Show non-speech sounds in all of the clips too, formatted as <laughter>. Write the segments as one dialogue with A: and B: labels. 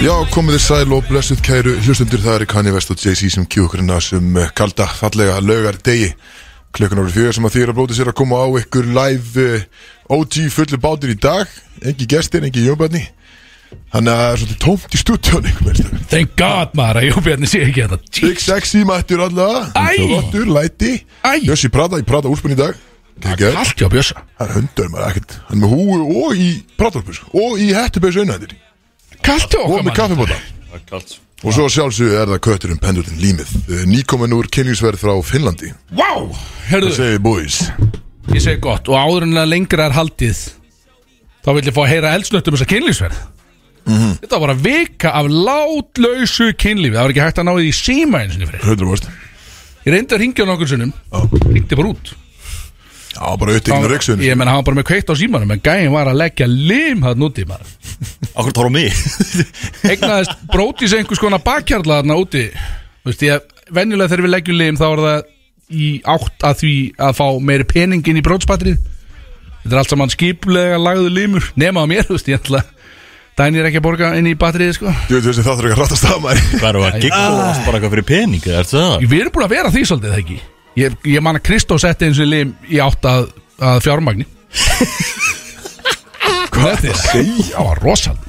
A: Já, komið þér sæl og blessuð kæru hlustundur, það eru Kanye West og Jay-Z sem kjú okkur inn að sem eh, kalda fallega laugar degi klukkan árið fjögur sem að þýra blóti sér að koma á ykkur live eh, OG fullu bátur í dag engi gestir, engi jöfnbarni þannig að það er svolítið tómt í stúdíón einhver meir stafir
B: Thank God maður að Jóbjarni sé ekki þetta
A: Big Sexy mættur allavega
B: Æ.
A: Rottur, læti
B: Æ.
A: Jössi Prada, ég prata úlpun í dag
B: Það er
A: Gekkjaður.
B: allt hjá Bjössa
A: Það er hundur maður ekkert Hann er með húu og í pratarpus Og í hettubus einhændir
B: Kallt hjá
A: Og
B: okkar
A: með
B: maður
A: kaffibóta
C: Það er kallt
A: Og svo sjálfsögðu er það kötturinn pendurinn límið Eh, Nýkominn úr kynlífsverð frá Finnlandi
B: Vá, herðu,
A: Segði boys
B: ég segi gott Og áður en að lengra er haldið Þá vil ég fá að heyra eldsnött um þessa kynlífsverð Þetta var bara vika af látlausu kynlífi Það var ekki hægt að ná því í síma eins og fyrir
A: 100%
B: Ég reyndi að ringja á nokkur sunnum Ringdi bara út
A: Já, bara auðvitað á
B: Hann-
A: reyksun
B: Ég menn, hann var bara með kveikt á símanum En gæin var að leggja lim hann úti maður
C: Akkur tóra mig
B: Egnaðist brótis einhvers konar bakkjarla þarna úti Þú veist, ég Venjulega þegar við leggjum lim þá er það Í átt að því að fá meiri peningin í brótspatrið Þetta er allt saman skiplega lagðu limur Nema á mér, þú veist, ég ætla Dæni er ekki að borga inn í batriði, sko
A: Ég veit þessi það þarf ekki að ratast að maður
C: Hvað eru að gigga
B: ah.
C: og varst bara eitthvað fyrir pening Er það?
B: Við erum búin að vera því svolítið, það ekki Ég, ég man að Kristó setti eins og lim í átt að, að
D: <laughs>
B: fjármagni Hvað er þetta? Það var rosald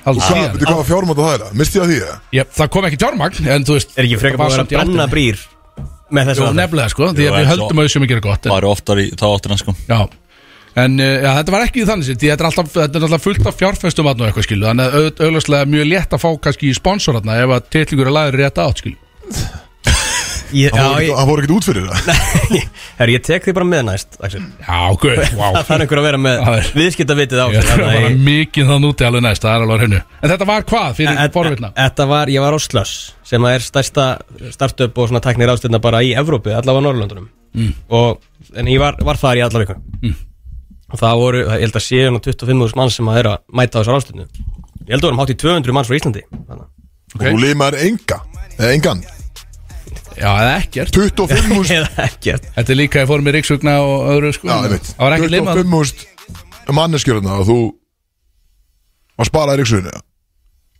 B: Allt
A: Hvað,
B: síðan
A: veitir hvað fjármáta það er það? Misti ég að því það?
B: Ég, það kom ekki fjármagn, en þú veist
D: Er ekki frekar
B: þetta var
D: búin að
B: samt í
D: vera að
B: áttinni.
D: brenna brýr með þessu
B: Jó,
D: aðferð?
B: nefnilega sko, því
C: Jú,
B: að
C: en
B: við
C: svo-
B: höldum að þessum að gera gott en,
C: Bara oftar í þá áttina sko
B: Já, en uh, já, þetta var ekki þannig sér, því þetta er alltaf, þetta er alltaf fullt af fjárfestum aðna og eitthvað skilu, þannig að auð- auðvitað mjög létt að fá kannski í sponsor aðna ef að titlingur er lagður í rétt átt skilu.
D: Ég-
A: Hann
D: Já,
A: fór ekkert-
D: ég-
A: Hann fór ekkert út fyrir það
D: <laughs> herru, ég tek því bara með næst Axel.
B: Já, guð, wow.
D: Það er einhver að vera
B: Það
D: með
B: er-
D: viðskiptavitið á
B: Ég
D: sér,
B: þarf að
D: þannig
B: vera
D: að-
B: mikið þann úti alveg næst, það er alveg hennu. En þetta var hvað fyrir
D: Þetta-
B: forvitna?
D: Þetta var, ég var á Slöss sem er stærsta startup og svona tæknir ástöðna bara í Evrópu, allavega á Norrlöndunum mm. og, en ég var, var þar í alla viku og það voru, ég held að sé um 25.000 mann sem að er að mæta á þessar ástöðnu ég held að vorum hátt í 200 manns frá Íslandi þannig. að-
A: Og þú limar enga Eða engan
B: Já, eða ekkert.
A: 25 múst
D: <laughs> eða ekkert
B: Þetta er líka í formi ríksugna og öðru sko.
A: Já, ég veit
B: Það var ekki limað.
A: 25 múst Manneskjörna og þú Að spara í reyksunni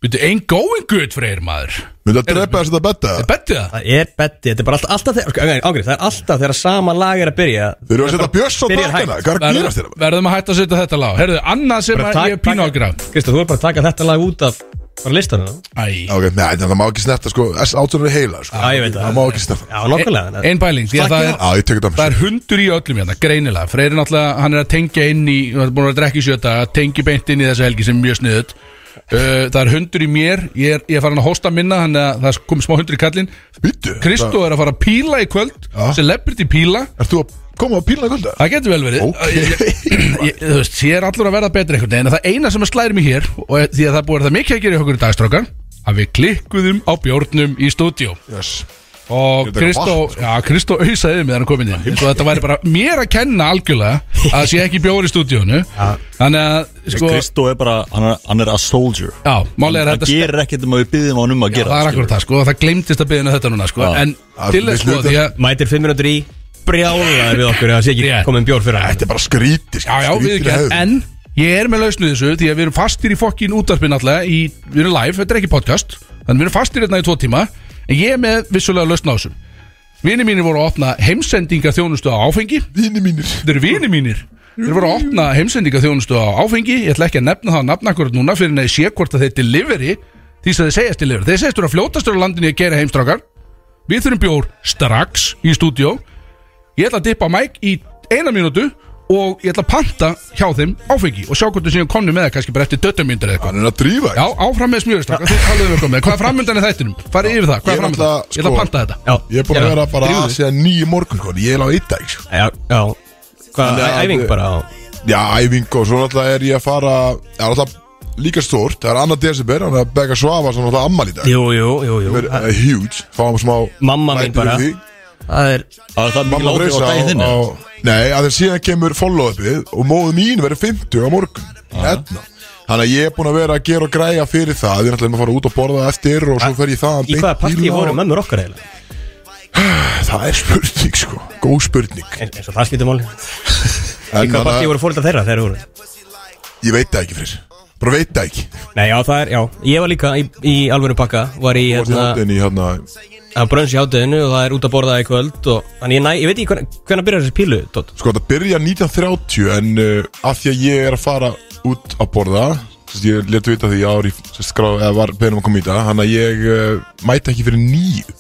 B: Býttu, ein going good freyr maður.
A: Myndi að drepa þess að betta
B: Er bettið það?
D: það er betti, þetta er bara alltaf, alltaf þegar, ok, ágrið, það er alltaf þegar sama lag er að byrja
A: Þeir eru að setja bjöss á takkana
D: Byrjar hægt.
A: Hvað er að
B: Verðum-
A: gerast hérna, þér?
B: Verðum að hætta að setja þetta lág. Herðu, annað sem
D: Bara
B: að
D: tak-
B: ég pínu
D: taka-
B: okkur á.
D: Kristó, þú er bara að taka þetta lag út af bara listanum
B: Æ.
A: Ok, nei, það má ekki snerta sko S18 er heila sko
D: Já, ég veit það.
A: Það má ekki snerta
D: Já, nokkulega
B: Einn pæling, því að það er,
A: Já, ég tekur það
B: það
A: með
B: er hundur í öllum hérna, greinilega Freyri náttúrulega, hann er að tengja inn í hann er búin að vera að drekka í sjöta, tengi beint inn í þessa helgi sem er mjög sniðut uh, Það er hundur í mér, ég er, ég er farin að hósta minna þannig að það kom smá hundur í kallinn
A: Býttu
B: Kristó er að fara að píla í kvöld
A: Já.
B: celebrity píla,
A: Ert þú að koma á pílna kvölda?
B: það getur vel verið
A: Ok.
B: ég, ég, Þú veist, ég er allur að verða betri einhvern veginn en það eina sem að slæri mig hér og er- því að það er búið að það mikið að gera í okkur í dagstrákar að við klikkuðum á bjórnum í stúdíó
A: Yes
B: Og
A: Ég er að taka
B: Kristó,
A: vatn,
B: já, Kristó auðsaði mig þegar hann kom inn Svo þetta væri bara mér að kenna algjörlega að það sé ekki bjóður í stúdíónu Þannig að, sko,
C: Kristó er bara, hann er, hann er a soldier
B: já, málega er
C: Hann
B: þetta
C: gerir ekkert um að við byggðum á hann um að
B: Já,
C: gera
B: Það er akkurat það, sko, og það gleymdist að byggðinu þetta núna, sko
C: Já.
B: En
A: Það
B: til
A: er
B: þess, sko,
A: hlutur.
B: því að
D: Mætir 5 minútur í brjálaður við okkur Það sé ekki
B: Rétt.
D: komin bjór fyrir hann
A: Þetta er bara sko, skríti
B: Já, já, við ekki, en ég er með lausnu í þessu því að við erum fastir í fokkin útarpin alltaf í, við erum live, þetta er ekki podcast þannig við erum fastir hérna í tvo tíma en ég er með vissulega lausna á þessu Vini mínir voru að opna heimsendinga þjónustu á áfengi
A: Vini mínir
B: Þetta eru vini mínir Þeir voru að opna heimsendinga þjónustu á áfengi Ég ætla ekki að nefna það nafn akkurat núna fyrir en að ég sé hvort að þeir delivery því sem þeir segjast delivery Þeir segjast eru að fljótastur á landinni að gera heimstrákar Við þurfum bjór strax í stúdíó Ég ætla að dippa á mæk í eina mínútu og ég ætla að panta hjá þeim áfengi og sjá hvort þau síðan komnu með það kannski bara eftir döttamyndir eða eitthvað
A: Hann er að drífa
B: Já, áfram með smjöristrakka, þið talaðu við komið Hvað er framöndan í þættinum? Farið yfir það,
A: Ég
B: hvað er
A: er
B: framöndan?
A: náttúrulega,
B: Ég ætla að
A: sko-
B: panta þetta
D: Já,
A: Ég er búin að vera bara
B: Drífðu
A: að
B: þig.
A: segja nýju morgun sko Ég er alveg eitt dag sko.
D: Já, já Hvað,
A: Þannig að-
D: æfing bara á
A: Já, æfing og svo náttúrulega er ég að fara Það er náttúrulega líka stórt Það er annar desember Þannig að Begga Svafa sem náttúrulega ammal í dag
D: Jú, jú, jú, jú
A: Það er huge Fáum smá
D: Mamma mín
A: bætur við
D: bara.
A: því.
D: Það er
C: Það er það
A: Mamma
C: mikið áhrif á
A: brausa á,
C: daginn
A: á
C: þinni
A: Nei, að þeir síðan kemur follow-upið og móðu mín verður 50 á morgun
D: Ah.
A: Hérna Þannig að ég er búin að vera að gera og græja fyrir það Ég er náttúrulega að fara út og borða eftir og svo fer ég það
D: Ah, Í hvaða partí voru mömmur okkar eiginlega?
A: Það er spurning sko, góð spurning
D: Eins, eins og það skiptir máli Í
A: En
D: hvaða
A: þannig
D: partí
A: að
D: voru fóreldar þeirra þegar þeir voru?
A: ég veit það ekki fyrir bara veit það ekki
D: Nei, já, það er, já Ég var líka í, í alvöru pakka Var í,
A: Þú varst í
D: hérna
A: hátinn í hérna
D: Það er brönns í hátuðinu og það er út að borða í kvöld og Þannig ég næ, ég veit ekki hvernig, hvernig byrjar þessi pílu, Tótt
A: Sko þetta byrja 1930 en uh, af því að ég er að fara út að borða þess að ég letu vita því að ég ári skráð eða var beðin um að koma í þetta þannig að ég uh, mæta ekki fyrir nýju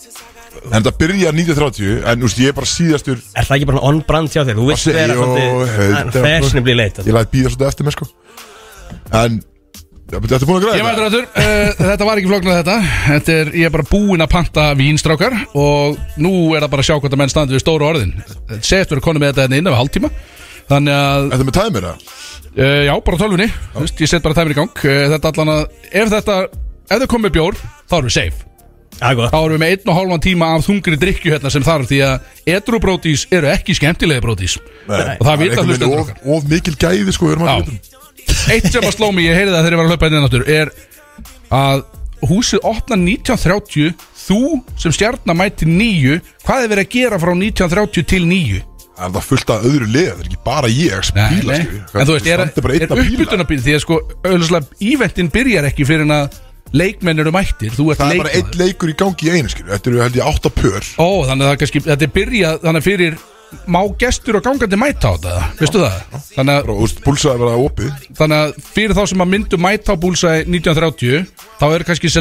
A: en þetta byrja 1930 en úst, ég er bara síðastur
D: Er það ekki bara on brand hjá þér? Þú vilt
A: Að segja,
D: vera
A: ó,
D: svolítið
A: heita-
D: fashionably late
A: ég læt býða svolítið eftir mér sko en þetta er búin að
B: Ég
A: græða
B: mætur aftur, uh, þetta var ekki flóknað þetta Þetta er, ég er bara búinn að panta vínstrákar Og nú er það bara að sjá hvort að menn standi við stóru orðin Segist verið konum með þetta hérna innan við hálftíma Þannig að,
A: Þetta með tæmir það?
B: uh, já, bara á tölvunni Þú veist, Ég set bara tæmir í gang uh, Þetta allan að, ef þetta, ef þau komið með bjór Þá erum við safe
D: Það er gott
B: Þá erum við með einn og hálfan tíma af þungri drikju hérna sem þarf Því að edru brótís eru ekki skemmtilega brótís Og það vita
A: einhvern veginn
B: hlustendur
A: of, of mikil gæði sko, við erum að
B: Já. Eitt sem að sló mig, ég heyrði það þegar ég var að hlaupa inn aftur Er að húsið opna 1930 Þú sem stjarnar mæti nýju Hvað er verið að gera frá 1930 til nýju?
A: Það er það fullt af öðru lið, það er ekki bara ég sem bíla,
B: nei.
A: skilju.
B: En þú veist, er,
A: Standi bara
B: er
A: einn að bíla.
B: uppbytunarbíl Því að sko, auðvitað, íventin byrjar ekki fyrir en að leikmenn eru mættir Þú ert
A: Það er bara
B: leikmaður
A: einn leikur í gangi í einu, skilju. Þetta eru held ég átta pör.
B: Ó, þannig að það kannski, þetta er byrjað Þannig að fyrir má gestur og gangandi mæta á þetta Veistu það? Þannig að
A: Bara, úst, búlsaði bara opið.
B: Þannig að fyrir þá sem að myndu mæta á búlsæði 1930 Þá eru kannski
A: Það er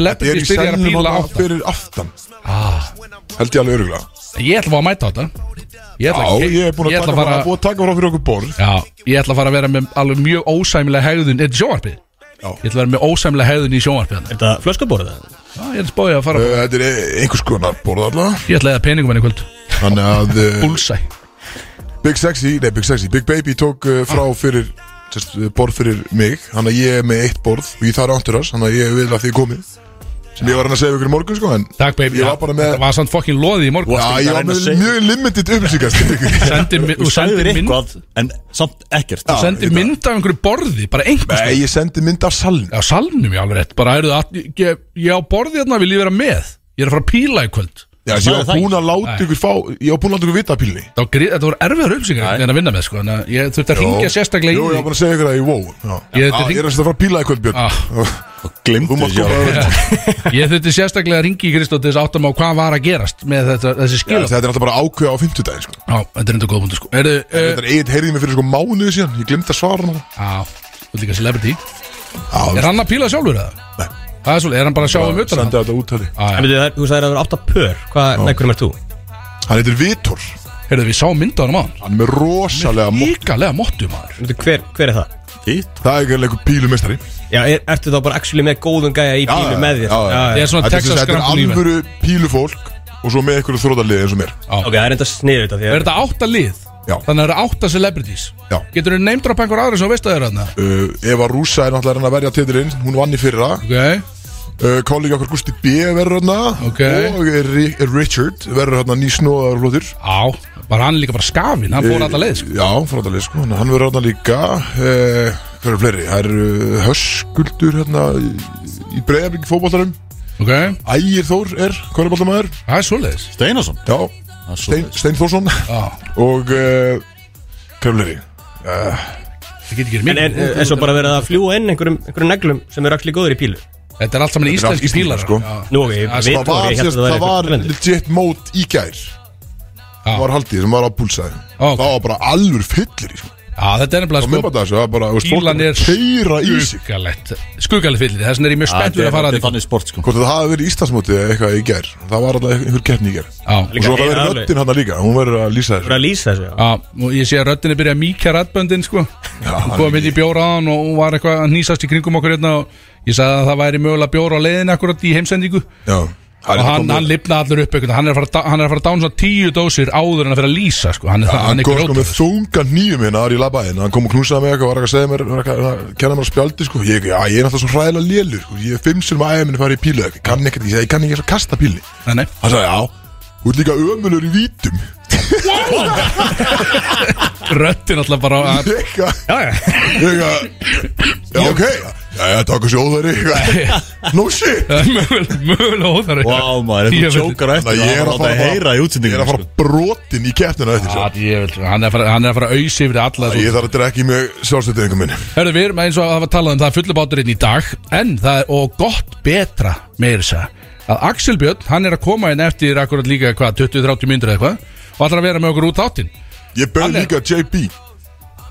A: í
B: celebrities byrjar að
A: sennum
B: píla á
A: að
B: það
A: fyrir aftan. Held ég alveg öruglega.
B: Ég ætla að fá að mæta á þetta Ég ætla,
A: Já, ég er búin að
B: ætla
A: taka
B: að
A: fara...
B: fara
A: búið að taka frá fyrir okkur borð.
B: Já, ég ætla að fara að vera með alveg mjög ósæmilega hegðun Þetta er sjónvarpið
A: Já.
B: Ég ætla að vera með ósæmilega hegðun í sjónvarpið þarna.
D: Er þetta flöskuborð? eða?
B: Já, Ég ætla spáði að fara
A: Uh, Þetta er e- einhvers konar borð allavega.
B: Ég ætla að eða peningum henni kvöld
A: Þannig að uh,
B: Búlsæ
A: Big Sexy, nei Big Sexy, Big Baby tók uh, frá fyrir sérst, uh, borð fyrir mig. Þannig að ég er með eitt borð og ég þarf ándur hans. Þannig að ég vil að þið komið. Sem ég var hann að segja ykkur í morgun, sko, en...
B: Takk baby
A: Ég
B: Já,
A: var bara með-
B: Þetta var samt fokkin loðið í
A: Já,
B: morgun
C: Varstu ekki
A: ég
C: að reyna
A: var
C: að
A: með
C: segja-
A: mjög limited upplýsingast
B: <laughs> Sendir mi-
C: Þú sagðir
B: Þú sendir mynd
C: eitthvað en samt ekkert
A: Já.
B: Sendir
A: ég-
B: mynd af einhverju borði Bara einhvers
A: Nei, ég sendi mynd af saln
B: Já, salnum ég alveg rétt Bara eruð að ég, ég á borðið hérna vil ég vera með Ég er að fara að píla í kvöld
A: Já, ég var
C: það
A: búin að láta
B: Nei.
A: ykkur fá Ég var búin að láta ykkur vita af pílni
B: Þá grið, þetta voru erfiðar uppsingar en að vinna með sko en að ég þurfti að ringja sérstaklega
A: Jú, ég var
B: í
A: búin að segja ykkur það í wow Já,
B: Ég-
A: Já,
B: þetta
A: ég
B: hring-
A: er að setja að fara að píla í kvöld, Björn
B: Ah.
C: Og glimtu
A: Þú mátt
C: sér
A: koma
C: á-
A: að vera
B: því ég þurfti sérstaklega að ringi í Kristóð til þess að átta mig á hvað var að gerast með þetta, þessi skil
A: Þetta er alltaf bara ákveða á 50 daginn sko.
B: Já, þetta er enda góð punktu sko Erðu,
A: Þetta er eitt heyrðið mér fyrir sko mánuði síðan Ég glemt að svara hann
B: á, þú ert líka celebrity
A: Já,
B: Er hann að píla sjálfur eða?
A: Nei.
B: Það er svolítið, er hann bara að sjá um
A: sendi
B: utan hann? Ah.
A: þetta út af því
B: Á,
D: En
B: já.
D: veitu, það er- Þú sagðir að það eru átta pör Hvað, nei, hverjum ert þú?
A: Hann heitir Vitor
B: Heyrðu, við sáum mynda hann á hann
A: Hann er með rosalega mótt
B: Líkalega móttu maður
D: Veitu, Hver, hver er það?
C: Þitt
A: Það er ekki einhver pílumestari
D: Já, er, ertu þá bara actually með góðum gæja í pílu með þér?
A: já, já.
B: Ég er svona
A: Þetta er sem
B: Texas
A: sagt- þetta er
B: Grand Prix-menn.
A: alvöru pílufólk Og svo með einhverju þrótalið eins og mér
B: Ah.
D: Ok, það er enda sniðu þetta því
B: Er
D: að
B: þetta átta lið?
A: Já.
B: Þannig að það eru átta celebrities
A: Já.
B: Getur þú neymdrapp einhver aðri sem þú veist að það er hann?
A: uh, Eva Rúsa er náttúrulega að reyna að verja titilinn Hún vann í fyrra
B: Ok
A: uh, Kollega okkar Gusti B verður hérna
B: Ok.
A: Og Ri- Richard verður hérna nýsnóðar hlutur
B: Á, bara hann er líka bara skafin, hann fór alltaf leið sko
A: Já, frátalið sko Þannig að Hann verður hérna líka uh, Hver er fleiri? Það eru uh, Höskuldur hérna í, í breyðabík fótboltarum
B: Ok,
A: Ægir Þór er kvöruboltamæður
B: það er svoleiðis
C: Steinarsson
A: Já,
C: Það er
A: Stein,
C: svoleiðis.
A: Stein Þórsson
B: Já,
A: Og uh, hver er fleiri?
B: það getur ekki verið
D: En
B: mikið.
D: er, er svo bara verið að fljúa inn einhverjum, einhverjum neglum sem eru actually góður í pílu?
B: Þetta er allt saman
A: Þetta er allt
B: íslenski
A: Íslendingar,
B: pílar
A: sko.
D: Nú, ok, ég
B: Það
D: veit
A: Það var,
D: og ég held
A: sérst,
D: að
A: það var
D: væri eitthvað
A: legit mót í gær
B: Já.
A: Það var haldið sem var á púlsaði
B: Ó, ok.
A: Það var bara alveg fyllir í sko
B: Já, þetta er
A: á
B: nefnilega sko,
A: miðbanda þessu, það er bara, þú veist,
B: Bílan
A: fólk er
B: er
A: að keira í sig
B: skuggalegt Skuggalegt fyllir, þess vegna er ég
C: Já,
B: mjög spennt
C: Þetta
B: fyrir
C: er
B: að fara
C: þetta
B: að
C: er þannig sport
B: <laughs>
C: sko
A: Hvort það hafi verið Íslandsmótið eða eitthvað í ger Það var alltaf einhver keppni í ger Og
B: Já,
A: svo var það
D: Líka
A: verið
D: eina
A: röddinn hann líka, hún verður að lýsa
D: Þú er
A: þessu
D: að lýsa þessu, já.
B: já, og ég sé að röddinni byrja að mýkja rættböndin sko Hún kom inn í bjóra á hann og hún var eitthvað að nýsast í kringum okkur hérna og ég sagði að það væri mögulega bjóra á leiðin akkurat í heimsendingu
A: Já,
B: og hann, hann lifna allur upp eitthvað hann er að fara að dá- hann er að fara að dána svona tíu dósir áður en að fyrir að lýsa sko hann er, það, hann
A: Hann
B: er
A: kom sko
B: grótur
A: með þunga nýjum hérna aðri í labæðin Hann kom og knúsaði mig eitthvað, var eitthvað að segja mér var eitthvað að Kenna mér að spjaldi sko Ég, já, ég er alltaf svo hræðilega lélur sko. Ég er fimm sem aðeins minni farið í pílu Ég kann ekkert, ég, segi, ég kann ekki eins og kasta píli
B: Nei, nei.
A: Hann sagði, já, þú ert líka ömulur í vítum
B: röddin alltaf bara að-
A: Eitthvað
C: <laughs>
A: <laughs>
B: já,
A: Ég
B: <laughs> já.
A: eitthvað, Já, ok, já, Jæja, takk að sjóðari
B: <laughs>
A: No shit
B: Mögulega mögulega óþarfi
C: Vá maður,
B: Ég
C: ef
B: veit-
C: þú jókar eftir
A: Þannig að ég er að
C: láta
A: fara
C: að heyra í
A: Ég er að
C: útsendingum
B: sko.
A: fara brotin í keppnina eftir
B: Já,
A: svo
B: ég veit, Hann er að fara- hann er að fara að ausi yfir alla
A: Ég þarf að drekka í mig sjálfstöðingum minni
B: Hörðu, við erum eins og að hafa talað um það fullu báturinn í dag En það er og gott betra meira þess að Að Axel Björn, hann er að koma inn eftir akkurat líka hvað, 20-30 myndir eða eitthvað Og ætlar að vera með okkur út áttinn
A: Ég bauð
B: Hann er-
A: líka JB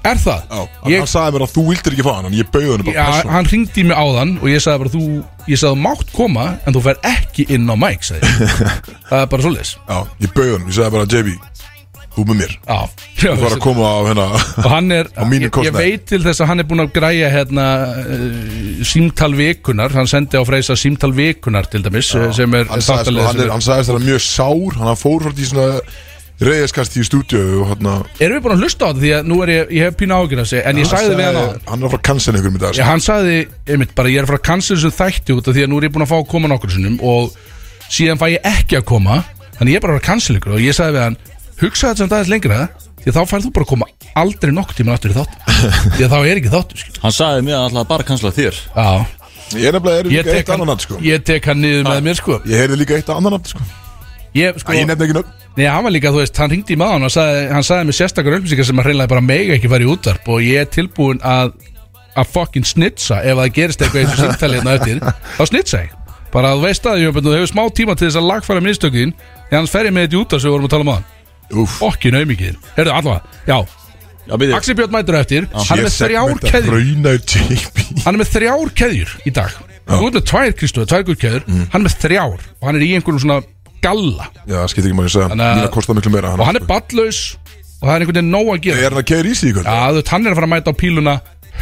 B: Er það?
A: Já,
B: Ég-
A: Hann sagði mér að þú vildir ekki fá hann en Ég bauð hann
B: Já,
A: bara persónulega.
B: hann ringdi í mig áðan og ég sagði bara þú, ég sagði þú mátt koma en þú fer ekki inn á mæk, sagði ég
A: <laughs>
B: Það er bara svoleiðis
A: Já, ég bauð hann Ég sagði bara JB Þú með mér
B: Já, já
A: Þú var að koma á hérna
B: og hann er,
A: Á mínu
B: ég, ég
A: kostnaði.
B: veit til þess að hann er búinn að græja hérna uh, símtal vikunar, hann sendi á freysa símtal vikunar til dæmis já, sem er
A: Hann sagði sko,
B: þáttarlega
A: hann
B: sem
A: er- hann sagðist það mjög sár Hann hann fór hvort í svona Reyðiskast í stúdíu og hérna
B: Erum við búin að hlusta á þetta því að nú er ég, ég hef pína ágjur að segja en ég sagði við hann á
A: sagði- Hann er að fara að cancel einhverjum í dag sko.
B: Já, hann sagði, einmitt, bara ég er að fara að cancel þessum þætti út af því að nú er ég búinn að fá að koma nokkur sinnum og síðan fæ ég ekki að koma þannig ég er bara að fara að cancel ykkur og ég sagði við hann hugsa þetta sem dagis lengra því að þá færð þú bara að koma aldrei nokkur tíma aftur í þátt
A: <laughs>
B: því að þá er ekki þáttu skil.
C: sko. Hann sagði mér að hann ætlaði bara að kansla þér
B: Já,
A: Ég er nefnilega er
B: ég
A: líka
B: tek
A: eitt
B: hann,
A: annan nafn sko
B: ég tek hann niður með mér sko
A: Ég heyrði líka eitt annan nafn sko
B: Ég,
A: Æ,
B: sko,
A: Ég nefndi ekki nöfn
B: nei, hann var líka, þú veist, hann ringdi í maðan og sagði, hann sagði með sérstakar upplýsingar sem hann hreinlega bara mega ekki fara í útvarp og ég er tilbúin að að fucking snitsa ef það gerist eitthvað eins og símtali hérna eftir, þá snitsa ég bara að þú veist að ég þú hefur smá tíma til þess að lagfæra minnstökin, því annars fer ég með þetta í útvarp sem við vorum að tala um aðan,
A: Úff
B: fokkin auðmikið herðu, allavega, já,
C: Já, býði
B: Axel Björn mætur á eftir
A: Ah,
B: hann er með þrjár keðjur
A: Raunar JB
B: hann er með þrjár keðjur í dag þú ert með tvær Kristóð, tvær guð keðjur
A: Mm.
B: hann er með þrjár og hann er í einhverjum svona galla
A: Já, það skiptir ekki maður að segja
B: Þannig að-
A: Mína kostar miklu meira
B: og hann er ballaus og það er einhvern veginn nóg að gera
A: Er hann að keira í sig í kvöld?
B: Já, þú veist, hann er að fara að mæta á píluna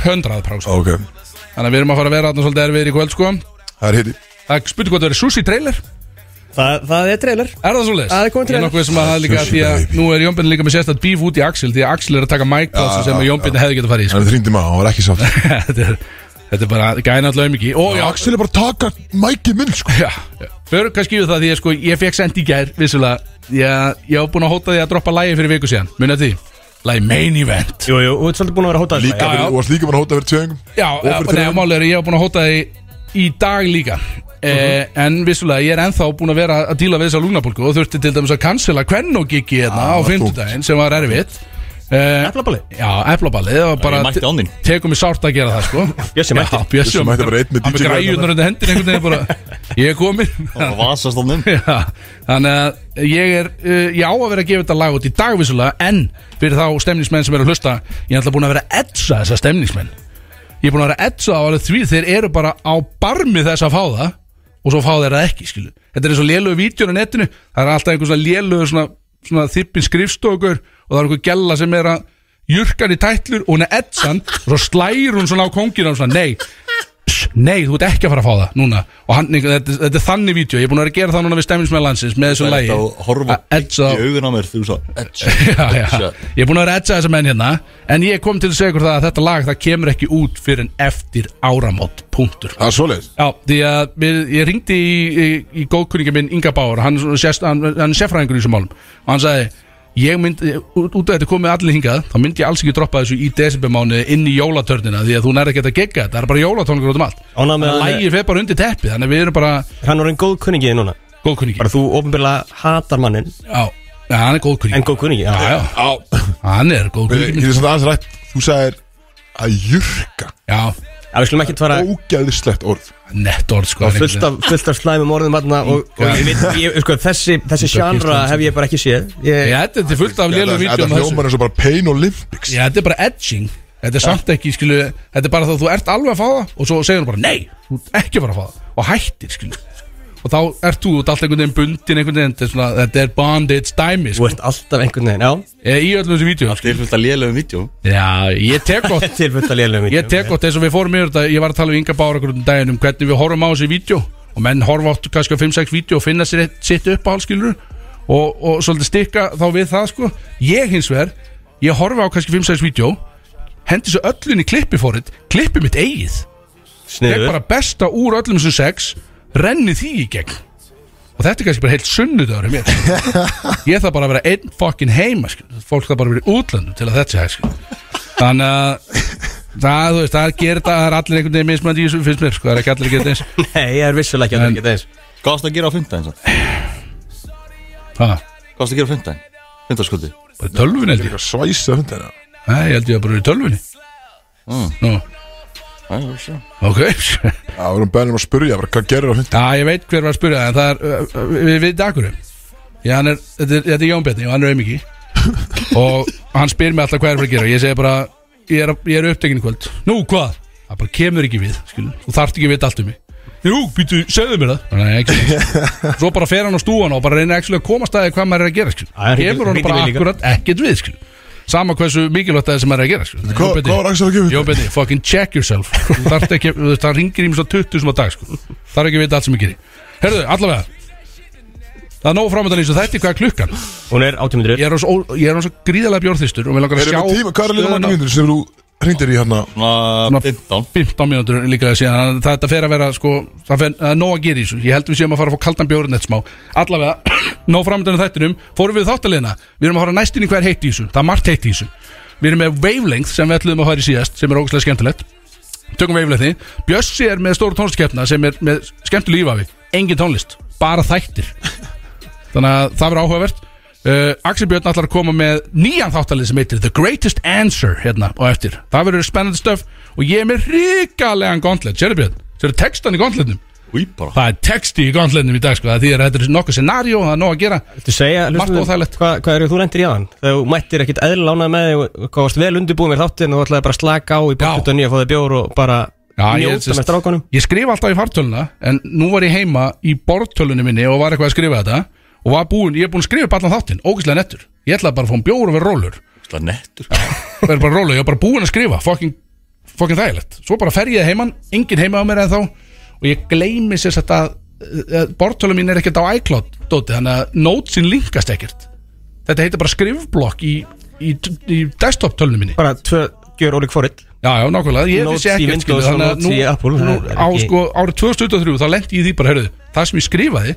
B: 100%
A: Ok,
B: Þannig að við erum að fara að vera þarna svolítið erfiðir í kvöld, sko
A: það er hitti
B: Það er spurning hvað það verið sushi trailer Er
D: Það, það er trailer
B: það svolítið?
D: Það er komið
B: Ég er
D: trailer.
B: nokkuð sem að það er líka
A: Sushi,
B: því að
A: baby.
B: nú er Jónbjörn líka með sérstætt bíf út í Axel Því að Axel er að taka mic plásu
A: Já,
B: sem að
A: já,
B: Jónbjörn hefði getað farið í,
A: Hann er þrýndi maður, hann var ekki
B: <laughs>
A: sátt
B: sko Þetta er- Þetta er bara gæna alltaf um ekki Og já,
A: Axel er bara að taka mækið minn sko
B: já, já. Förum kannski yfir það því að sko ég fekk send í gær Vissulega, ég, ég var búin að hóta því að droppa lægi fyrir viku síðan Munið því? Lægi main event
D: Jú, jú, þú ert svolítið búin að vera hótað
A: Líka,
B: Já, já.
A: fyrir, og varst líka bara að hóta að vera tveðingum
B: Já, eh,
A: Og fyrir
B: nei,
A: þremur.
B: málið er að ég hef búin að hóta því í dag líka e, En vissulega, ég er ennþá búin að vera að díla við þessa lúgnabólku Og þurfti til dæmis að cancela kvennogiggi hérna
A: það
B: á
A: var
B: fimmtudaginn Sem var erfitt e,
D: Eflabali
B: Já, eflaballið Það var
C: Ég mætti á
B: bara,
C: þín
B: tekum mig sárt að gera það sko
D: Bjössi mætti.
B: Já, Bjössi
A: Bjössi mætti bara einn með
B: Hann
A: DJ
B: með græjunar undir hendin einhvern veginn bara Ég er komin
C: Það var vasast á þeim
B: Já, þannig að ég er uh, ég á að vera að gefa þetta lag út í dagvísulega en fyrir þá stemningsmenn sem eru að hlusta ég er alltaf búin að vera að etsa þessa stemningsmenn ég er búin að vera að etsa á alveg því þeir eru bara á barmi þess að fá það og svo fá þeir það ekki skilu þetta er eins og lélögu vídjón á netinu það er alltaf einhver svona lélögu svona, svona þippin skrifstokur og það er einhver gella sem er að jurkan í tætlur og hún er etsan og svo slægir hún svona á kóngina og svona nei Pss, Nei, þú ert ekki að fara að fá það núna Og hann, þetta, þetta er þannig vídeo Ég er búin að vera að gera það núna við stemmingsmenn landsins Með þessu
C: Það er
B: lagi
C: þetta að horfa
B: Að edsa á-
C: í augun á mér Þú svo
B: <laughs> já, já. Ég er búin að vera að edsa þessa menn hérna En ég kom til að segja ykkur það að þetta lag Það kemur ekki út fyrir en eftir áramót Punktur
A: Það er svoleiðis
B: Já, því að við, ég ringdi í, í, í góðkunningin minn Inga Báur Hann, er svona sérst- hann, hann er sérfræðingur í þessum málum Og hann sagði ég myndi, út út af þetta komið allir hingað þá myndi ég alls ekki droppa þessu í desembermáni inn í jólatörnina því að þú nærði ekki að gegga þetta það er bara jólatónlingur út um allt
D: Ánað með eh?
B: Þannig að
D: að
B: lægið fer bara undir teppi Þannig að við erum bara
D: hann er einn góð kunningi núna
B: góðkunningi
D: Bara þú ofinbjörlega hatar mannin
B: Já, já, hann er góðkunningi
D: En góð kunningi, já,
B: Já,
D: já
B: já, hann er
A: Ég
B: góðkunningi
A: er samt aðeins rætt Þú sagðir að jurka
B: Já,
D: Já, við skulum ekki fara
A: Ógæðislegt orð
B: nett orð sko
D: á
B: hann
D: fullt af, fullt af slæmum orðum þarna og, og ég veit, ég, sko, þessi, þessi sjánra hef ég bara ekki séð
B: Já,
D: ég,
B: þetta er til fullt af lélum
A: Þetta
B: vídjum um þessu
A: hljómar eins og bara Pain Olympics
B: Já, þetta er bara edging Þetta er samt ekki, skilu Þetta er bara það að þú ert alveg að fá það Og svo segir hún bara, nei, þú ert ekki að fara að fá það Og hættir, skilu Og þá ert þú út allt einhvern veginn bundin einhvern veginn Þetta er svona, þetta er bondage dæmi
D: Þú
B: sko.
D: ert alltaf einhvern veginn, já
B: Eh, Í öllum þessu vídjum
C: Til fullt að lélega um vídeo
B: Já, ég tek gott
D: Til fullt að lélega
B: Ég tek gott eins og við fórum yfir þetta Ég var að tala við Inga Bára okkur um daginn um hvernig við horfum á þessi vídeo og menn horfa átt kannski á 5-6 vídeo og finna sér eitt, sitt upp á halskilur og, og svolítið stikka þá við það sko Ég hins vegar, ég horfa á kannski 5-6 vídeo hendi svo öllun í klippi fórið klippi mitt eigið Ég
D: Sniður
B: bara besta úr öllum þessu sex renni því í gegn og þetta er kannski bara heilt sunnudagur hjá mér. ég þarf bara að vera einn fokkin heima skil. fólk þarf bara að vera í útlandu til að þetta sé hægt skil. þannig að Það, þú veist, það gerir það, það er allir einhvern veginn mismandi í þessu finnst mér, sko, það er ekki allir að geta eins
D: <laughs> Nei, ég er vissulega ekki að það er ekki eins
C: Hvað varst að gera á fymtdæðin?
B: Ha,
C: Hvað varst að gera á fymtdæðin? Fymtdæðskvöldi
B: bara í tölvunni held ég
A: Líka svæsa hundina
B: Nei, ég held ég að bara í tölvunni
C: Mm.
B: Nú,
C: Það
B: ok <laughs>
A: Það vorum bæðinum um að spurja bara, Hvað gerir á hundina?
B: Já, ég veit hver var að spyrja það, en það er, ö, ö, við við dagurum Já, hann er, þetta er, þetta er Jón Bjarni og hann er auðmiki Og hann spyr mig alltaf hvað er að fara að gera og Ég segi bara, ég er, að- ég er upptekinn í kvöld Nú, hvað? Það bara kemur ekki við, skilur Þú þarft ekki að vita allt um mig Jú, býtu, segðu mér það Nei, ekki <laughs> Svo bara fer hann á stúan og bara reynir actually að komast að því hvað maður er að gera skil.
D: Já, hann hringir-
B: Kemur hann
D: hringir
B: bara
D: mig líka.
B: akkurat ekkert við skil. Sama hversu mikilvægt það er sem maður er að gera skil.
A: Hvað-
B: Jón Bjarni,
A: hvað var Axel að gefa upp?
B: Jón Bjarni, fucking check yourself Þarft ekki, þú veist, Það ringir í mig svo 20 sem á dag skil. Þarf ekki að vita allt sem ég gerir Herðu, allavega Það er nóg framöndan eins og þetta er hvað er klukkan
D: Hún er 80 minnur
B: Ég er á svo, ó- ég er á svo gríðalega bjórþistur og við langar að sjá
A: Erum við tíma? Hvað er líka
B: stöðuna.
A: margir hundur sem þú hringdir í hérna?
C: Svona 15
B: 15 mínútur líka síðan það, það fer að vera sko, það fer að nóg að gera í þessu ég held við séum að fara að fá kaldan bjórinn eitt smá allavega, <clears throat> nóg framöndanum þættinum fórum við þáttaliðina, við erum að horfa næstinni hver heitt í þessu það er margt heitt í þessu við erum með wavelength sem við ætlum að fara í síðast sem er ógustlega skemmtilegt tökum wavelengthi, Bjössi er með stóru tónlistkeppna sem er með skemmtileg ífafi engin tónlist, bara þættir þannig að það verður áhugavert uh, Axel Björn ætlar að koma með nýjan þáttalið sem heitir The Greatest Answer hérna og eftir, það verður spennandi stöf og ég er með ríkalegan gondlet Sérðu Björn, sérðu textan í gondletnum
C: Úi bara
B: það er texti í gondletnum í dag sko, það þýðir að þetta er nokkuð scenario það er nóg að gera
D: Þú segja,
B: Margt
D: hlustundum,
B: óþægilegt.
D: hvað, hvað eru þú lendir í aðan? Þegar þú mættir ekkit eðlilega ánað með þig og hvað varst vel undirbúið mér þáttinn og þú ætlaði bara að slaka á í bóttut og nýja að fá þig bjór og bara
B: Já, ég
D: njóta
B: sést-
D: með strákanum
B: ég skrifa alltaf í fartöluna en nú var ég heima í bortölunni minni og var eitthvað að skrifa þetta og var búin, ég er búin að skrifa upp allan þáttinn, ógæslega nettur ég ætla bara að fá um bjór og vera rólur
C: Það er nettur
B: og er bara rólega, ég var bara búinn að skrifa fucking, fucking þægilegt svo bara fer ég heiman, enginn heima á mér en þá og ég gleymi sér þetta að bortölu mín er ekkert á iCloud dóti, þannig að nótsin linkast ekkert þetta heitir bara skrifblokk í, í, í desktop tölunum minni
D: Bara tvö gjör ólík fórill
B: já, já, nákvæmlega, ég
D: Notes
B: vissi
D: í
B: ekkert
D: Windows
B: skilur,
D: og
B: þannig að
D: notes í Apple,
B: nú,
D: það er
B: á
D: ekki-
B: sko árið 2023 þá lendi ég í því bara, heyrðu, það sem ég skrifaði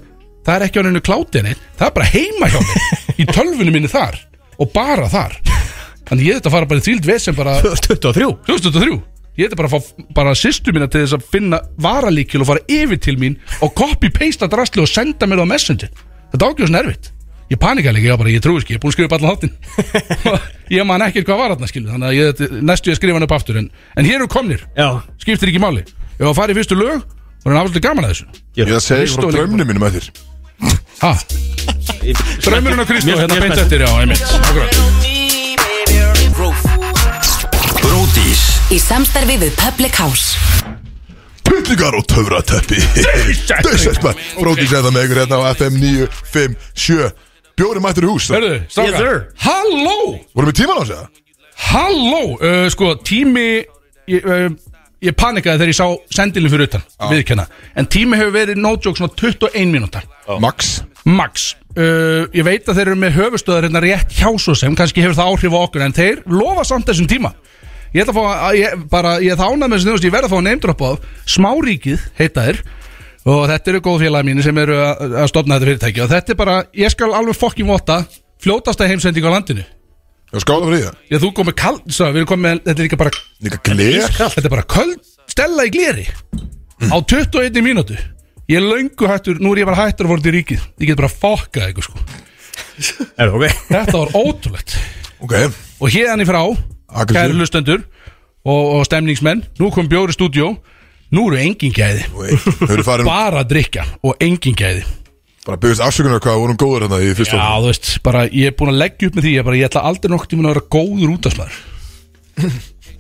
B: það er ekki á neinu klátinni, það er bara heima hjá mér í tölvunum minni þar og bara þar þannig ég þetta fara bara í þvíld vesem
D: <laughs>
B: bara
D: 23
B: 2003 Ég ætti bara að fá bara sýstu mína til þess að finna varalíkil og fara yfir til mín og copy-pasta drastli og senda mér það á messenger Þetta ágjóðs nervitt Ég panika líka, ég var bara, ég trúi ekki, ég er búin að skrifa upp allan
D: <laughs>
B: háttin Ég man ekkert hvað var þarna skilu Þannig að ég, þetta- næstu ég að skrifa hann upp aftur En, en hér eru komnir,
D: Já,
B: skiptir ekki máli Ef að fara í fyrstu lög, var hann afslutu gaman að þessu
A: Ég það segi
B: Kristó
A: frá
B: líka
A: draumnum mínum eftir
B: Ha, draumurinn á Kristó,
D: Mér-
B: hérna
D: mér
B: beint
D: spennst.
B: eftir, já, einmitt Akkurat.
E: Bródís
F: Í samstarfi við Public House
A: Pullingar og töfrateppi <laughs>
B: Dauðsætt.
A: Dauðsætt maður Bróti segða með ykkur hérna á FM 957 Bjóri mættur í hús
B: Hörðu, strákar, halló
A: Vorum við tíman á sig það?
B: Halló, uh, sko tími ég, uh, ég panikaði þegar ég sá sendilin fyrir utan, viðkenna En tími hefur verið no joke svona 21 mínúta
A: Max
B: Max uh, Ég veit að þeir eru með höfustöðar hérna rétt hjá svo sem Kannski hefur það áhrif á okkur En þeir lofa samt þessum tíma Ég ætla að fá að ég, bara, ég ætla ánað með þessu nefnst Ég verð að fá að neymdropa á Smáríkið heita þeir Og þetta eru góð félagi mínu sem eru að, að stopna þetta fyrirtæki Og þetta er bara, ég skal alveg fokkin votta Fljótasta heimsending á landinu
A: Já, skála fyrir það
B: Já, þú komið kald, svo, við erum komið með, þetta er líka bara,
A: Líka gler
B: þetta er bara köld stella í gleri á 21 mínútu. Ég er löngu hættur, nú er ég bara hættur að voru til ríkið. Ég get bara fokkað ykkur sko.
D: <laughs> er það ok
B: Þetta var ótrúlegt.
A: Ok
B: Og hérðan í frá,
A: Aggressív.
B: kæri lustendur og, og stemningsmenn, nú kom bjóri stúdjó, nú eru engin gæði.
A: Þau eru
B: <laughs>
A: farin
B: Bara að drikja og engin gæði.
A: Bara að byggðist afsökunar hvað vorum góður hérna í fyrst
B: Já, þú veist, bara ég er búin að leggja upp með því Ég, bara, ég ætla aldrei nokkuð tíma að vera góður útastmaður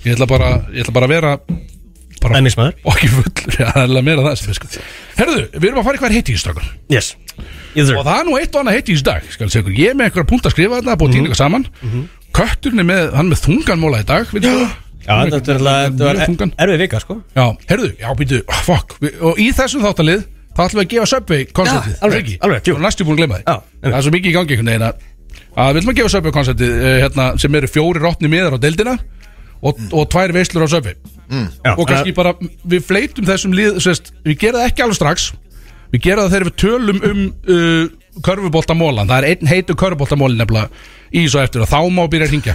B: Ég ætla bara, ég ætla bara að vera bara,
D: Ennismæður
B: Og ekki fullur, já, það er alveg meira það sem við sko. Herðu, við erum að fara í hver heiti í þessu strákar
D: Yes Either
B: Og það er nú eitt og annað heiti í þessu dag skal ég segja ykkur. Ég er með einhverja punkt að skrifa þarna Búið að týna eitthvað saman Kötturinn er með, hann er með þunganmóla í dag við, já.
D: Já, þetta er náttúrulega- þetta var
B: þungan.
D: er- erfið vika sko
B: já, herðu, já, býtu, ah, fuck við, Og í þessum þáttalið, það ætlum við að gefa Subway konceptið
D: Já, alveg,
B: er ekki?
D: alveg, jú.
B: Þú er næstu búin að gleyma því
D: Já, einmitt.
B: Það er svo mikið í gangi einhvern veginn að að við ætlum að gefa Subway konceptið uh, hérna, sem eru fjóri rótni miðar á deildina og, og tvær veislur á Subway
D: Mm. Já,
B: og kannski bara við fleitum þessum lið sérst, við gera það ekki alveg strax við gera það þegar við tölum um uh, körfuboltamólan, það er einn heitu körfuboltamólin nefnilega í svo eftir og þá má byrja að ringja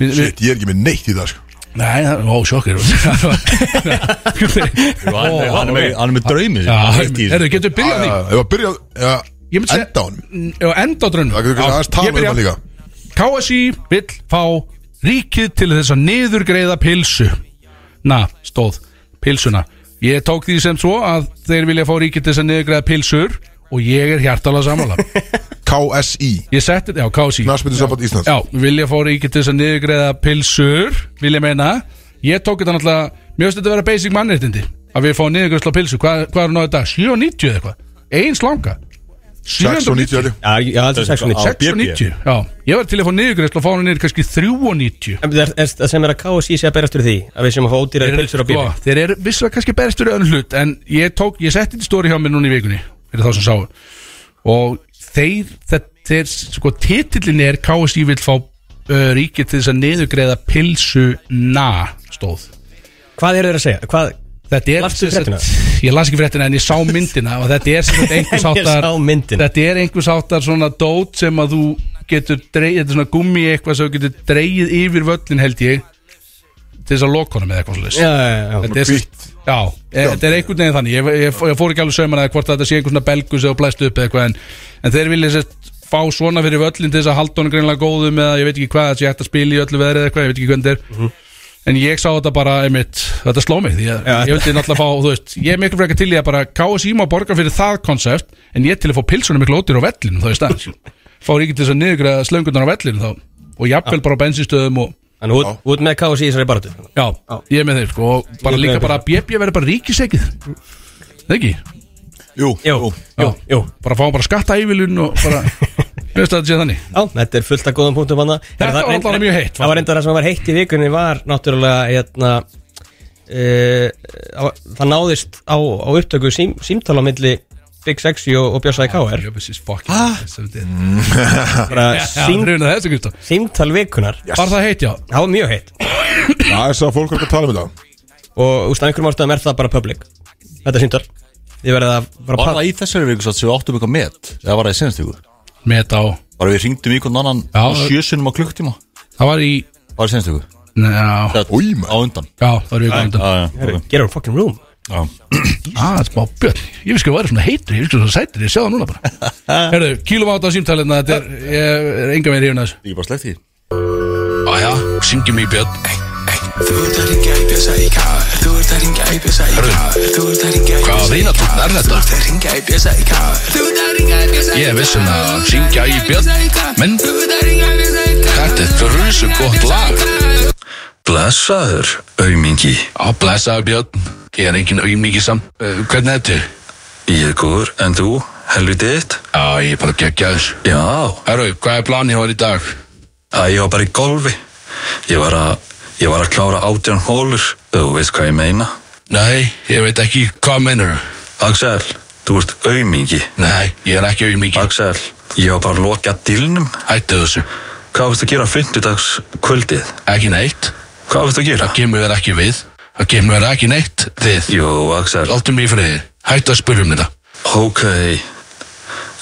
B: við, við,
A: Shit, ég er ekki með neitt í dag sko
B: Nei, það- ó, sjokkir
C: Ó, Hann er með- hann er með draumi
B: Erðu, getur byrjað á því?
A: Ef að byrja já,
B: Ég myndi segja-
A: Enda á honum.
B: Já, enda á drönum
A: Það getur kannski aðeins tala um það líka
B: KSI vill fá ríkið til þess að niðurgreiða pilsu Na, stóð, pilsuna Ég tók því sem svo að þeir vilja fá ríkið til þess að niðurgreiða pilsur og ég er hjartalega sammála
A: KSI
B: Ég setti, já, KSI
A: Knarsmyndisamband Íslands
B: Já, vilja fá ríkið til þess að niðurgreiða pilsur vilja meina Ég tók þetta náttúrulega, mér finnst þetta að vera basic mannréttindi að við fáum niðurgreiðsla á pilsu Hvað, hvað er nú þetta? 790 eða eitthvað? Eins langa
A: 690 er
D: Já, já, það er 690
C: Á BB.
B: 690, já Ég var til að fá niðurgreiðsla og fá hann niður kannski 390
D: En Það er- það sem er að KSI sé að berast fyrir því Að við sem að fá ódýrar pilsur á bíl
B: sko, þeir eru vissulega kannski berist fyrir önnur hlut en ég tók, ég setti þetta stóri hjá mér núna í vikunni fyrir þá sem sáu og þeir, þeir, þeir sko titillin er KSI vill fá uh, ríkið til þess að niðurgreiða pilsu na stóð
D: Hvað eru þeir að segja? Hvað,
B: Þetta er
D: Lastu
B: sem sagt-
D: fréttina?
B: Ég las ekki fréttina en ég sá myndina og þetta er sem
D: <laughs>
B: sagt einhvers
D: Ég
B: áttar
D: sá myndina.
B: Þetta er einhvers áttar svona dót sem að þú getur dreigið, þetta er svona gummi eitthvað sem þú getur dreigið yfir völlin held ég til þess að loka honum eða eitthvað slúðis
D: já, já, já,
B: þetta er,
A: hvítt.
B: já, e, þetta er einhvern veginn þannig ég, ég, ég fór ekki alveg sauman að hvort þetta sé einhver svona belgu sem þú blæst upp eða eitthvað en, en þeir vilja sérst fá svona fyrir völlin til þess að halda honum greinlega góðum eða ég veit ekki hvað þetta sé hægt að spila í öllu veðrið eða eitthvað, ég veit ekki hvernig þetta er En ég sá þetta bara, einmitt, þetta sló mig Því að
D: Já.
B: ég vildi náttúrulega fá, þú veist Ég er miklu frekar til í að bara KSI má borga fyrir það konsept En ég til að fá pilsunum miklu ótir á vellinu Þá í stað Fá ríkið til þess að niður slöngunar á vellinu þá Og jafnvel bara á bensinstöðum og
D: Þannig út, út með KSI í þessari baratu
B: Já, ég er með þeir sko, og bara
D: Ég er
B: líka
D: með
B: bara að BB verður bara ríkisekið Það ekki?
A: Jú,
D: Jú,
B: Já,
D: jú, jú
B: bara fáum bara skatta yfirlun og <laughs> bara Veist að þetta sé þannig
D: Já, þetta er fullt af góðum punktum hann
B: Þetta var allavega mjög heitt,
D: Það var enda það sem var heitt í vikunni var náttúrulega hérna, uh, það náðist á, á upptöku sím, símtala milli Big Sexy og, og Björnsæði K.R.
B: Jöfis is fucking <laughs> ah.
D: bara
B: <laughs> Sýn
D: sím,
B: reyna þessu Kristó
D: símtal vikunar
B: Var það heitt já?
D: það var mjög heitt
A: það er svo að fólk er að tala um þetta
D: og úst, af einhverjum ástæðum er það bara public þetta símtal Þið verðið að bara
C: Var
D: prata
C: það í þessari viku satt sem við áttum eitthvað met eða var það í senast viku?
B: Met á
C: Bara við ringdum í hvern annan
B: Já.
C: á sjösunum á klukktíma
B: Það var í
C: Var það í senast viku?
B: Já,
C: Eða
A: Új, maður.
C: Á undan
B: já það var í vikum undan.
C: Já, já, ok.
D: Get out of um fucking room
C: Já.
B: Ah, smá björn Ég vissi ekki að það væri svona heitur Ég vissi ekki að það sætir Ég sé það núna bara <laughs> Herðu, kílum átt á símtælina Þetta er, ég er enga með rífuna þessu
C: Ég er bara slegt í
B: Æja, Ah, syngjum í björn
G: Þú ert að ringja í bjösa í káður Þú ert að ringja í bjösa í káður Þú ert að ringja í
B: Hvaða
G: bjösa í
B: vináttan
G: KR.
B: er
G: Þú
B: þetta?
G: ert að ringja í bjösa í káður Þú ert að ringja í bjösa í
B: Ég er viss um að hann syngja í Björn.
G: bjösa
B: Men-
G: Þú ert að ringja í bjösa í káður
B: Þetta er frusu gott lag
E: Blessaður, aumingi
B: Já, blæsaður Björn Ég er engin auðmikið samt uh, Hvernig er þetta?
E: Ég er góður, en þú, helvitiðt
B: Já, ég er bara geggjaður
E: Já,
B: Herru, hvað er planið hóður í dag?
E: að ég var bara í golfi Ég var að, ég var að klára átján hólur Þú veist hvað ég meina
B: Nei, ég veit ekki Hvað mennur?
E: Axel, þú ert aumingi
B: Nei, ég er ekki auðmikið
E: Axel, ég var bara að loka dýlnum
B: Hættu þessu
E: Hvað veist að gera fyndudags kvöldið?
B: Ekki neitt
E: Hvað veist að gera?
B: Það kemur þér ekki við Það kemur þér ekki neitt Þið
E: Jú, Axel,
B: Láttu mig í friði Hættu að spyrja um þetta
E: ok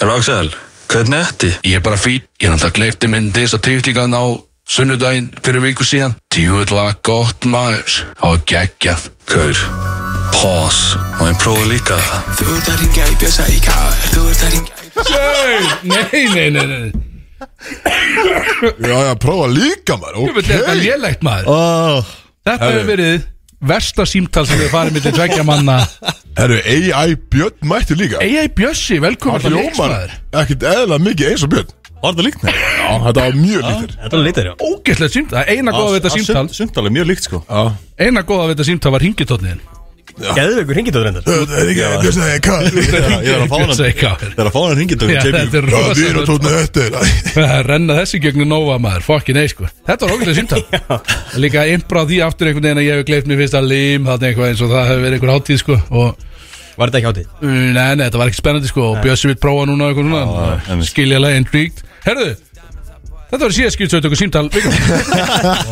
E: En Axel, hvernig ertu?
B: Ég er bara fín Ég er alltaf gleifti minn Þess að tegtingan á sunnudaginn Fyrir viku síðan Tjúðla gott maður Og geggjað
E: Gaur, pause, má ég prófa líka það?
G: Þú ert að ringja í bjösa í káður Þú ert að ringja í bjösa
B: Nei, nei, nei, nei
A: Já, já, prófa líka maður
B: Jöfull er þetta
A: Ok
B: lélegt maður
C: oh.
B: Þetta hefur verið versta símtal sem við farið myndið tveggja manna
A: Herru, AI Björn mættu líka
B: Eyjai Bjössi, velkomin
A: Það
B: til
A: ljómar
B: leiksmaður
A: ekkert eðla mikið eins og Björn
C: Var það líkt með?
A: Já, þetta var mjög líkt þér
D: Þetta er lítið, já
B: Ógeðslegt símtal, það er eina góða við þetta símtal
C: Sumtal Ah, er mjög líkt sko
B: Eina góða við þetta símtal var ringitótniðin
D: Geðveikur hringið þetta reyndar
A: Það er ekki að Björn segja <laughs> hvað
C: Já, <laughs> Ég er <laughs> að fá hann
B: Þetta
C: Það er að fá hann hringið
B: er
A: Já, við erum
B: rosa
A: tóna þetta <laughs> er-
B: Það renna þessi gegnum Nova maður, fokkin ei sko Þetta var ógæðlega símtal Líka impra því aftur einhvern veginn að ég hef gleypt mér fyrsta lim Þannig eitthvað eins og það hefur verið einhver hátíð sko Og
D: Var þetta ekki hátíð?
B: uh, nei, nei, þetta var ekki spennandi sko Og Bjössi vil prófa núna eitthvað
C: Já,
B: núna
C: en-
B: Skiljalega intrigued Herðu, þetta var síðan skipt svo þetta símtal vikunnar.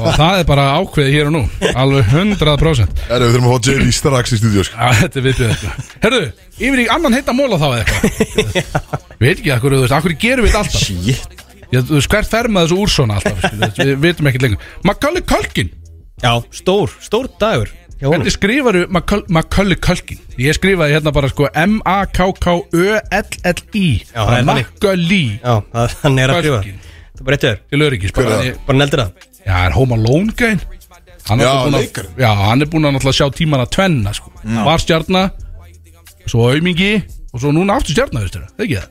B: Og það er bara ákveðið hér og nú Alveg 100%
A: Herru, við þurfum að fá Jerry strax í stúdíu sko.
B: Já, þetta er viðbjöð eitthvað Herðu, yfir í annan heita móla þá eða eitthvað Ég Veit ekki, akkur, þú veist, akkur gerum við þetta alltaf
C: Shit
B: Ég, Þú veist, hvert fer maður þessu úr svona alltaf skilur, Við við vitum ekki lengur Magali Kalkin
D: Já, stór, stór dagur hjá honum.
B: Hvernig skrifaru McCully Culkin? Ég skrifaði hérna bara sko M-A-K-K-Ö-L-L-I
D: Já, það er þannig.
B: McCully
D: Já, það- hann er að skrifa
B: Kölkin.
D: Það er bara eitt öður
B: Ég lögur ekki
A: Hver
B: bara,
A: er það?
B: ég,
D: Bara neldir það
B: Já, er Home Alone gæn hann er
A: Já,
B: náttúrulega búinn að-
A: leikarinn.
B: Já, hann er búinn að náttúrulega sjá tímana tvenna sko. Var stjarnar Svo aumingi Og svo núna aftur stjarnar, veistu það, ekki það?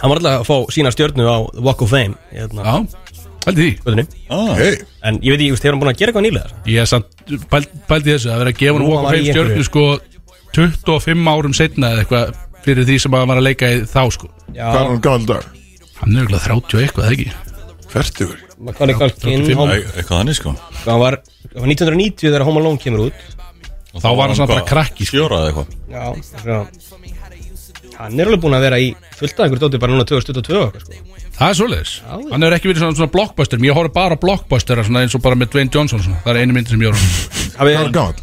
D: Hann var alltaf að fá sína stjörnu á The Walk of Fame hérna,
B: Já, held því
D: götunni.
A: Hei,
D: En ég veit ekki, þú veist, hefur hann búin að gera eitthvað nýlega þar?
B: Ég er samt pælt- pældi í þessu að vera að gefa hann
D: Nú
B: Walk of
D: var
B: Fame
D: ég
B: stjörnu
D: einhverju.
B: sko 25 árum setna eða eitthvað fyrir því sem að hann var að leika í þá sko
A: hvað er hún gammal dag?
B: Hann er auðvitað 30 og eitthvað, eða ekki?
A: Fertugur
D: Macaulay Culkin, hann,
C: Æ, Eitthvað þannig sko
D: hann var hann var 1990 þegar Home Alone kemur út
B: Þá var hann svona bara krakki, sko.
C: Sjóra eða eitthvað
D: Já, svona Hann er alveg búin að vera í fullt af einhverju dóti bara núna 2022 og eitthvað, sko.
B: Það er svoleiðis
D: Já, já.
B: Hann hefur ekki verið svona, svona blockbuster Ég horf bara á blockbuster svona eins og bara með Dwayne Johnson svona. Það er einu myndi sem
A: <laughs>
B: ég horf
D: Hafi-
A: Hvað er gammal?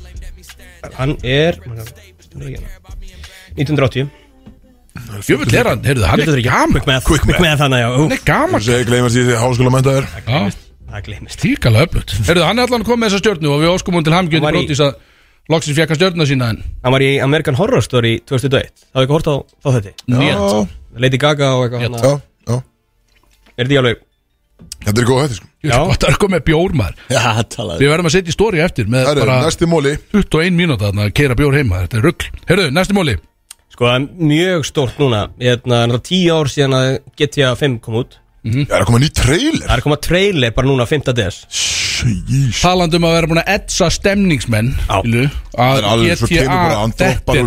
D: Hann er hann er- hann er ekki hérna. 1980
B: á Jöfull er hann, heyrðu, hann er gaman
D: Quick math Quick math hann, já ú,
B: Hann er gaman
A: Þú segir gleymar því því háskóla mentaður
B: Já,
D: Það gleymist
B: tíkala öflut Heyrðu, hann er allan að koma með þessa stjörnu og við óskum hún til hamgjöndi
D: Hann var í-
B: brótis að loksins fekka stjörnuna sína en
D: Hann var í American Horror Story 2021 Það hefði ekki hort á þá þetta
A: Já,
D: Lady Gaga og eitthvað
A: já,
D: hana.
A: já
D: Er því alveg
A: Þetta er góð hætti sko
B: Ég
D: Já.
B: sko, það er komið bjórmar
C: <laughs> Já, talaði
B: Við verðum að setja í stóri eftir með
A: Það er
B: bara
A: næsti móli
B: 21 mínúta að keira bjór heima Þetta er rugl Heyrðu, næsti móli
D: Sko það er mjög stórt núna Hérna, það er tíu ár síðan að GTA 5 kom út
B: Hm?
A: Það er að koma nýtt trailer
D: Það er komað trailer bara núna 5. des
A: Sjís
B: Talandi um að vera búin að etsa stemningsmenn
D: Já.
B: skilju,
A: Það
B: að
A: er alveg svo kemur bara
B: þetta
A: andrótt
B: er- Ah.
A: bara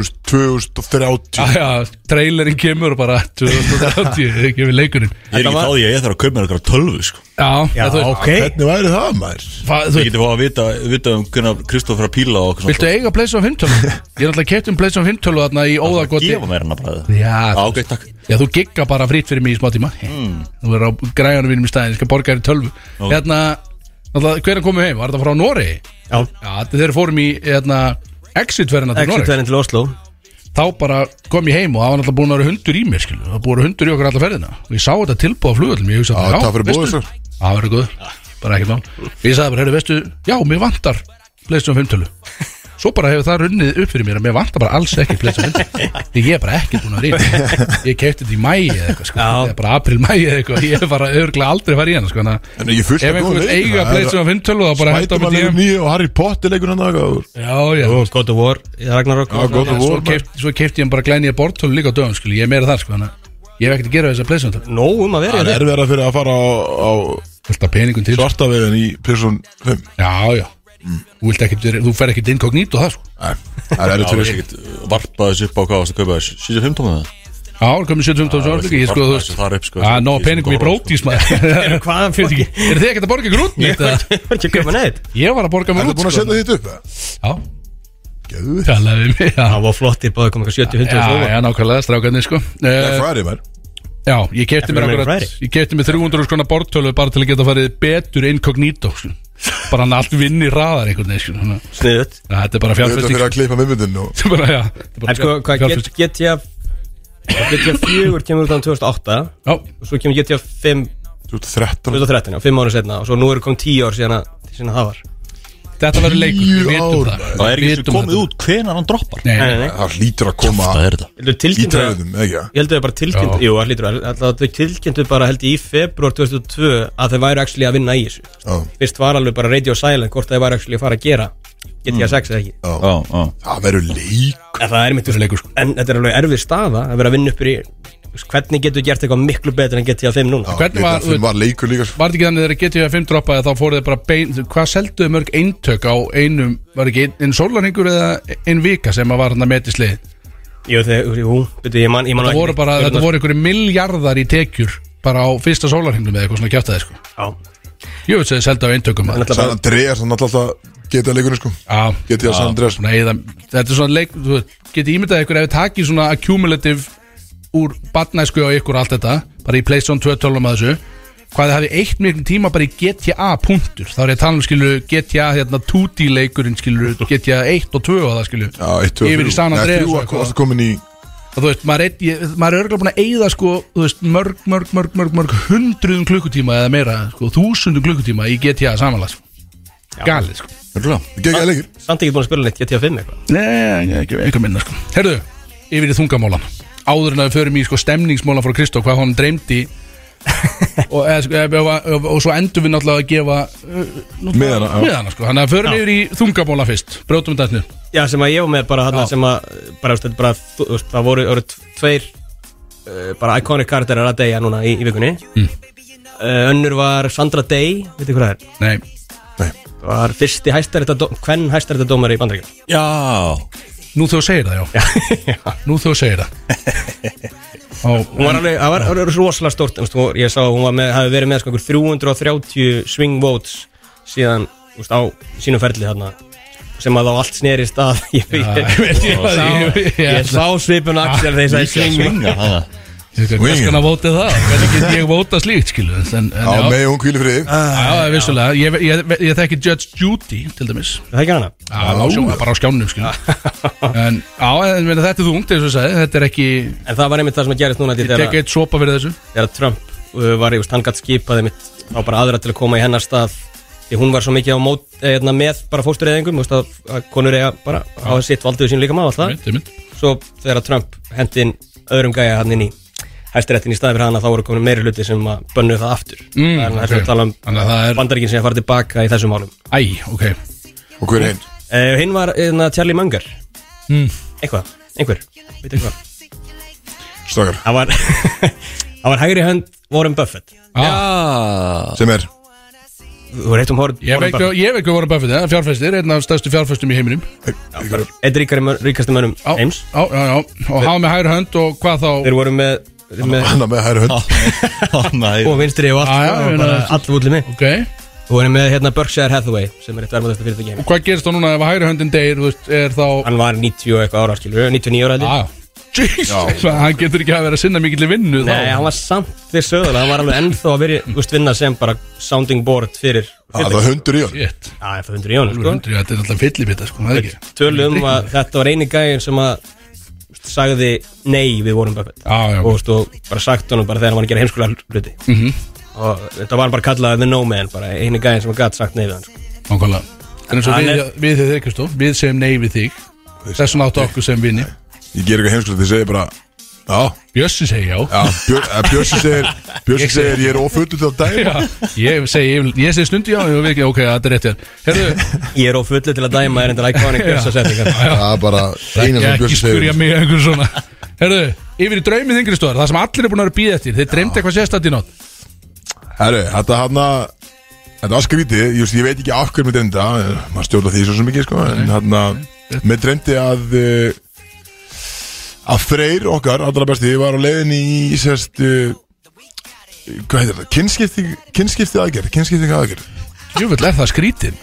A: úr 2030
B: Já, já, trailerinn kemur bara 2030, þegar kemur leikurinn
C: Ég er ekki
D: Þetta
C: þá því að ég þarf að kaupa mér eitthvað tölvu sko
B: Já,
D: Já,
B: þú veist,
D: ok
A: Hvernig væri það maður?
B: fa- þú
C: Ég
B: veist,
C: geti fá að vita, vita um hvernig Kristófur að píla og okkur
B: viltu eiga Playstation 5 tölu? Ég er alltaf keitt um Playstation 5 tölu þarna í óðagoti
C: Gefa mér hana bara
B: Já,
C: Já, ok, takk
B: já, þú gigga bara frýtt fyrir mig í smá tíma
D: Mm.
B: Þú verður á græjanum mínum í staðin, ég skal borga þér í tölvu Hérna, alltaf, hvernig komum við heim? Var þetta frá Noregi?
D: Já,
B: Já, þeir fórum í, hérna, exitverðina til
D: Exit
B: Noregi
D: verðin til Oslo
B: Þá bara kom ég heim og það var alltaf búin að vera hundur í mér, skilu Það var búin að vera hundur í okkur alla ferðina Og ég sá þetta tilbúið á flugvöldum, ég hugsa
A: Já, takk fyrir bóðið svo
B: Það verður góður, bara ekkert mál Ég sagði bara, heyrðu, veistu, já, mér vantar Playstation 5 tölu Svo bara hefur það runnið upp fyrir mér að mér vantar bara alls ekki Playstation 5 Því ég er bara ekki búin að rýna Ég kefti þetta í mæi eða eitthvað sko.
D: Já.
B: Eða bara april-mæi eða eitthvað Ég er bara örglega aldrei farið í hana sko. Þannig
A: En ég er
B: að
A: fullt
B: Ef
A: af
B: einhver
A: góðum
B: vill
A: leikjum,
B: eiga
A: það er-
B: Playstation 5 tölu þá bara henda
A: Spiderman
B: með
A: leikur
B: DM
A: nýju og Harry Potter leikur hann og
B: Já, já
D: God of War, Ragnarok
A: Já, God of
B: Svo
A: War,
B: keypt- Svo kefti ég bara glænýja bortölu líka á dögum skil. Ég er meira þar sko. Þannig að Ég hef ekkert að gera þessa Playstation tölu
D: Nó um að vera
A: Það er
D: í þetta
A: verið fyrir að fara á, á
B: Fullt af peningum til
A: svarta veginn í Person 5
B: Já, já
C: Mm.
B: Þú, vilt ekkert vera- þú fer ekkert inkognít og það sko.
A: Nei, Það er
C: Já,
A: erfitt
C: ég
A: fyrir
C: veist ekkert varpa þessu upp á hvað varst að kaupa þessu 75 tónum eða?
B: Já, það komið 75.000
C: Já,
B: ára líka, ég
C: þessi
B: sko, þú
C: barna
B: veist
C: sem sko. þar upp, sko,
B: Já,
C: þessi
B: ná
C: 1000
B: peningum í
C: dólar,
B: brótís
C: <laughs>
B: maður Eru
D: hvaðan fólki?
B: þið ekkert að borga grút
D: Ég
B: mitt?
D: var ekki- var ekki að köpa neitt
B: Ég var að borga mér
A: Ertu
B: út
A: búin að
B: sko
A: setja þitt upp? eða?
B: Já,
A: Geðu þitt
B: talaði við mig Já,
D: Það var flottir báði komið eitthvað 70-100
B: já,
D: og
B: já, nákvæmlega, strákarnir sko
A: Það er
B: Eh,
A: fræri maður
B: Já, ég kefti mér
D: Every
B: akkurat
D: Friday.
B: Ég kefti mér 300 skona bortölu bara til að geta farið betur inkognító sko. Bara hann allt vinni hraðar einhvern veginn sko. Þannig að-
D: svo Sniðut
B: Já, Þetta er bara
A: Þetta er
B: fjárfesting
A: fyrir að klippa mimmundin og
B: Bara, já, þetta er bara
D: En sko, hvað get-
B: fjárfesting.
D: GTA GTA 4 kemur út án 2008
B: Já,
D: og svo kemur GTA 5
A: 2013
D: 2013, já, 5 ára setna og svo nú eru komið 10 ár síðan að síðan að það var
B: þetta verður leikur
A: Tíu
B: Við vitum
A: ár,
B: það
A: maður.
C: Það er
B: Við
C: ekki
B: vitum
C: svo komið
B: þetta.
C: út hvenar hann droppar
B: Nei,
D: Nei,
B: nei,
D: nei, nei
A: Það hlýtur að koma
C: Það er þetta
D: Heldur
A: í
D: tilkynntu það-
A: trefðum, ekki?
D: Ég held að þau bara tilkynntu,
B: Já.
D: jú, það hlýtur að alltaf þau tilkynntu bara held ég í februar 2002 að þau væri actually að vinna í þessu
A: Já,
D: Fyrst var alveg bara radio silent hvort þau væri actually að fara að gera GTA
A: Mm.
D: 6 eða ekki
A: já
C: Já, já
A: Það verður leik
D: En það er mitt
B: Þetta er leikur, sko.
D: En þetta er alveg erfið staða að vera að vinna upp í Hvernig getur þú gert eitthvað miklu betur en GTA 5 núna?
A: Já, ég held
B: Hvernig var-
A: að þeim var leikur líka sko.
B: Var þetta ekki þannig þegar GTA 5 droppaði að þá fóruð þið bara bein, hvað selduðu mörg eintök á einum, var ekki einn- einn sólarhingur eða einn vika sem að var hann að meti slið
D: Jú, þegar, jú, betur ég man, ég man
B: Það
D: ekki-
B: voru bara, þetta voru einhverju miljardar í tekjur bara á fyrsta sólarhingnum eða eitthvað svona kjátaði sko.
D: Já,
B: Ég veit að þið seldu á eintökum
D: en
B: maður.
D: alltaf
A: San
D: bara
A: Andreas, hann alltaf geta leikunni sko
B: Já,
A: Geta San Andreas
B: svona eða Þetta er svona leik, þú veit, geti ímyndað ykkur ef við takið svona accumulative úr barnæsku á ykkur allt þetta bara í Playstation 2 tölum að þessu hvað þið hafið eitt miklum tíma bara í GTA punktur, þá er ég að tala um skilur GTA hérna 2D leikurinn skilur GTA 1 og 2 og það skilur
A: Já, 1, 2, 3
B: yfir í San Andreas
A: Nei,
B: og
A: 3
B: eitthvað.
A: varst komin í
B: Og þú veist, maður er, einn- ég- maður er örgulega búin að eyða sko, þú veist, mörg, mörg, mörg, mörg, mörg hundruðum klukkutíma eða meira, sko, þúsundum klukkutíma í GTA samanlega sko. galið sko
C: Örugglega.
A: Gekkaði leikir
D: Samt ekki búin að spila neitt GTA 5 eitthvað
B: Nei, nei, ekki, eitthvað minna sko Herðu, yfir í þungamólan Áður en að við förum í sko stemningsmólan frá Kristó Hvað hann dreymdi og, eða, sko, eða, og, og, og svo endur við náttúrulega að gefa uh,
A: Miðana, já.
B: miðana sko. Þannig að förum yfir í þungamólan fyrst Brótum þetta nýr
D: Já, sem að ég var með bara þarna sem að bara, þú veist, bara, þú veist, það voru, voru tveir uh, bara iconic karakterar að deyja núna í, í vikunni mm. Önnur var Sandra Day veitir hvað það er
B: Nei,
A: Nei
D: Það var fyrsti hæstarétta hvern hæstarétta dómar í bandaríkjum
C: Já
B: nú þú segir það já, Nú þú segir það og,
D: Hún var alveg, það var, það var rosalega stórt þú veist, hún- ég sá að hún var með, hafi verið með sko, einhver 330 swing votes síðan, þú veist, á sínu ferli þarna sem að þá allt snerist að <laughs> ég,
B: Já, ég
D: ég,
B: veit ekki hvað ég-
D: ég,
B: ég- ég-
D: sá svipun Axel þegar ég sagði swing
C: Svinga
A: <laughs>
C: hana
B: Hvers konar vótið það? Hvernig get ég vótað slíkt skilu en, en,
A: Já,
B: Já,
A: megi hún kvíli fyrir þig
B: já, það er vissulega Ég, ég, ég, ég þekki Judge Judy til dæmis
D: Það er ekki hana
B: Já, á sjónum, bara á skjánum skilu En á, en, meina, þetta er þú ungt eins og ég sagði Þetta er ekki,
D: En það var einmitt það sem að gerist núna
B: ég
D: til
B: tek
D: þegar,
B: eitt sopa fyrir þessu
D: þegar Trump uh, var, ég veist, hann gætt skipaði mitt á bara aðra til að koma í hennar stað því hún var svo mikið á mót, eh, hérna, með bara fóstureyðingum, þú veist að, að konur eiga bara á sitt valdið sín líka maður alltaf
B: Einmitt, einmitt.
D: svo þegar að Trump hendi inn öðrum gæja hann inn í hæstiréttin í staði fyrir hana þá voru komin meiri hluti sem að bönnu það aftur
B: Mm,
D: það er okay.
B: ok.
D: að tala um
B: Þannig að það er-
D: bandaríkin sem að fara tilbaka í þessum málum
B: Æ, ok
A: Og hver er hinn?
D: uh, hinn var uh, Charlie Munger
B: Mm.
D: eitthvað, einhver, veit eitthvað
A: Stakar
D: það var, <laughs> það var hægri hönd Warren Buffett
B: ah,
A: Sem er
D: þú er eitt um Warren
B: Ég veit
D: Buffett
B: ekki- ég veit ekki voru Buffett, það er fjárfæstir Einn af stærstu fjárfæstum í heiminum
D: eitt ríkari, mör- ríkasti mönnum
B: Já,
D: heims
B: Já, já, já Og hafa með hægri hönd og hvað þá
D: þeir voru með, með
A: Hanna með hæri hönd
C: Nei
D: og vinstri og allt
B: Já, já,
D: og
B: ég meina
D: bara
B: þessu.
D: allt útlið mig
B: Ok,
D: þú voru með hérna Berkshire Hathaway sem er eitt verðmættasta fyrirtæki í
B: og
D: heims
B: hvað gerist þá núna ef hægri höndin deyr, þú veist, er þá
D: hann var 90 og eitthvað ára skilur 99 ára held ég.
B: Ah, Jesus, hann getur ekki að vera að sinna mikill vinnu
D: Nei,
B: þá
D: hann var samt því sögulega, hann var alveg ennþá að verið, úst, vinna sem bara sounding board fyrir
A: Það
D: fyrirtæki.
A: var hundur í hann
B: Shit,
D: Já, það var hundur í honum, sko.
B: hundri, þetta er alltaf fyllibita, sko, það er ekki
D: Tölum um að þetta var eini gæðin sem að úst, sagði nei við Warren Buffett.
B: Já, já,
D: Og, úst, og bara sagt honum bara þegar hann var að gera heimskulega hluti. Mm
B: Mhm.
D: Og þetta var bara kallað The No Man, bara eini gæðin sem að gætt sagt nei við hann, sko.
B: Nákvæmlega En eins og
D: Hann
B: við,
D: er-
B: við þau þekkjast þó, við segjum nei við þig Þess vegna áttu okkur sem vinni
A: Ég ger eitthvað heimskulegt Þið segir bara Já
B: Bjössi segi já
A: Já, Björ- eh, Björnsi segir Bjössi segir ég er ofullur til að dæma
B: Já, ég segi, ég, ég segi stundu já, ég veit ekki, ok, þetta er rétt hér Herðu,
D: Ég er ófullið til að dæma er
B: <laughs>
D: endur iconic
B: Já.
D: þessa setningar.
A: Það er bara eina sem
B: ég ekki
A: Björnsi segir
B: spurja mig einhver svona Herðu, yfir í draumið þingri stóðar Það sem allir er búin að vera býð eftir, þeir dreymdi eitthvað sérstætt í nótt
A: Herru, þetta hann að Þetta var skrítið, ég, veist, ég veit ekki af hverju mér dreymdi það, eh, maður stjórna því svo sem ekki, sko, en hann að mér dreymdi að eh, að Freyr okkar, allra besti, var á leiðin í sérst eh, hvað heitir það, kynskipti, kynskipti aðgerð, kynskipti aðgerð
B: Júfull, er það skrítin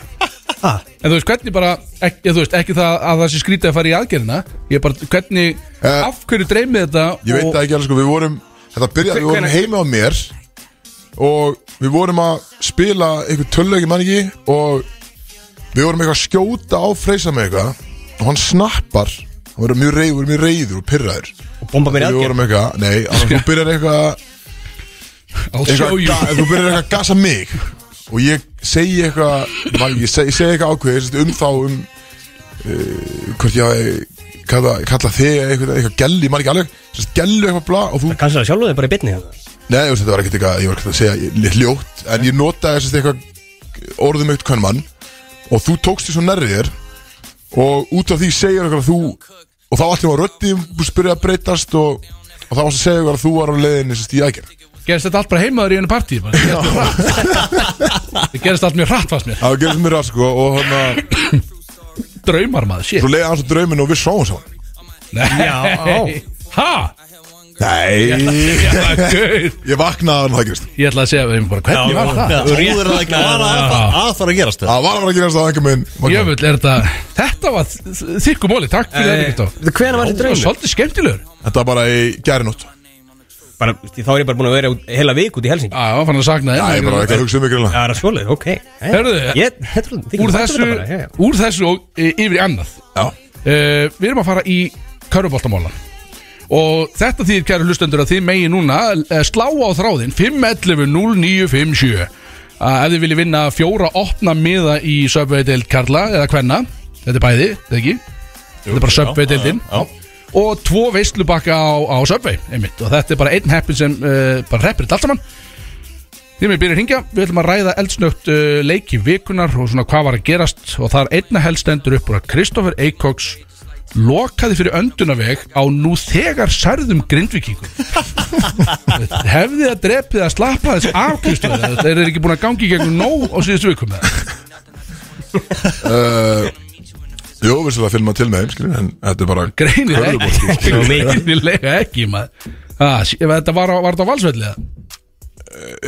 B: En þú veist, hvernig bara, ekki, ég, þú veist, ekki það að það sé skrítið að fara í aðgerðina Ég bara, hvernig,
A: Eh,
B: af hverju dreymið þetta
A: Ég veit það ekki alveg sko, við vorum Þetta byrjaði, við vorum
D: Hvenær-
A: heima á mér Og við vorum að spila Einhver töluleiki mann ekki Og við vorum eitthvað að skjóta á Freysa með eitthvað Og hann snappar Hann verður mjög reyður, mjög reyður og pyrraður
D: Og bomba mér
A: Við
D: í aðgerð.
A: vorum eitthvað, nei,
B: <laughs>
A: annars þú byrjar eitthvað,
B: I'll
A: eitthvað
B: show you
A: ga- Þú byrjar eitthvað að gasa mig Og ég segi eitthvað ég man ekki, Ég segi, ég segi eitthvað ákveðið sem sagt um þá um uh, Hvort ég hafi kalla, kalla þig eitthvað, eitthvað gelli, mann ekki alveg sem sagt Gellu eitthvað bla og þú
D: Kannski það sjálfur þið bara í bitni hérna.
A: Nei, þú veist, þetta var ekkert eitthvað, ég var ekkert að segja lit ljótt, en ég notaði þess að eitthvað orðum eitt hvern mann og þú tókst því svo nærri þér og út af því segir eitthvað að þú og þá allir var röddið, spyrja að breytast og, og þá varst að segja eitthvað að þú var á leiðinni sem stíð aðgerð.
B: Gerist þetta allt bara heimaður í einu partí bara. Gerist þetta bara-
A: <laughs>
B: Það gerist allt mjög hratt fast mér
A: Það gerðist mér að sko og hann að
B: Draumar maður, shit
A: svo leiði hans á drauminu og við sáum saman.
B: Nei.
A: <laughs>
B: Ha?
A: Nei,
B: Já, gaur.
A: ég vaknaði hann það gerist.
B: Ég ætla að segja við bara,
C: Já,
B: hvernig var það?
C: já, áður en það ekki var að að fara að gerast
A: Það var að vera að gerast það einhver minn.
B: Jöfull, er þetta Þetta var þykku móli, takk fyrir þetta Kristó
D: Hvernig Eh, var þetta
B: Það var
D: draumur?
B: svolítið skemmtilegur Já,
A: Þetta var bara í gærinótt.
D: Bara, því þá er ég bara búin að vera út- heila vik út í Helsingi
B: það var fann að sakna
A: Það er bara
B: þér
A: ekki að hugsa um ykkur hérna.
D: Já, það er svolítið, ok Jæja.
B: Herðu,
D: Ég- þetta er- þykir
B: Úr
D: vænt um
B: þessu,
D: þetta bara, já, já.
B: úr þessu og e, yfir í annað
A: Já.
H: Eh,
B: Uh, við erum að fara í Köruboltamólan Og þetta þýðir kæru hlustendur að þið megi núna eh, slá á þráðin 511 0957
H: að ef þið viljið vinna fjóra opna miða í Subway-deild Karla eða Kvenna, þetta er bæði, þetta er ekki þetta er bara Subway-deildin og tvo veislubakka á, á Subway einmitt, og þetta er bara einn heppin sem uh, bara reppir þetta allt saman Því mér byrja að hringja, við ætlum að ræða eldsnögt uh, leiki vikunar og svona hvað var að gerast og það er einna helst endur upp úr að Kristoffer Eikóks lokaði fyrir öndunaveg á nú þegar særðum grindvikingum <laughs> hefði það drepið að slappa þess af Kristoffer þeir eru ekki búin að gangi í gegnum nóg á síðustu vikum með það
A: Jó, við séum að filma til með þeim, skiljum, en þetta er bara
H: greinir
A: Körfubolti,
H: ekki
B: <laughs>
H: greinilega ekki maður Ah, sí- ef þetta var, á- var þetta á valsvelli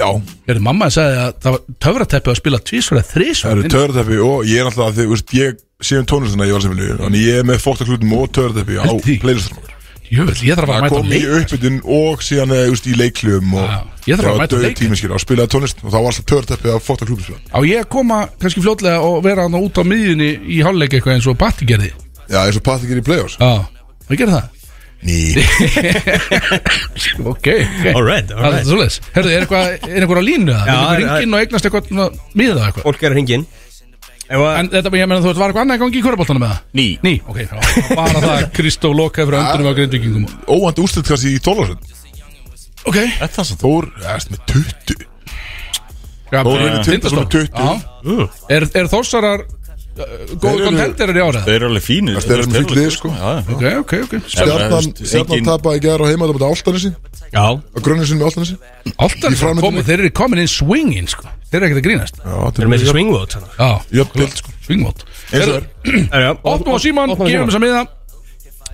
A: Já,
H: Hérðu, mamma sagði að það var töfrateppið að spila tvísvara
A: það
H: þrísvara
A: eru törðteppi og ég er náttúrulega að þið, veist, ég séum tónlistina í valsefnilu Þannig ég er með fóktaklutum og törðteppi á
H: Held því.
A: playlistunum
H: Jöfell, ég þarf að fara að
A: Það
H: mæta á
A: kom í
H: leik
A: uppbytun og síðan eh, úst, í leikljum og
H: Já, ég þarf að mæta á leik.
A: tímiskir og spilaði tónlist og þá var alltaf törteppi að fóta klúbispila
H: Á ég að koma kannski fljótlega og vera hann út á miðjunni í hálfleik eitthvað eins og Batti gerði
A: Já, eins og Patti gerir í play-offs
H: Já, það gerði það <laughs>
A: Ný,
H: Ok, ok
D: All right, all
H: Það er
D: right.
H: svoleiðis Herðu, er eitthvað, er eitthvað á línu það?
D: Já,
H: Við
D: er-
H: getum ringinn og eignast eitthvað svona miða eða eitthvað
D: Fólk er að hringja inn Ef að-
H: En þetta, ég meina, þú veit, var eitthvað annað í gangi í kvörabóltanum með það?
B: Ný.
H: Ný, ok, já, bara það að Kristó lokaði fyrir öndunum á grindvikingum
A: óvænt úrslit kannski í tónlistin
H: Ok,
A: Þetta sem Þór, eftir með 20
H: já,
A: Þór er í
H: Tindastóll.
A: 20
H: Já.
B: Uh,
H: Er er Þórsarar uh, góðu
A: Þeir eru-
H: kontenterar í ára?
B: Þeir eru alveg fínir
A: Það er með fyllir sko
B: Já, já.
H: Ok, ok, ok
A: Stjarnan,
B: veist,
A: stjarnan
B: engin-
A: tapaði í gæðar á heima Það var áltanessi,
D: Já,
A: á grönninsinn með áltanessi Já,
H: Alltaf
A: Í framhaldinu-
H: komu, þeir eru komin inn swingin, sko Þeir eru ekkert að grínast
A: þetta
D: þeir
A: er
D: eru með
A: mjög
D: þessi swingvot sannar.
H: Já,
A: Jöfnbild sko
H: Svingmót
A: Eins og það er
H: Opnum á síman, gefum þess að miða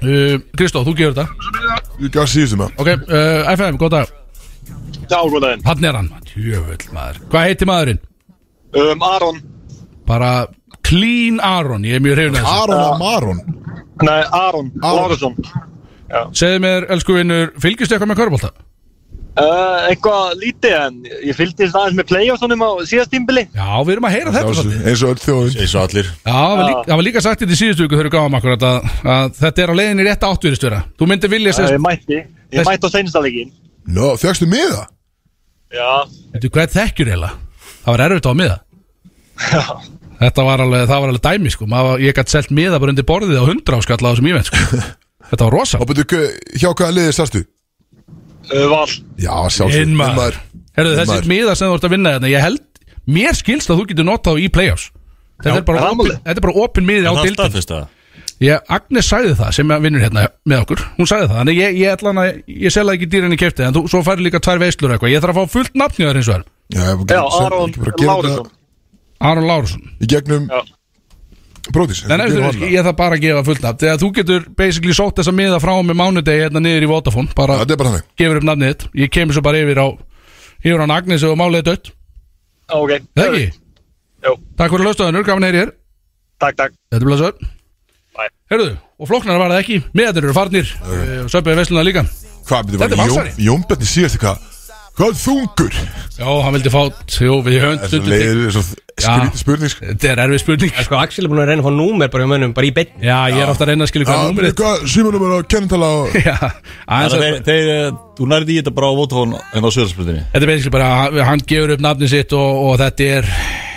H: Uh, Kristó, þú gefur þetta
A: Ég gaf síðustum það
H: Ok, uh, FM, góð dag
I: Já, góð daginn.
H: Hann er hann, tjöfull maður Hvað heitir maðurinn?
I: Um, Aron,
H: Bara Clean Aron, ég er mjög hrifin að þessu
A: Aron Amaron
I: nei, Aron,
A: Aron.
I: Aron. Lárusson.
H: Segðu mér, elsku vinnur, fylgistu eitthvað með körbólta?
I: Uh, eitthvað lítið en ég fylgdist aðeins með playoffsonum á síðast tímbili.
H: Já, við erum að heyra þetta svolítið.
A: Eins og öll þjóðin
J: Eins og allir
H: Já, það var líka, það var líka sagt þetta í síðustu viku þegar við gáðum akkurat að, að þetta er á leiðinni rétt áttveristjóra Þú myndir vilja
I: Uh,
H: segja,
I: ég mætti, ég
H: Þess-
I: mætti á seinstalegin.
A: Nó, fegstu með það?
I: Já,
H: veitu hvað þekkjur eiginlega? Það var erfitt á miða Þetta var alveg, það var alveg dæmi sko Maður, Ég gætt selt miða bara undir borðið á hundra áskalla á þessum ívent
A: <laughs>
H: sko Þetta var rosa
A: Og betur, hjá hvaða liðið startu?
I: uh, val.
A: Já, sjálfsög
H: Inn maður. Herðu þessi
A: Maður.
H: miða sem þú ert að vinna þetta Ég held, mér skilst að þú getur notað þá í playoffs Þetta er bara
I: er það
H: opin-
I: málið?
H: þetta er bara opin miði á
J: Það er
H: dildin
J: staðfesta
H: Ég, Agnes sagði það sem að vinnur hérna með okkur Hún sagði það, þannig ég, ég ætla hana Ég selða ekki dýrinni kefti, en þú, svo færi líka um tvær veislur og eitthvað Ég þarf að fá fullt nafn hjá þér eins og þar
I: Já, Aron Lárusson.
H: Aron Lárusson
A: Í gegnum
I: Já.
A: Brótis
H: Nei, nei, þú, ég þarf bara að gefa fullt nafn Þegar þú getur basically sótt þess að miða frá með mánudegi hérna niður í Vodafone bara
A: Þetta er bara þannig
H: gefur upp nafnið þitt Ég kemur svo bara yfir á yfir hann Agnes og málið er dött
I: Ok.
H: Það ekki?
I: Jó.
H: Takk fyrir löstöðunur, gaman heyri hér
I: Takk, takk.
H: Þetta er blöðsöð
I: Bæ.
H: Herðu, og flóknar var það ekki Meðanir eru farnir Eh, og söpjaði vesluna líka
A: Hvað, betur,
H: Þetta er
A: var Jón-
H: Valsari.
A: Jónbjarni síðast eitthvað Hvað þungur?
H: Já, hann vildi fát, jú, við
A: Þetta
H: höndum
A: leiðir svo skrítið spurning sko.
H: Þetta er erfið spurning
D: sko, Axel er búin að reyna að fá númer bara hjá mönnum, bara í beinni
H: Já, ég er ofta að reyna að skilja
A: Já,
H: hvað númur
A: betur, hvað, símanum er að kennetala og-
H: <laughs> Já,
J: Það
H: aðeins
J: er
H: að
J: þeir- Þeir, eh, þú nærði í þetta bara á Votafón en á Söðarsprutinni
H: Þetta er basically bara, hann- hann gefur upp nafni sitt og, og þetta er,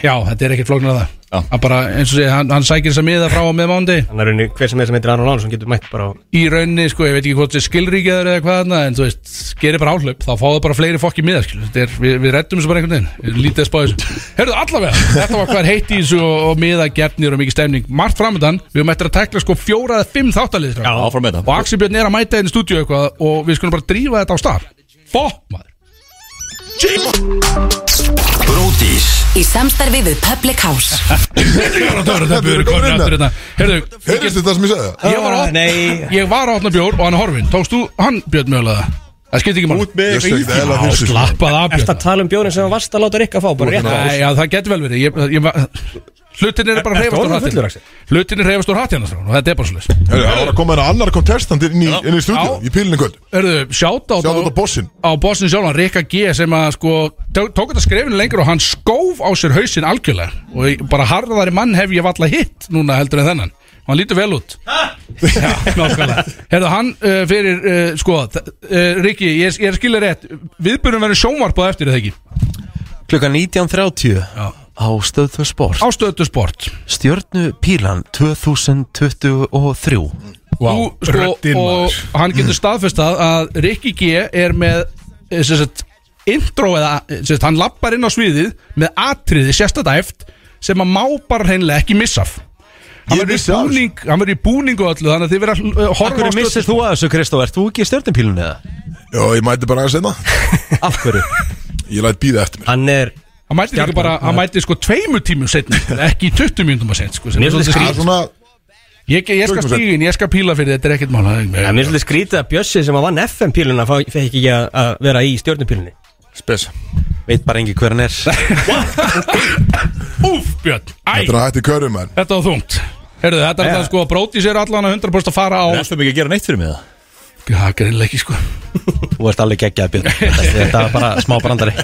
H: já, þetta er ekkert flóknar að
J: Já.
H: það Hann bara, eins og segja, hann, hann sækir þess að miða frá og með mándi
D: Þannig að rauninni hver sem er sem heitir Aron Lárusson getur mætt bara á
H: Í raunni, sko, ég veit ekki hvort þetta er skilríkjaður eða hvað þarna En þú veist, gerir bara áhlaup, þá fáðu bara fleiri fokki miða, skil Þetta er, við, við reddum þessu bara einhvern veginn, Við lítið að spá þessu Herðu, allavega, þetta var hvað heitt í þessu og, og miða gefnir og mikið stemning Margt framöndan, við höfum eftir að tekla sko fjóra eða fimm þáttalið
J: Já, áfram með
H: Og
J: þetta
H: Axel Björn er að mæta einn í stúdíu eitthvað og við skulum bara drífa þetta á stað Fokk, maður
B: Brótis
F: Í samstarfi við Public House
H: Þetta
A: eru komin inn
J: hérna.
A: það.
H: Herðu,
A: Heyrðist þetta sem ég sagði það?
H: Ég var,
D: Ah,
H: að,
D: nei.
H: ég var að opna bjór og hann er horfinn Tókst þú hann björn mögulega? Það skipti
J: Út
H: ekki mann
J: með
A: Ég sé ekki eðla
H: Já,
A: fyrir sig
H: slappaði af
D: Ertu að
H: björn
D: tala um bjórin sem var vast að láta Rikka fá, bara rétt
H: Nei, já, það getur vel verið ég, ég, var- Hlutin er bara
D: ertu
H: reyfast úr
D: orðinn fullur,
H: hattinn
D: Axel?
H: Hlutin er reyfast úr hattinn Og þetta er bara svolítið
A: Heyrðu, Það var að koma hérna annar kontestant inn í, inn í stúdíu
H: Já.
A: Í pílinni kvöld
H: Erðu, sjátt á
A: Sjá þetta bossinn
H: á bossin sjálfan, Rikka G sem að sko, tó- tók þetta skrefinu lengur og hann skóf á sér hausinn algjörlega og ég- bara harðari mann hef ég valla hitt núna heldur en þennan og hann lítur vel út Já, nákvæmlega Herðu, hann uh, fyrir, uh, sko uh, Rikki, ég, ég skilja rétt viðbjörnum verður sjónvarp á eftir er það ekki
K: Klukkan 19.30
B: Já.
K: á stöðtöð sport
B: Ástöðu sport
K: Stjörnu Pílan 2023
B: Vá, sko,
H: röddin,
B: og
H: maður.
B: hann getur staðfestað að Rikki G er með eh, sem sagt, intro eða eh, sem sagt, hann lappar inn á sviðið með atriði sérstæðæft sem að má bara hreinlega ekki missa af hann
A: Ég
B: verður í
A: vissi af þessu.
B: búning, hann verður í búning og öllu þannig að þið verður að horfa
K: Akkur missir þú að þessu Kristó, ert þú ekki í Stjörnu Pílan eða?
A: Já, ég mæti bara aðeins einna
K: Af hverju?
A: Ég læt býða eftir mér
D: Hann er
B: hann mæti líka bara, hann mæti sko tveimur tímum setni ekki 20 mínútum að setni sko, sem
D: Mér
B: er
D: finnst
B: svolítið
A: Það er
B: skrýt.
A: svona
B: ég, ég skal
A: Tökum
B: stígin, ég skal píla fyrir þetta er ekkert mála
D: Já, mér finnst skrítið að Bjössi sem að vann FM-píluna fekk ekki að að vera í stjórnupílunni
A: Spes
K: Veit bara engi hver hann er
B: úf Björn, æ,
A: Þetta er að hætti körum en
B: þetta var þungt Herðu, þetta er það sko að bróti sér allan að 100% að fara á
C: Það er alltaf mikið að gera neitt fyrir mig það
B: Já, greinlega ekki sko
K: Þú ert alveg geggjað
H: <laughs>
K: Björn Þetta þetta var bara smá brandari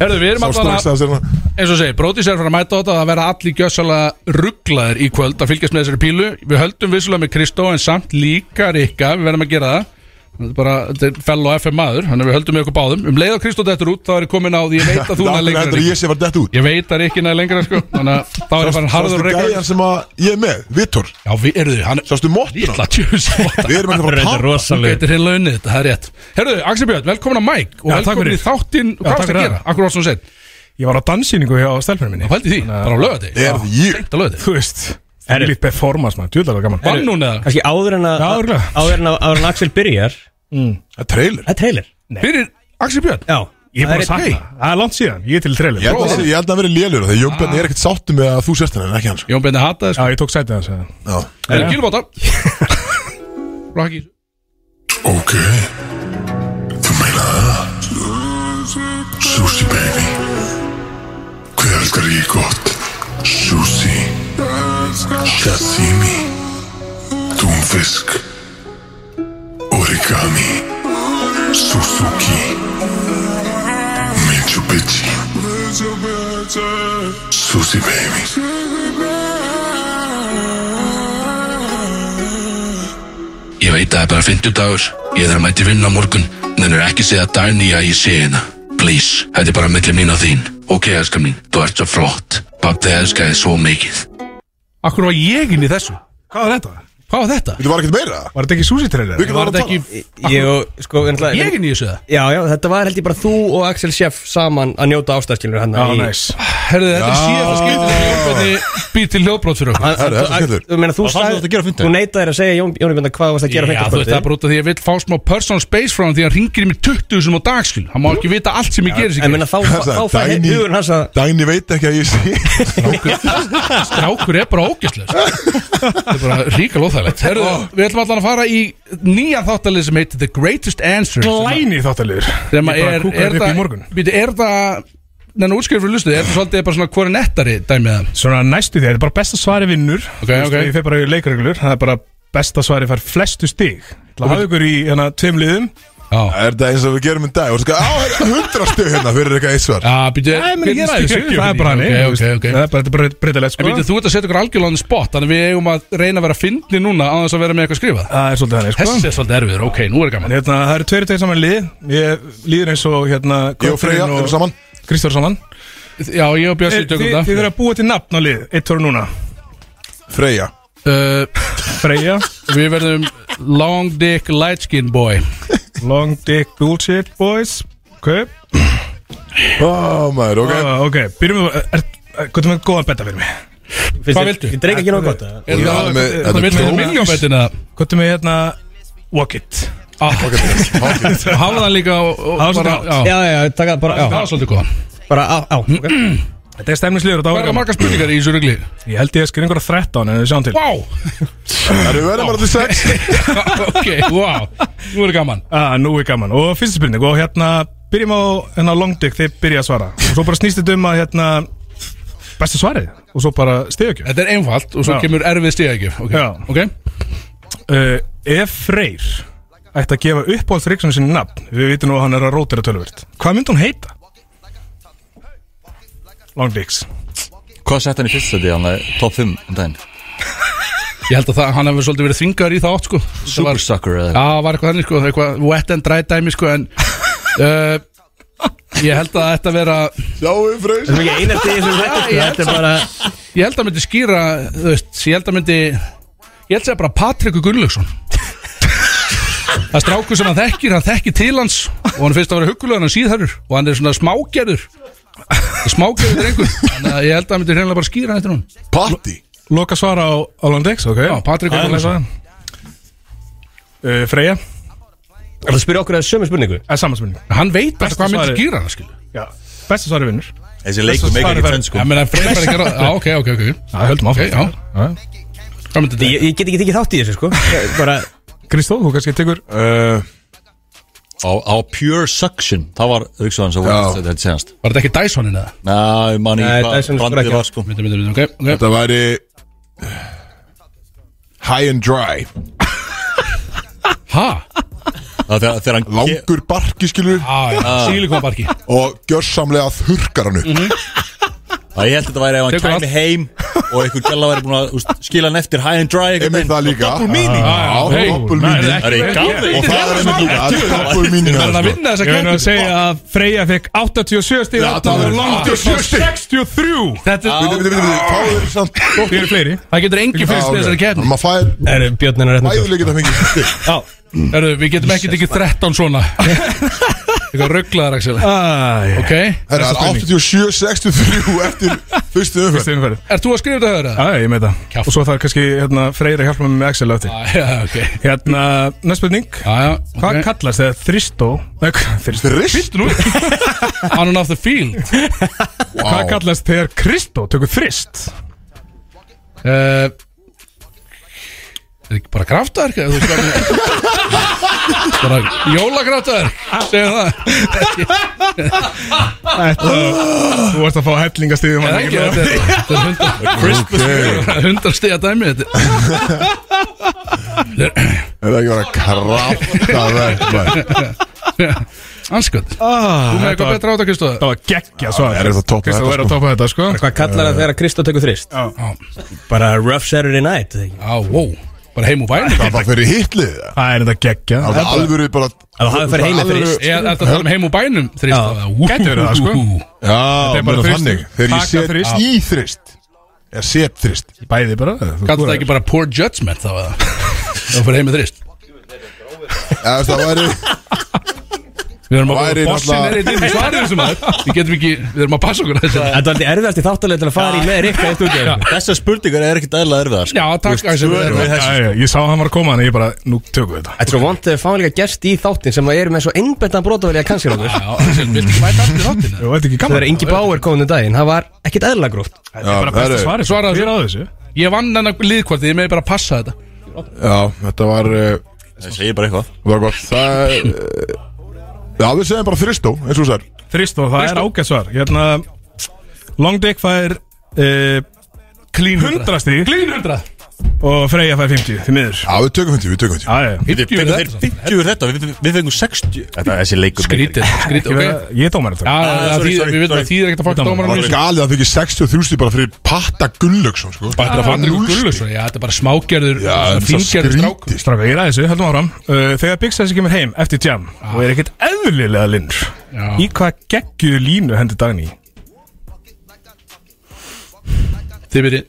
B: Herðu, við erum
A: Sá
B: allan
A: strax
B: að,
A: að hérna- sérna
B: eins og segi, brótið sér fyrir að mæta á þetta að vera allir gjössalega rugglaðir í kvöld að fylgjast með þessari pílu Við höldum vissulega með Kristó en samt líka Rikka, við verðum að gera það Þetta er bara, þetta er fell og FM maður, þannig að við höldum með okkur báðum Um leið á Kristó dettur út, þá er ég komin á því ég veit að þú
A: Það
B: næði
A: er
B: lengra
A: þetta að
B: Rikki.
A: ég sé var dett út
B: Ég veit að Rikki næði lengra sko, þannig að þá er ég farin harður og
A: Sástu
B: Rikka
A: gæjan sem að ég er með, Vittor
B: Já, við erum þau, hann er
A: Sástu móttur
B: Lítla tjús
A: Við erum ekki að fara að
B: Þú getur heila unnið þetta, það er rétt Herðu, Axel Björn, velkomin að Mike og
H: Já, takk
B: velkomin í
H: fyrir.
B: þáttinn
H: Já,
B: Hvað varst
H: takk
B: að
H: fyrir
B: gera?
H: það.
B: Akkur varst þú sett?
H: Ég var á danssýningu hjá stelpunum minni
B: Það pældi því, bara á lögati
A: tapa Er því ég
B: Þetta lögati
H: Þú veist
D: Herri.
H: Lítið performance maður, djúðlega gaman
B: Vann hún eða?
D: Kanski áður en að
H: Já,
D: áður
H: örugglega.
D: en að áður en að Axel byrjar
A: Það er trailer
D: Það er Eh, trailer
B: Fyrir Axel Björn
D: Já
H: Ég er
D: það
H: bara að
D: einn-
H: sakna
D: Hey.
H: það. það er langt síðan, ég er til trailer
A: Ég held að það
H: Já,
A: sé- ég held að það verið lélur Þegar Jón Bjarni er ekkert sáttu með að þú sért henni en ekki hans
B: Jón Bjarni hataði sko
H: ég tók sætið hans eða.
A: Já
B: Herðu, gilbóta
H: <laughs>
B: Rocky
A: Ok Þú meina það Sushi baby Hver elskar ég gott Sushi Sashimi Túnfisk Origami Suzuki Mitsubishi Sushi baby
E: Ég veit að það er bara 50 dagur. Ég þarf að mæti vinna á morgun. Þannig er ekki segja Dani að ég sé hérna. Please, þetta er bara mellum mín og þín. Ok, elskan mín, þú ert svo flott. Pappi elskar þið svo mikið.
B: Akkur var ég inn í þessu?
H: Hvað var þetta?
B: Hvað var þetta?
A: Þetta var ekkert meira
H: Var þetta ekki sushi trailer?
A: Við getum
B: Var
A: að
B: þetta
A: tala
B: ekki
D: Ég og sko náttúrulega-
B: ég inn í þessu það?
D: Já, já, þetta var held ég bara þú og Axel Sjeff saman að njóta ástæðskilur hérna hann
H: Já, næs
B: Herðu, þetta er síðan skiptið sem Jón Bjarni býr til hljóðbrót fyrir okkur
A: Herru, þetta er skemmtilegt.
D: Þú meina, þú
C: Það var það sem þú átt að gera á
D: sagði
C: fimmtudaginn.
D: Þú neitaðir að segja Jón- Jóni Benda hvað varst að gera á
B: Já, þú veist, það er
D: fimmtudagskvöldið.
B: bara út af því að ég vil fá smá personal space frá hann því að hann ringir í mig 20 sem á dagskil Hann má ekki vita allt sem ég gerir
D: En meina,
B: sig
D: þá
A: Þessa,
D: þá fær
A: Dagný-
D: hugurinn hans að
A: Dagni veit ekki að ég sé <laughs>
B: Strákur er bara ógæslega Það er bara ríka lóþægilegt Herðu, við ætlum allan að fara í nýjan þáttalið sem heitir The Greatest Answer sem að-
H: Glæni þáttalegur
B: sem að
H: Ég bara
B: er,
H: kúkaði
B: er
H: upp í
B: það
H: morgun
B: býtu, er það neina útskjöf fyrir lustu, er það svolítið bara svona hvori nettari dæmið það
H: Svona næstu því, þetta er bara besta svari vinnur
B: Ok,
H: Þú veist,
B: ok.
H: Ég fer bara í leikreglur, það er bara besta svari fær flestu stig Það hafa ykkur í hérna tveim liðum
B: Já,
A: Er þetta eins og við gerum en dag Og það er hundra stuð hérna fyrir eitthvað eitt svar
B: já býtu
H: Nei, menn, ég ræði þessu, það er bara hann
B: Ok, ok, ok
H: Það er bara, þetta er bara breytilegt
B: En
H: sko
B: býtu, þú ert að setja okkur algjörlega spott Þannig við eigum að reyna að vera fyndni núna á þess að vera með eitthvað skrifað
H: Það er svolítið þannig sko
B: Þessi er svolítið erfiður, ok, nú er
H: En
B: gaman
H: Hérna, það eru tveir og tveir saman lið Ég líður eins og hérna
A: Ég og Freyja
H: Kolbeinn
A: erum saman
H: Kristján saman
B: Já, ég og
H: Eh,
B: Björnsi
H: Þið
B: tökum
H: þið
B: það
H: þurfa að búa til nafn á lið Eitt voru núna
A: Freyja
B: Uh,
A: <laughs>
H: Freyja,
B: Við verðum Long Dick Light Skin Boy
H: Long Dick Bullshit Boys Ok,
A: Ó maður, ok
H: Ah, ok, byrjum við er- er- Hvað er með góðan betta fyrir mig?
D: Finnst
B: Hvað
D: þér-
B: viltu?
D: Ég dreik ekki nóg gott eða?
B: Er
A: Já, með-
B: það Hvað
A: þetta er
B: vil
A: klór.
B: með miljónbettina?
H: Hvað er með hérna Walk it
B: Hafa
A: Ok,
B: það líka og- og
H: Það var
B: bara-
H: svolítið
B: já,
D: Já, já, taka það bara
B: Það
D: já,
B: var svolítið Mm. góð
D: Bara á, á ok.
H: Þetta er stemningsliður og það
B: Hvað
H: var
B: eru
H: gaman
B: margar spurningar í þessu rugli?
H: Ég held ég að skilja einhverja 13 en við sjáum til
B: Vá!
A: Það eru verið bara til sex
B: ok, vá Nú er gaman
H: ah, Nú er gaman Og fyrsta spurning og hérna Byrjum á hérna long dick þið byrja að svara Og svo bara snýst þetta um að hérna Besta svarið og svo bara stegjökjum
B: Þetta er einfalt og svo
H: Já.
B: kemur erfið stíðækjum Ok,
H: Já.
B: ok
H: uh, Ef Freyr ætti að gefa uppáhalds Ríkssonu sinni nafn Við vitum nú að hann er að rótira tölvöld Hvað myndi hún heita? Long dicks
C: Hvað sett hann í fyrsta því, hann er top 5 um daginn?
B: Ég held að það, hann hefur svolítið verið þvingar í það átt sko Það var-
C: Supersucker eða
B: <laughs> Já, var eitthvað þannig sko, eitthvað wet and dry dæmi sko En uh, Ég held að þetta vera
A: Sjáum freys
D: Þetta er ekki einasti í þessum þætti, sko. Þetta er bara-
B: Ég held að myndi skýra Þú veist Ég held að myndi Ég held að segja bara Patrik Gunnlaugsson Það er strákur sem hann þekkir Hann þekkir til hans Og hann finnst að vera huggulegur Hann síðharur Og hann er svona smágerður Smágerður drengur Þannig að ég held að myndi hreinlega bara skýra hann eftir hún
A: Patti
H: Loka svara á, á Landex, ok
B: Já, Patrik
H: Það er
B: Gunnlaugsson
H: það. uh, Freyja
D: Það spyrir okkur að sömu spurningu
H: Það er samanspurning
B: Hann veit bara
H: Besta
B: hvað myndi
H: svarið.
B: skýra hann skilur.
H: Já, besta svari vinnur
J: Þessi leikur meikar ekki tönn sko
B: Já, menn að Freyr bara ekki ráð Já, ok, ok, ok
H: Það höldum
B: Ok, já
H: áfram
B: Hvað myndi þetta
D: Ég, ég get ekki tekið þátt í þessu sko Ég bara,
H: Kristó, þú kannski tekur
A: uh,
C: Á, á Pure Suction Það var hugsaðan sem
A: Já.
C: voru þetta þetta senast
B: Var þetta ekki Dysonin eða?
C: Næ, manni,
D: Nei,
C: hvað
D: Dyson er sko
C: brandið
D: ekki.
C: var sko
B: Myndi, myndi, myndi, ok, ok
A: Þetta væri High and dry
B: Ha?
C: Það þegar þegar hann ke-
A: Langur barki skilur
B: Á,
C: Ah,
B: já, sílíkonbarki
A: Og gjörsamlega þurkar hann upp
C: Það ég held að þetta væri ef hann
B: Tekur
C: kæmi
B: allt.
C: heim og einhver gæla væri búin að úst, skila hann eftir high and dry einhvern
A: Einmitt
C: veginn.
A: það líka
J: Double meaning.
A: Já,
B: hey,
A: double
H: nei,
A: meaning
C: Það
H: ekki-
C: er í gamli
A: Og það er einmitt líka það er Double meaning
B: Það er að
A: þarna, sko.
B: vinna þessa
H: Ég verður að
B: keppni
H: segja að Freyja fekk 87 stíð
A: Já, það er langt í
H: 87
A: sjösti
H: 63
B: Þetta
A: Við- við- við- við- við- Fáðu þér samt
H: Þið eru fleiri
B: Það getur engin fyrst í þessari keppni
A: Maður fær
D: er björnin að retna
A: bæðuleikir að <laughs> fengi stig.
D: Já,
B: Herru, við getum ekki tekið 13 svona Eitthvað rugglaðar, Axel
H: Æ,
B: Ok
A: Það er 87-63 eftir fyrstu umferð
H: Kristó, innfærið
B: Ert þú að skrifa þetta, Hörður?
H: Já, ég með það
B: Kjaft.
H: Og svo þarf kannski hérna, Freyra að hjálpa mér með Excel á eftir
B: Já, ok
H: Hérna, næst spurning
B: Já, já
H: Hvað
B: ok.
H: kallast þegar þristó Nei, hvað- Þristó
A: Þrist
B: On and off the field
H: Hvað kallast þegar Kristó tökur þrist
B: Eh, Er ekki bara kraftaverk? eða þú veist hvað ég
H: <laughs>
B: meina? Bara jólakraftaverk Segjum það
H: Þú varst að fá hellingastíðum
B: Það er ekki <laughs> Þetta er- þetta er hundar
A: Ok
B: hundar stiga dæmi þetta
A: <laughs> Er það ekki bara kraftaverk maður?
B: anskot þú með eitthvað betra átta Kristóð
H: Það var geggja svar
A: Það er þetta topp
H: Kristó
A: þetta, sko.
H: verður að toppa þetta sko
D: hvað kallar það þegar Kristó tekur þrist?
B: Ah.
D: Bara rough Saturday night eða ekki?
B: á, wow bara heim úr bænum
A: Það var fyrir hitlið það
H: Það er þetta geggja
A: Það var alvöru bara
D: Ef það hafi farið heim eftir
A: Alvöru-
D: þrist
B: ég ætla að tala um heim úr bænum þrýst
D: Já,
H: gæti verið það, sko.
A: Já,
H: Þetta er bara
A: meina
H: þrist.
A: þannig Þegar ég
H: Taka
A: set
H: þrist.
A: í þrist Ég set þrist
H: Bæði bara þú-
B: kallar
H: þú
B: það
H: er-
B: ekki bara poor judgment þá eða þá fyrir heim með þrýst
A: Eða það væri
B: við erum að
A: Væri
B: bossin er
A: náttúrulega-
B: eitthvað svarið þessum að við getum ekki við erum að passa okkur að þessu
D: Þetta var aldrei erfiðast í þáttalega til að fara í með Rikka eitt út í einu.
C: Þessar spurningar er ekkert eðla erfiðar sko.
B: já takk Axel,
C: Svör við
B: við erum-
H: Já,
C: þessu
H: já, Ég sá að hann var að koma Þannig ég bara Nú tökum við þetta
D: Þetta er svo vond að við fáum líka gest í þáttin sem er með svo einbettan brotavælja kannski ráður
B: já Axel, viltu ekki mæta aftur í þáttinn, eða?
H: Jú, Þetta er ekki
D: Það
H: gaman
D: er Ingi Bauer komin um daginn, það var ekkit eðla gróft
H: Þetta er bara
A: það
H: besta
A: er-
H: svarið
B: Svaraðu
H: Hver á þessu
B: ég vann hennar liðkvartið ég meði bara að passa þetta
A: Já, þetta var uh,
C: Það segir bara eitthvað
A: Það var gott Það er uh, Já, við segjum bara þristó eins og þessar
H: Þristó, það er ágætt svar Hérna Long Dick fær uh,
B: clean
H: 100 stíg
B: clean 100
H: Og Freyja fær 50 Því miður
A: Já, við tökum hundi, við tökum hundi
H: Æja
C: Við
B: Fimmtíu
C: fengum þeir
B: er þetta
C: 50 úr þetta, við, við fengum 60 Þetta er þessi leikur
B: skrítið skrítið ok
H: Ég er dómar
B: Já,
H: þetta
B: það
C: Ah, sorry,
B: þýðir-
C: sorry,
B: Ah, við veitum
C: sorry.
B: að þýðir ekkert að fokka
H: Dómarar.
B: dómaranum í þessu.
A: Það var galið að það fengið 60 þrjústi bara fyrir Patta Gunnlaugsson sko.
B: Þetta er að Patrik
A: Núll stig.
B: Gullus Já, þetta er bara smágerður,
A: Já, það
B: fingerður strák
A: skrítið
H: Stráka, ég ræði þessu, heldum áfram uh, Þegar Big Sessi kemur heim eftir jam Og er ekkert eðlilega linnur
B: Já.
H: Í hvað geggju línu hendi Dagný?
B: Þið byrji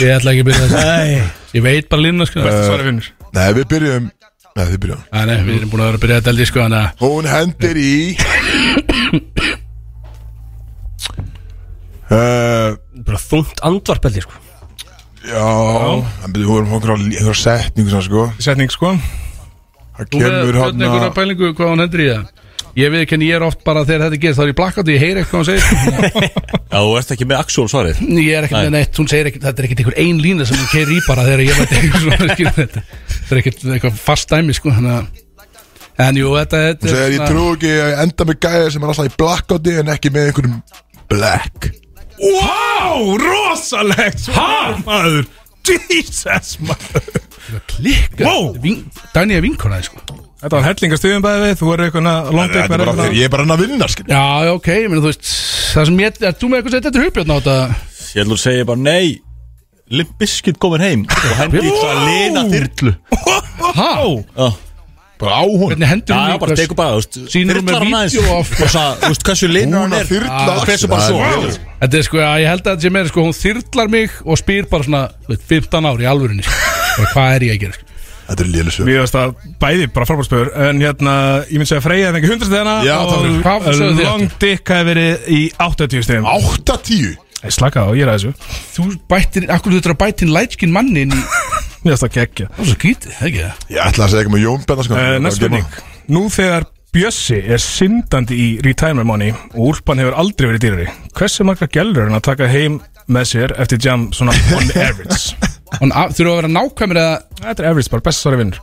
B: Ég ætla ekki að byrja þess Ég veit bara línuna sko
H: Besta svarið vinnur
A: Nei, við byrjum Nei, þið byrjum
B: Æ, Nei, við erum búin að vera að byrja þetta eldi sko Þannig að
A: Hún hendir í <coughs> uh,
D: Bara þungt andvarpeldi sko
A: Já Það byrjum hún okkur á einhverja setningu svona, sko.
H: Setning sko
A: Það
B: Þú
A: kemur
B: með
A: hérna- hann
B: hvernig einhverja
A: að
B: pælingu hvað hún hendur í það Ég veit ekki en ég er oft bara þegar þetta gerist þá er ég blakkað og ég heyri eitthvað hún <laughs> segir
C: Já, þú ert ekki með actual svarið
B: Ég er ekkert með neitt, hún segir ekkert Þetta er ekkert einhver ein lína sem hún keiri í bara þegar ég veit eitthvað svona skilur þetta Þetta er ekkert eitthvað fast dæmi sko þannig að- En jú, þetta þetta
A: Hún
B: er
A: segir ég trú ekki að enda með gæja sem er alltaf í blackouti en ekki með einhverjum black
H: Wow, rosalegt Há, maður Jesus, maður
B: klikka
H: Wow.
B: Dæni er vinkona þið sko
H: Þetta var hellingastuðum bæði við Þú eru eitthvað hérna. Long
A: Þetta
H: Dick
A: er bara
H: verður
A: þegar ég er bara hann að vinna skil
B: Já, já, ok, ég meina þú veist Það sem ég, er þú með eitthvað sett þetta hugbjörn á þetta
C: Ég ætlur að segja bara nei Limp Bizkit komin heim og hendi í það að lina þyrlu
H: Há
C: Já,
A: Bara á hún
B: Hvernig hendur hún
C: Já,
B: í-
C: bara tekur bara, þú veist,
B: Sýnir hún
C: þyrlar
B: með
C: hann aðeins.
B: vídeo af
C: Og svo, þú veist, hversu linur
A: Hún
C: hann
A: að
C: er
A: þyrla
C: Ah,
A: axlir.
C: hversu bara
A: Það er
C: svo
A: brjálæðislegt.
B: Þetta er sko, að ég held að þetta sé meira sko, hún þyrlar mig og spyr bara svona, þú veit, 15 ár í alvörinni Bara hvað er ég að gera, sko
A: Þetta er lélisög
H: Mér finnst það bæði bara frábárspöður En hérna, ég myndi segja að Freyja fengi 100 stegna
A: Já, það verður-
B: Hvað sögðu
H: Og
B: þið
H: Long Dick hafi verið í 80 stegum
A: 8-10
H: Slaka á, ég er að þessu
B: Þú bættir, akkur þú þurftur að bætti inn lætskin manni inn í
H: <laughs> Mér finnst það geggja
B: Það er svo gítið, það er ekki það
A: Ég ætla að segja ekki með Jón Benna sko
H: uh, Næst spurning Nú þegar Bjössi er syndandi í retirement money og úlpan hefur aldrei verið dýrari Hversu margar gælur er hann að taka heim með sér eftir jam svona on
B: <laughs>
H: average
B: Hún á- Þurfa að vera nákvæmur eða
H: Þetta er average bara, best svarið vinnur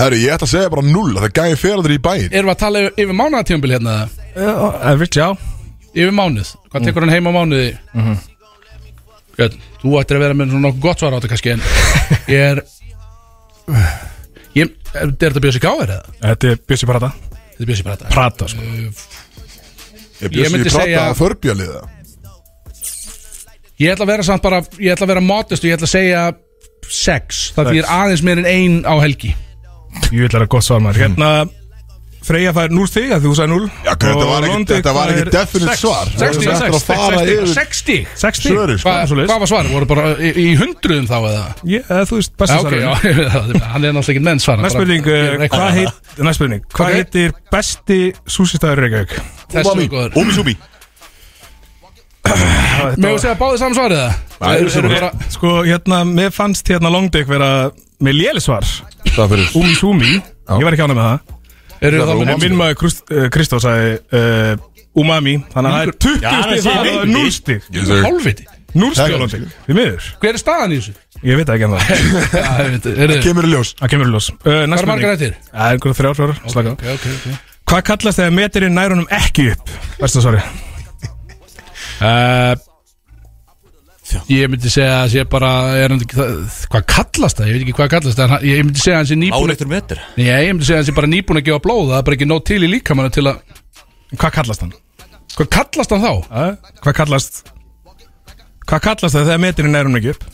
A: Herru, ég ætla að segja bara 0 Það gæði ferðar í bæinn
B: Erum við að tala yfir, yfir mánaðatímbil hérna eða?
H: uh, Average, já
B: Yfir mánuð, hvað tekur hann heim á mánuði mm
H: Mhm.
B: Þú ættir að vera með svona nokkuð gott svar á þetta
H: <laughs>
B: kannski En ég er Ég, er þetta bjössi gáður eða?
H: Þetta er Bjössi Prata
B: Þetta er bjössi bara þetta
H: Prata, sko
A: Ég bjössi
B: myndi
A: í prata
B: segja-
A: að förbjaliða
B: Ég ætla að vera samt bara, ég ætla að vera modest og ég ætla að segja sex Það
H: Sex.
B: því er aðeins meir en ein á helgi
H: Jú, þetta er gott svar maður Hérna, Freyja fær 0 stig að þú sagði 0
A: Já, hvað, þetta var ekki- þetta var ekki definite svar.
B: Sex stík,
A: Þetta er að fara
B: sex
A: yfir-
B: stík, sex stík
H: 6 stig
A: Svörin, sko.
H: Hvað-
B: Hvað
H: svoleiðis.
B: hvað var svarið? Voru bara í, í hundruðum þá eða?
H: Ég- eða Þú veist,
B: Já,
H: besta
B: ok,
H: svarið
B: já, <laughs>
H: vinnur.
B: hann er náttúrulega ekki menn svara
H: Næst spurning, uh, hvað heit, næst spurning, hvað
B: Ok.
H: heitir besti súsistæður Reykjavík?
B: Þessi góður
C: Úmi súbi
B: Eh. Mjög segja báðið saman svarið það? Eru- eru bara-
H: Sko, hérna, mér fannst hérna Longdick vera með lélisvar,
A: Það fyrir
H: Umi Sumi, ég var ekki ánæg með það.
B: Eru
A: Það
B: það
A: var
B: með
H: En minn maður Krist- eh, Kristó sagði uh, Umami, þannig að það er 20 stíð, það er 0 stíð,
A: Ég segi-
B: hálfviti?
H: 0
A: Það
H: stíð
A: er
H: Longdick, við miður.
B: Hver er staðan í þessu?
H: Ég veit það ekki en það,
B: <laughs> Já, ég veit, eru-
A: Kemur í ljós
H: það kemur í ljós. Uh,
B: Hvað
H: næst
B: er margar
H: spurning,
B: eftir?
H: það er einhverja þrjár, fjórar, slaka á.
B: Ok, ok, ok
H: Hvað kallast þegar metirinn nær honum ekki upp? Versta svari.
B: Eh, Ég myndi segja að sé bara er, hann ekki- það- Hvað kallast það? Ég veit ekki hvað kallast það en hann- Ég myndi segja að hann sé nýbúin
C: Áreittur metur
B: Nei, ég myndi segja að hann sé bara nýbúin að gefa blóð Það er bara ekki nóg til í líkamannu til að
H: Hvað kallast hann?
B: Hvað kallast hann þá?
H: Æ, Hvað kallast Hvað kallast það þegar metirinn er hún ekki upp?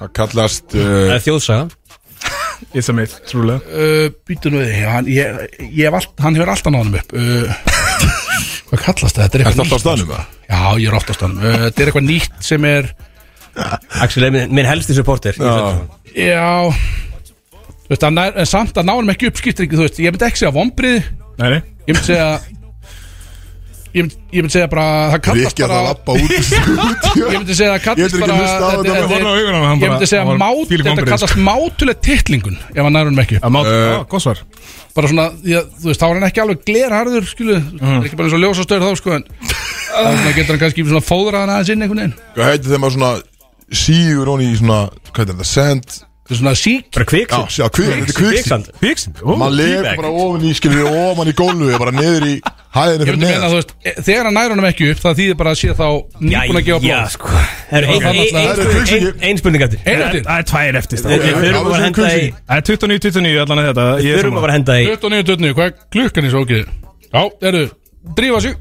A: Það kallast uh,
B: Eh.
D: Það er þjóðsaga
H: It's a myth, trúlega
B: Uh, Býtu nú við, hann, ég, ég hef all, hann hefur alltaf náðanum upp uh, <laughs> Hvað kallast það? Þetta er
A: Er þetta alltaf
B: eitthvað nýtt
A: staðnum það?
B: Já, ég er oftast hann uh, Þetta er eitthvað nýtt sem er
D: Axel er minn, minn helsti supporter í
A: Ah,
D: þessu.
B: Já Þú veist, hann er, en samt að náðanum ekki upp skiptir ekki Þú veist, ég myndi ekki segja vombrið Ég
H: Nei, nei
B: myndi segja Ég myndi, ég myndi segja bara Það kallast
A: Rikki að það
B: bara
A: lappa út í stúdíu
B: Ég myndi segja það kallast
A: Ég ætla ekki
B: bara
A: að hlusta á
B: þetta-
A: þetta,
B: þetta
H: ég horfði á augun á honum, hann
B: Ég
H: bara-
B: myndi segja
H: hann var
B: mát
H: fílík
B: Þetta
H: vonbrigði,
B: kallast Eh, mátuleg titlingun Ef hann nærunum ekki upp
H: Að máta, uh, á, góð svar
B: bara svona, því að, þú veist, þá er hann ekki alveg glerharður, skilu, það er ekki bara eins og ljósastöður þá, <laughs> sko, en þannig getur hann kannski svona fóðrað hann aðeins inn einhvern veginn
A: Hvað heitir þegar maður svona sígur honi í svona, hvað heitir þetta, sand
B: það er svona sík,
D: Bara
A: Já,
D: kviksand
A: sjá, kvik, þetta er kviksand
H: Bíksand, ó
A: Maður lefur bara ofan í, skilur við ofan í gólfi bara niður í hæðinu
B: ég
A: fyrir
B: myndi meina,
A: neðan
B: þú veist, e- þegar hann nær honum ekki upp, það þýðir bara að sé þá nýbúin að gefa blóð,
D: sko Það eru ein-
B: það er
D: ein-
B: náttúrulega-
D: ein-
A: það eru
D: ein-
A: kviksyki.
D: ein- Ein spurning eftir
B: Einu
H: Það
B: til.
H: það er tvær eftir sko.
D: Við
H: stað
D: við þurfum að henda í
H: Það er 29, 29 allan að þetta
D: Við
H: Ég er
D: þurfum að
H: saman
D: bara henda í
B: 29, 29, hvað er klukkan í svo okkur? Já, eru, drífa sig,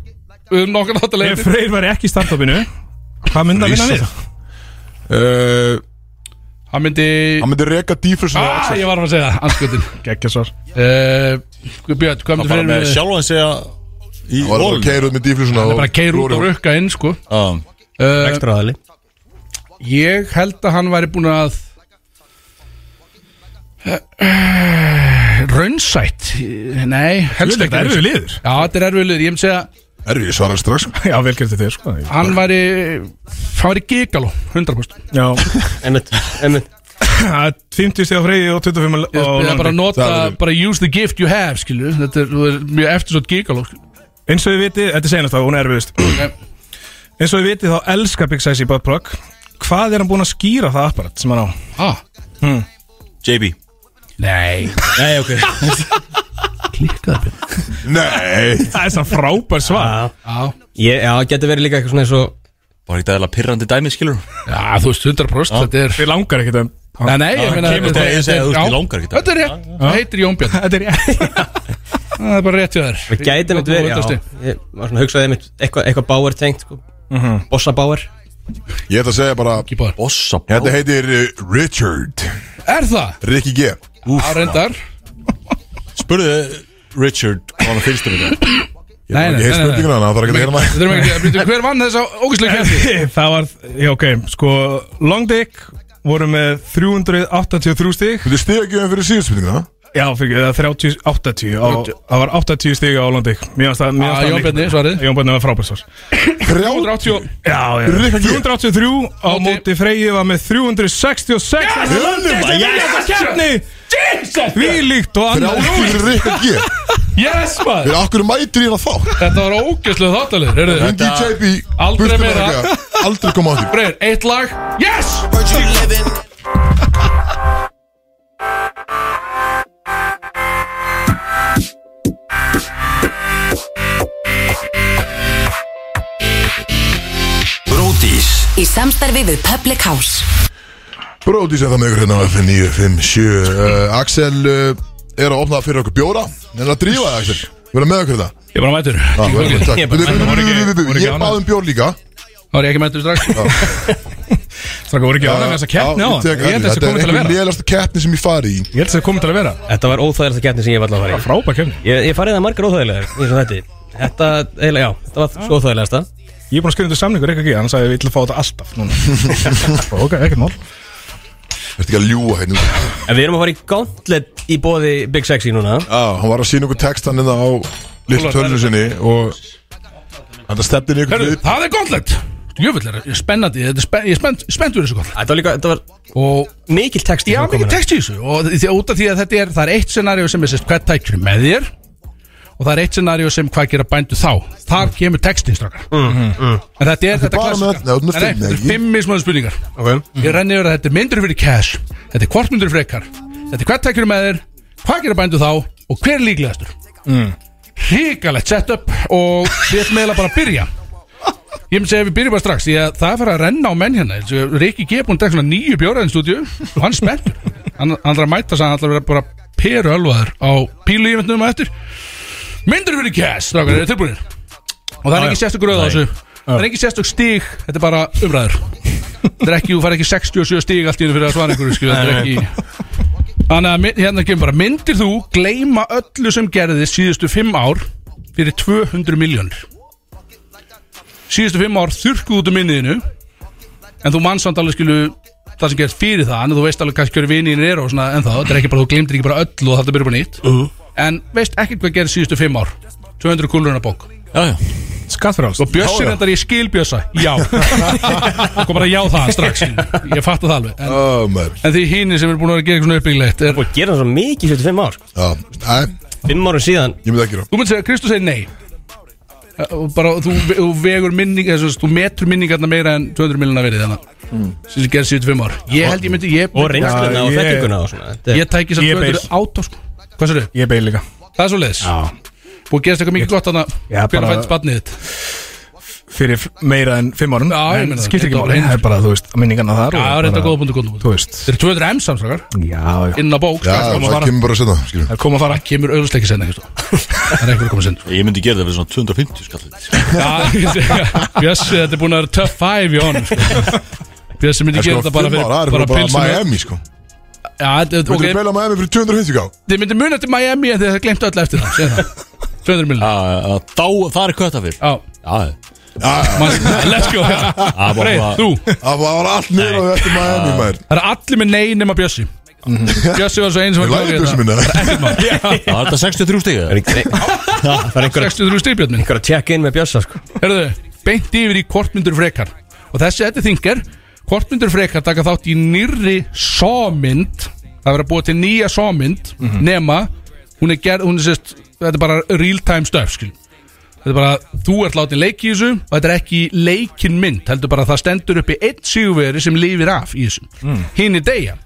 B: við erum nokkar náttúrulega
H: Ef Freyr væri ekki í startupinu Hvað myndi að vinna við?
A: Uh,
B: hann myndi,
A: Eh, Hann myndi reka dýfur sem
B: ah,
A: Axel
B: ég var að segja það, anskutin,
H: Gekkja svar
B: uh, Björn, hvað myndi
C: Bara
B: fyrir
C: með
B: við,
C: sjálfan segja Í
A: Hann var bara
C: volum
A: keiruð með dýfur svona
B: hann er bara að keira út og rukka inn, sko,
C: Já.
B: uh,
D: Ekstraðali
B: Ég held að hann væri búin að Rönnsætt Nei, helst ekki
H: Þetta er erfið
B: raunsætt.
H: liður
B: Já, þetta er erfiðlið, ég myndi segja
A: Erfið, ég svaraði strax
H: Já, vel gert þetta er sko
B: Hann væri, hann væri gigaló 100%
H: <laughs> Já
D: Einmitt, einmitt
H: Það er 50 stíð á Freyri og 25
B: Ég
H: á
B: er bara að
H: Longdick
B: nota,
A: Það er-
B: bara use the gift you have skilu, þetta er, þú er mjög eftirsótt gigaló skilu.
H: Eins og við vitið, þetta er senast að hún er erfiðust Eins og við vitið þá elskar Big Size í Bad Prog Hvað er hann búinn að skýra það apparat sem hann á?
B: ah,
C: JB
B: Nei,
C: Nei, ok
B: klikkaði Björn.
A: Nei
H: Það er svona frábær svar
D: Já,
B: Já,
D: já, getur verið líka eitthvað svona eins og
C: Bara ekki aðeins pirrandi dæmi, skilur
B: já, þú veist 100% þetta er
H: Við langar ekkert að
B: Nei, nei, ég meina
C: Ah, kemur bara- ég segi að þú veist,
B: já,
C: ég langar ekki það.
B: Þetta er rétt, það heitir Jón Björn
H: Þetta er ég
B: Það er bara rétt hjá þér
D: Við gætum þetta verið,
B: Þú veist,
D: já Ég var svona að hugsaði einmitt eitthvað eitthvað báer tengt sko Bossa báer
A: Ég ætla að segja bara
B: ekki báðar.
C: Bossa
A: Þetta heitir uh, Richard
B: Er það?
A: Rikki G
B: Á reyndar
J: spurði Richard hvað hann fylgst um þetta
A: Ég hef ekki heilt spurninguna þannig að það þarf ekki að gera maður
H: Við þurfum ekki að byrja hver vann þess að <laughs> ógæslega kemdi
B: Það var, já ok, sko Long Dick voru með 383 stig
A: Þú stiga ekki um fyrir síðan spurninguna
B: Já, fyrir ekki, það var 30, 80 á, Það var 80 stig á Long Dick Mér fannst það, mér
H: Ah,
B: fannst það
H: Jón
B: líka.
H: Bjarni, svarið.
B: Jón Bjarni var frábært svar
H: 380
B: Já, já
A: Rikka G.
B: 383 á
H: Móti-
B: móti Freyju var með 366 Yes,
A: Unnum að
B: yes, keppni Jesus Því líkt og annað
A: Þrjáttur Rikka G
H: Yes maður
A: Við okkur mætir ég að þá
H: Þetta var ógæslega þáttalegur Hörru
A: Hindi í tæpi
H: Aldrei
A: burtu með
H: meira.
A: þetta. Aldrei koma á því
H: Freyr, eitt lag Yes
J: Brótis
F: Í samstarfi við Public House
A: Bróti sem það með ykkur hérna á F957 uh, Axel uh, er að opna fyrir okkur bjóra En að drífa það Axel Verða með okkur það
H: Ég er bara mætur
A: Já, vel gert, takk.
B: Ég bara-
A: Bíddu, bíddu,
B: voru ekki-
A: bíddu, bíddu,
B: voru
A: bíddu,
B: ekki
A: Ég
B: ánægð.
A: báðum bjór líka
H: Það var ég ekki mætur strax
B: Stráka, voru ekki ánægð með þessa keppni á hann Ég held að þessi
A: Þetta er
B: komið til að vera
A: einhver lélasta keppni sem ég fari í
B: Ég held að þessi komið til að vera
D: Þetta var óþægilegsta keppni sem ég var alltaf að fara í
B: Frábært keppni
D: Ég, ég farið það margar óþægilegar eins og þetta Þetta, eiginlega, já, þetta var svo óþægilegasta
B: Ég er búin að skrifa undir samningur Rikka G Hann sagði við ætlum að fá þetta alltaf núna <laughs> Ok, ekkert mál
A: Þetta ekki að ljúa hérna
D: En við erum að fara í gauntlet í bóði Big Sexy núna
A: Já, hann var að sína okkur textan hérna á Lillu tölunum sinni og Þetta stefnir í ykkur
H: Hörru,
A: hlut
H: það er gauntlet Jöfull er er spennandi Þetta er spen- Ég er spennt- spennt fyrir þessu gauntlet
D: Þetta var líka, þetta var
H: Og
D: mikil texti
H: ég haf mikið text í þessu Og því að út af því að þetta er Það er eitt scenaríu sem er sérst Hvað tækir með þér Og það er eitt scenaríu sem hvað gera bændu þá Þar kemur textin strakkar En þetta er þetta
A: bara með- Nei,
H: klassika
A: þú ert með fimm,
H: Nei, þetta er
A: ekki?
H: fimm mismunandi spurningar
D: Ok
H: Ég renni yfir að þetta er myndur fyrir cash Þetta er hvort myndur fyrir ekkar Þetta er hvað tækir með þér Hvað gera bændu þá Og hver er líklegastur Ríkalegt setup Og við ætlum eiginlega bara að byrja Ég myndi segja að við byrjum bara strax Því að það er fyrir að renna á menn hérna eins og Riki G. búin að drekka svona nýju bjóraðin stúdíu Og hann er spenntur Hann hann ætlar að mæta sig, hann ætlar að vera bara peru ölvaður Á pílu íventum og eftir Myndur fyrir cash Strákar, eru tilbúinir Og það er ekki sérstök röð á þessu Það er ekki sérstök stig, þetta er bara umræður Þetta er ekki, þú fær ekki 67 stig allt í hennu fyrir að svara einhverju skil, Þetta er ekki Þannig að mynd- hérna kemur bara Myndir þú gleyma öllu sem gerðist síðustu 5 ár Fyrir 200 miljónir Síðustu 5 ár þurrkuð út um minniðinu En þú mann samt alveg skilu Það sem gerðist fyrir það En þú veist alveg hvað hverju vinið er og svona En það, þetta er ekki bara, þú gleymdir ekki bara öllu og það er bara nýtt En veist ekkert hvað gerðist síðustu 5 ár 200 kúlurinn að bók
J: Já, já
B: Skatt fyrir alls
H: Og Bjössi reyndar ég skil Bjössa Já Það <laughs> kom bara já það strax Ég fatta það alveg En,
A: Ó, maður
H: en því hini sem er búin að vera að gera eitthvað svona uppbygglegt er,
D: Og gera það svo mikið fyrir fimm ár sko.
A: Já, nei,
D: Fimm árum síðan
A: ég myndi ekki gera
H: Þú myndir segja, Kristus segir nei Eh, og bara, þú, þú vegur minning eða, svo, þú metur minningarna meira en 200 miljonar verið þannig sem sem gerði 75 ár ég held ég myndi, ég,
D: Og reynsluna og
B: ég-
D: þekkinguna og svona Þetta er-
H: ég tæki samt
B: Ég beil.
H: 200 át á sko. hvað sér þau?
B: Ég beil líka
H: það er svo leiðis búið að gerast eitthvað mikið gott þannig
B: Já,
H: hvernig
B: bara-
H: fættist barnið þitt já,
B: Fyrir f- meira en fimm árum
H: Já, ég
B: En
H: meina það.
B: Skiptir
H: Eitt
B: ekki
H: ár,
B: máli
H: einu.
B: Það er bara, þú veist, minningarna þar og
H: það er reynda
B: bara-
H: góða punktu góða punktu
B: Þú veist
H: þeir eru 200 M samsakar
B: Já, já
H: inn á
A: Já,
H: bók strax, koma að
A: það
H: fara.
A: kemur bara senna, skiljum
B: Það er komið að fara
H: kemur auðvitsleiki senna ekki það er eitthvað að koma senna
J: Ég myndi gera það fyrir svona 250
H: <laughs>
J: skall
H: Bjössi þetta er búin að vera tough five í honum sko. Bjössi myndi
A: En
H: gera
A: sko,
H: þetta
A: fimm
H: bara
A: ára, það
H: fyrir
A: er bara, bara Miami, sko
H: ja, þetta-
A: Þú
H: ok,
A: myndir beila Miami fyrir 250 ká
H: Þið myndi muna til Miami en þið hafði glemt öll eftir það segðu það. 200 miljonar
J: Þá, það er kötta fyrir
H: Já,
J: Já,
H: maður- let's go
J: bara-
H: Freyr, þú
A: Það var allt niður á eftir Miami,
H: <laughs>
A: maður
H: Það eru allir með nei nema Bjössi Bjössi var hérna. svo eins og
A: Ég lægði bjössu
H: <laughs>
A: minna
J: það er þetta 63 stig eða?
D: Það er einhver,
H: 63 stýrbjörn minn
D: einhver að tjekka inn með Bjössa sko.
H: Herðu, beint yfir í kortmyndur frekar Og þessi þetta þingar Kortmyndur frekar taka þátt í nýrri sámynd Það verður að búa til nýja sámynd
J: Mhm.
H: Nema, hún er gerð Hún er sérst, þetta er bara real time stuff skil. Þetta er bara, þú ert látið leik í þessu Og þetta er ekki leikin mynd Heldur bara að það stendur upp í einn sigurveri Sem lifir af í þessu mm. Hinn er deyja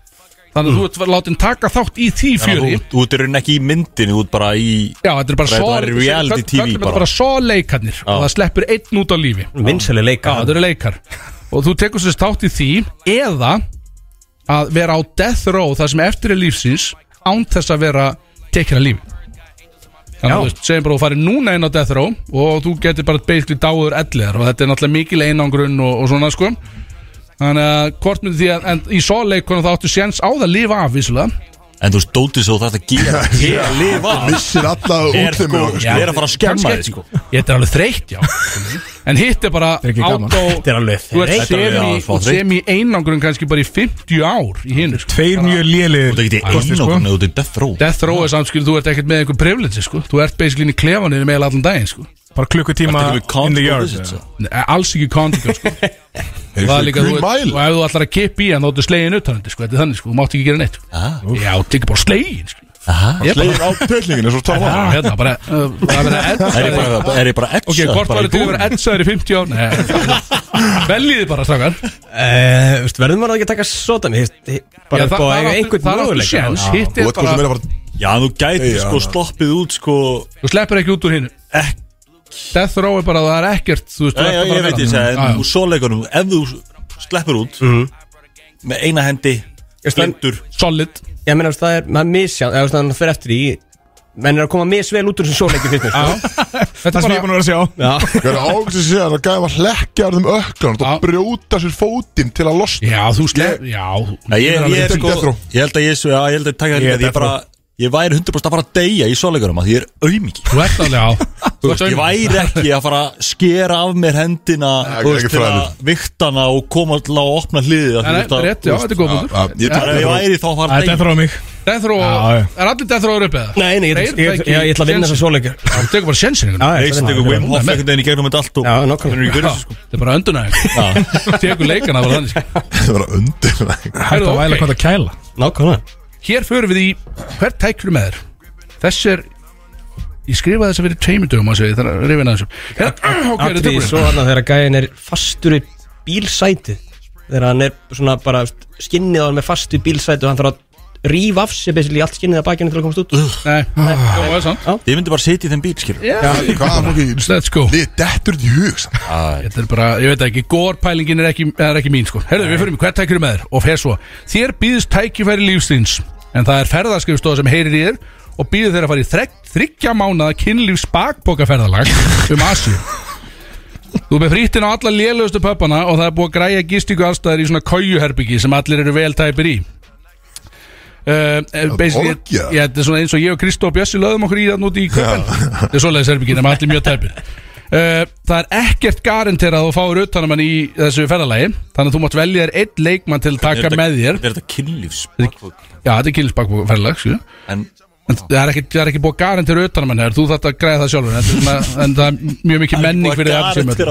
H: Þannig að þú ert látið taka þátt í því
J: Þannig að
H: fjöri
J: þú- Þú ert í rauninni ekki í myndinu, þú ert bara í
H: Já, þetta er bara
J: Þetta
H: svo
J: var reality
H: köllum
J: TV
H: þetta
J: bara.
H: bara svo leikarnir Og það sleppur einn út á lífi
D: Vinsæli
H: Já,
D: leika
H: þetta eru leikar Og þú tekur sérst þátt í því Eða að vera á death row Það sem eftir er lífsins Án þess að vera tekin að lífi Þannig að þú veist, segjum bara að þú farir núna inn á death row Og þú getur bara basically dáður ellegar Og þetta er náttúrulega mikil einangrun og, og svona sko Þannig að hvort myndi því að en, Í svo leikonu þá áttu séns á það að lifa af vissulega
J: En þú veist, dótið svo þetta gera til að lifa af.
A: Missir alla út
J: Er,
A: þeim
J: sko, Ég er að fara að skemma
H: Kannski
J: þig
H: ekki.
J: sko
H: Ég þetta er alveg þreytt, já <laughs> En hitt er bara
J: ekki gaman.
H: átó
J: Þetta er alveg
H: Þú
J: þreytt.
H: ert
J: Þetta er alveg
H: semi-
J: smá
H: og
J: þreytt.
H: sem í einangrun kannski bara í 50 ár í sko. hinn
L: Tveir mjög lélir
J: Þú ert ekki í
H: sko.
J: einangrun eða út í death row
H: Death row er samt skil, þú ert ekkert með einhver privilege sko. Þú ert basically inn í klefaninu með allan daginn sko.
L: Bara klukkutíma Ertu ekki með in the yard, conjugal visit, eða?
H: Nei, Alls ekki conjugal sko.
L: Eru
H: Það er
L: þau
H: líka, þú
L: Green
H: ert- Og ef þú ætlar að kippa í hann þá ertu slegin utanandi sko. Þetta er þannig, sko. þú mátt ekki gera neitt sko. Já, þú tekur bara slegin sko. Ég bara-
A: Slegir á pöllingin eins og tala
H: Já, hérna, bara, uh, bara verið að edda
J: Er ég bara- er ég bara edsaður
H: Ok, hvort
J: bara í
H: var þetta að
J: búðum?
H: vera edsaður í 50 ár? Nei, veljiði bara, strákar
D: Eh, veist, Verður maður ekki að taka sótan Bara
H: Já, það-
D: upp á
H: það er áttu-
D: einhvern
H: það er áttu
D: möguleika
H: séns,
D: Já.
H: hitt er Og eitthvað bara- sem er bara-
J: Já, þú gæti
H: Já.
J: sko sloppið út sko
H: Þú sleppir ekki út úr hinn Death row er bara, það er ekkert Þú veist,
J: Já,
H: þú
J: já, ég
H: ert bara að
J: veit
H: vera
J: ég segi
H: Já, já.
J: En Mhm. úr svoleikunum, ef þú sleppur út Með eina hendi Glindur
H: Solid
D: Ég meina, þú veist, það er, maður misjá Það er það fyrir eftir í Menn er að koma misvel út úr þessum sóleikju fyrst sko. mér
H: Þetta
D: er sem ég er búin
L: að vera að
D: Já.
A: Það er ágætt að segja að það gæði að hlekja um öklan og brjóta sér fótinn til að losna
H: Já, þú slepp, já
J: Já, ég, ég, er sko, ég held að ég svo, já, ég held að ég taka það
A: Ég er
J: líka því Ég
A: death
J: bara,
A: row.
J: ég væri 100% að fara að deyja í svoleikunum Því ég er aumingi
H: Þú ert alveg á Þú
J: veist, ég væri ekki að fara að skera af mér hendina
A: Nei,
J: Þú
A: ekki
J: veist, til
A: fræðilegt.
J: að viktana og koma til að opna hliðið af því
H: Nei,
J: þú veist að-
H: rétt, já,
J: þú veist,
H: þetta er góð punktur.
J: að- að- Ég bara- ef ég væri þá að fara að
L: Þetta er
J: deyja
L: þrá mig
H: Death row,
L: Já, já.
H: er allir death row upp eða?
D: Nei, nei, ég, ég,
H: Þeir
D: ég,
H: fækki-
D: ég, ég ætla að vinna þessa sóleikju
H: Þú tekur bara hérna. sjensin
J: Reisandi ykkur Wim Hof einhvern veginn í gegnum þetta allt og
D: Já, nokkvæmlega.
J: Henry Gurris, sko.
H: Það er bara öndunæðing <laughs> Tekur leikana bara þannig sko.
A: Það var að undir
L: Hættu að væla hvað það kæla
D: Nákvæmlega
H: Hér förum við í hvert tækfru með þér Þess er Ég skrifaði þess að fyrir tveimur dögum að segja Þannig að rifin aðeins upp. Hérna, <clears throat> ok, er þetta
D: Atriði
H: tilbúin?
D: svo hann að þegar gæðin er fastur í bílsæti Þegar hann er svona bara veist, skinnið á hann með fast í bílsæti og hann þarf að rífa af sér basically allt skinnið að bakinu til að komast út
H: Nei, það var sann
J: Ég myndi bara sitja í þeim bíl, skilur
H: Já,
A: Hvað er fólki,
H: Let's go
A: þið dettur þetta í hug samt.
H: Þetta er bara, ég veit ekki, górpælingin er ekki, er ekki mín sko Herðu, við förum í hvert tækfru með þér Og fer svo Þér býðist tækifæri lífsins En það er ferðaskrifstofa sem heyrir í þér Og býður þeir að fara í þrek, þryggja mánaða kynlífs bakpokaferðalag Um Asíu Þú er með frýttin á alla lélugustu pöppana og það er búið að græja gistingu allstæðar í svona kójuherbyggi sem allir eru vel tæpir í Uh, basically,
A: orgia.
H: ég, þetta er svona eins og ég og Kristó og Bjössi löðum okkur í þann út í köpen Þetta er svoleiðis herbyggin, það er allir mjög tæpir uh, Það er ekkert garanterað að þú fáir utanum hann í þessu ferðalagi Þannig að þú mátt velja þér einn leikmann til að taka með þér
J: Er þetta kynlífs
H: Já, þetta er kynlisbakferðalag, sko
J: En
H: En það er ekki, það er ekki búið að garantera utanum hennar Þú þarft að græða það sjálfur en, þetta er svona- en það er mjög mikið menning fyrir það sem öll.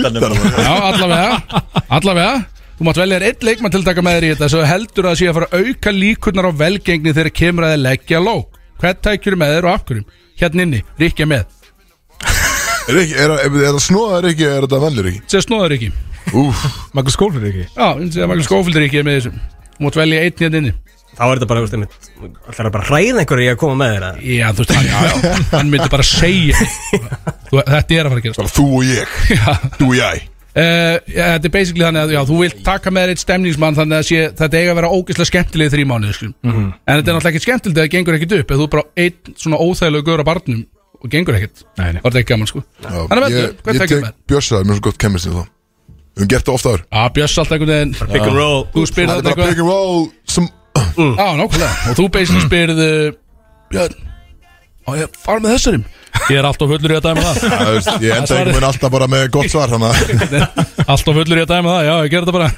J: utanum
H: Já, allavega Allavega Þú mátt velja þér einn leikmann til að taka með þér í þetta Svo heldur það sé að fara að auka líkurnar á velgengni Þegar kemur að þið leggja lók Hvern tækjur með þér og af hverjum Hérna inni, Rikki er með
A: Er ekki- Er er- er það snóðar ekki, er þetta vennlur ekki?
H: Sér snóður Rikki
A: Úf,
L: Magnús Skólfur ekki
H: Já, sér Magnús Skófild Rikki er með þessu Þú mátt velja einn hérna inni
D: Þá er þetta bara, veist, einmitt, ætlar það bara að hræða einhverju í að koma með þeirra
H: Já, þú veist, hann, já, já, hann myndi bara segja þú, Þetta er að fara að gerast
A: bara þú og ég
H: Já
A: Þú og ég
H: Uh, já, þetta er basically þannig að já, þú vilt taka með þér eitt stemningsmann þannig að sé, þetta eiga að vera ógeðslega skemmtilegið þrý mánuði skulum. sko.
D: Mhm.
H: en þetta er náttúrulega ekki skemmtilegt eða það gengur ekkit upp eða þú er bara einn svona óþægilegu gaur á barnum og gengur ekkit
L: Nei, nei.
H: var þetta ekki gaman sko
A: Já,
H: Þannig að
A: Ég,
H: veitu, hvað
A: ég
H: tekjum
A: tek
H: við?
A: Björsa, mér er svo gott kemist í það Við höfum gert það ofta áður
H: Já, Björs Ah, alltaf einhvern veginn
D: Pick and roll
H: Þú spyrir
A: Það er
H: þetta
A: bara
H: eitthvað
A: pick and roll sem
H: Já, nákvæmlega Og þú <clears throat> basically spyrð uh, Björn Á ég að fara með þessarum Ég er alltaf fullur í að dæma það
A: Það veist, Ég enda
H: svarið.
A: einhvern veginn alltaf bara með gott svar Þannig að
H: <laughs> Alltaf fullur í að dæma það, já, ég ger þetta bara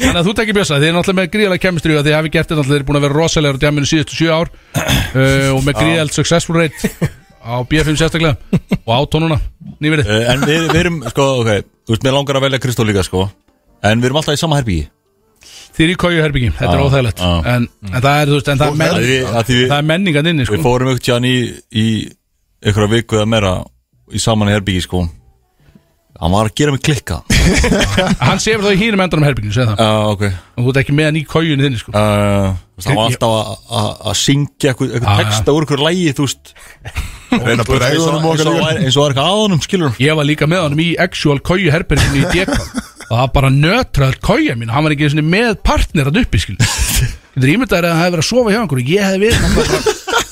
H: Þannig að þú tekir bjösa, þið er náttúrulega með gríðalega kemistri og þið hafi gert þetta, náttúrulega þið er búin að vera rosalegur á djáminu síðustu sjö ár uh, og með gríðald successful rate á BFM sérstaklega og á tónuna nýverið
J: Eh, En við, við erum, sko, ok Þú veist, mér langar að velja Kristó líka, sko En við erum alltaf í sama herbyggi
H: Þið er í kóju herbyggjum, þetta er
J: Já,
H: óþægilegt
J: já.
H: en, en það er, þú veist, en það er,
J: Að því við-
H: menning,
J: að því við-
H: það er menningan inni
J: <laughs> Við
H: sko.
J: fórum aukt hann í, í einhverja viku eða meira í saman herbyggi, sko Hann var að gera mig klikka
H: Hann sefur þá í hínum endanum herbyggjum, segð það
J: Já, ok
H: og þú ert ekki með hann í kójunni þinni sko.
J: Uh, Eh, þú veist, hann var alltaf að- að- að syngja eitthvað eitthvað
H: Já, já.
J: texta úr einhverju lægi þú veist
A: reyna að
J: Þú veist, eins
A: bregða
J: og-
A: honum okkar
J: eins og var-
A: líka
J: eins og var eitthvað aðanum skilur
H: Ég var líka með honum í actual kóju herbyggjum í DK og það var bara nötrað kója mín, hann var ekki einu sinni með partner að uppi, skil Getur ímyndaður að það hefði verið að sofa hjá einhverju Ég hefði verið bara,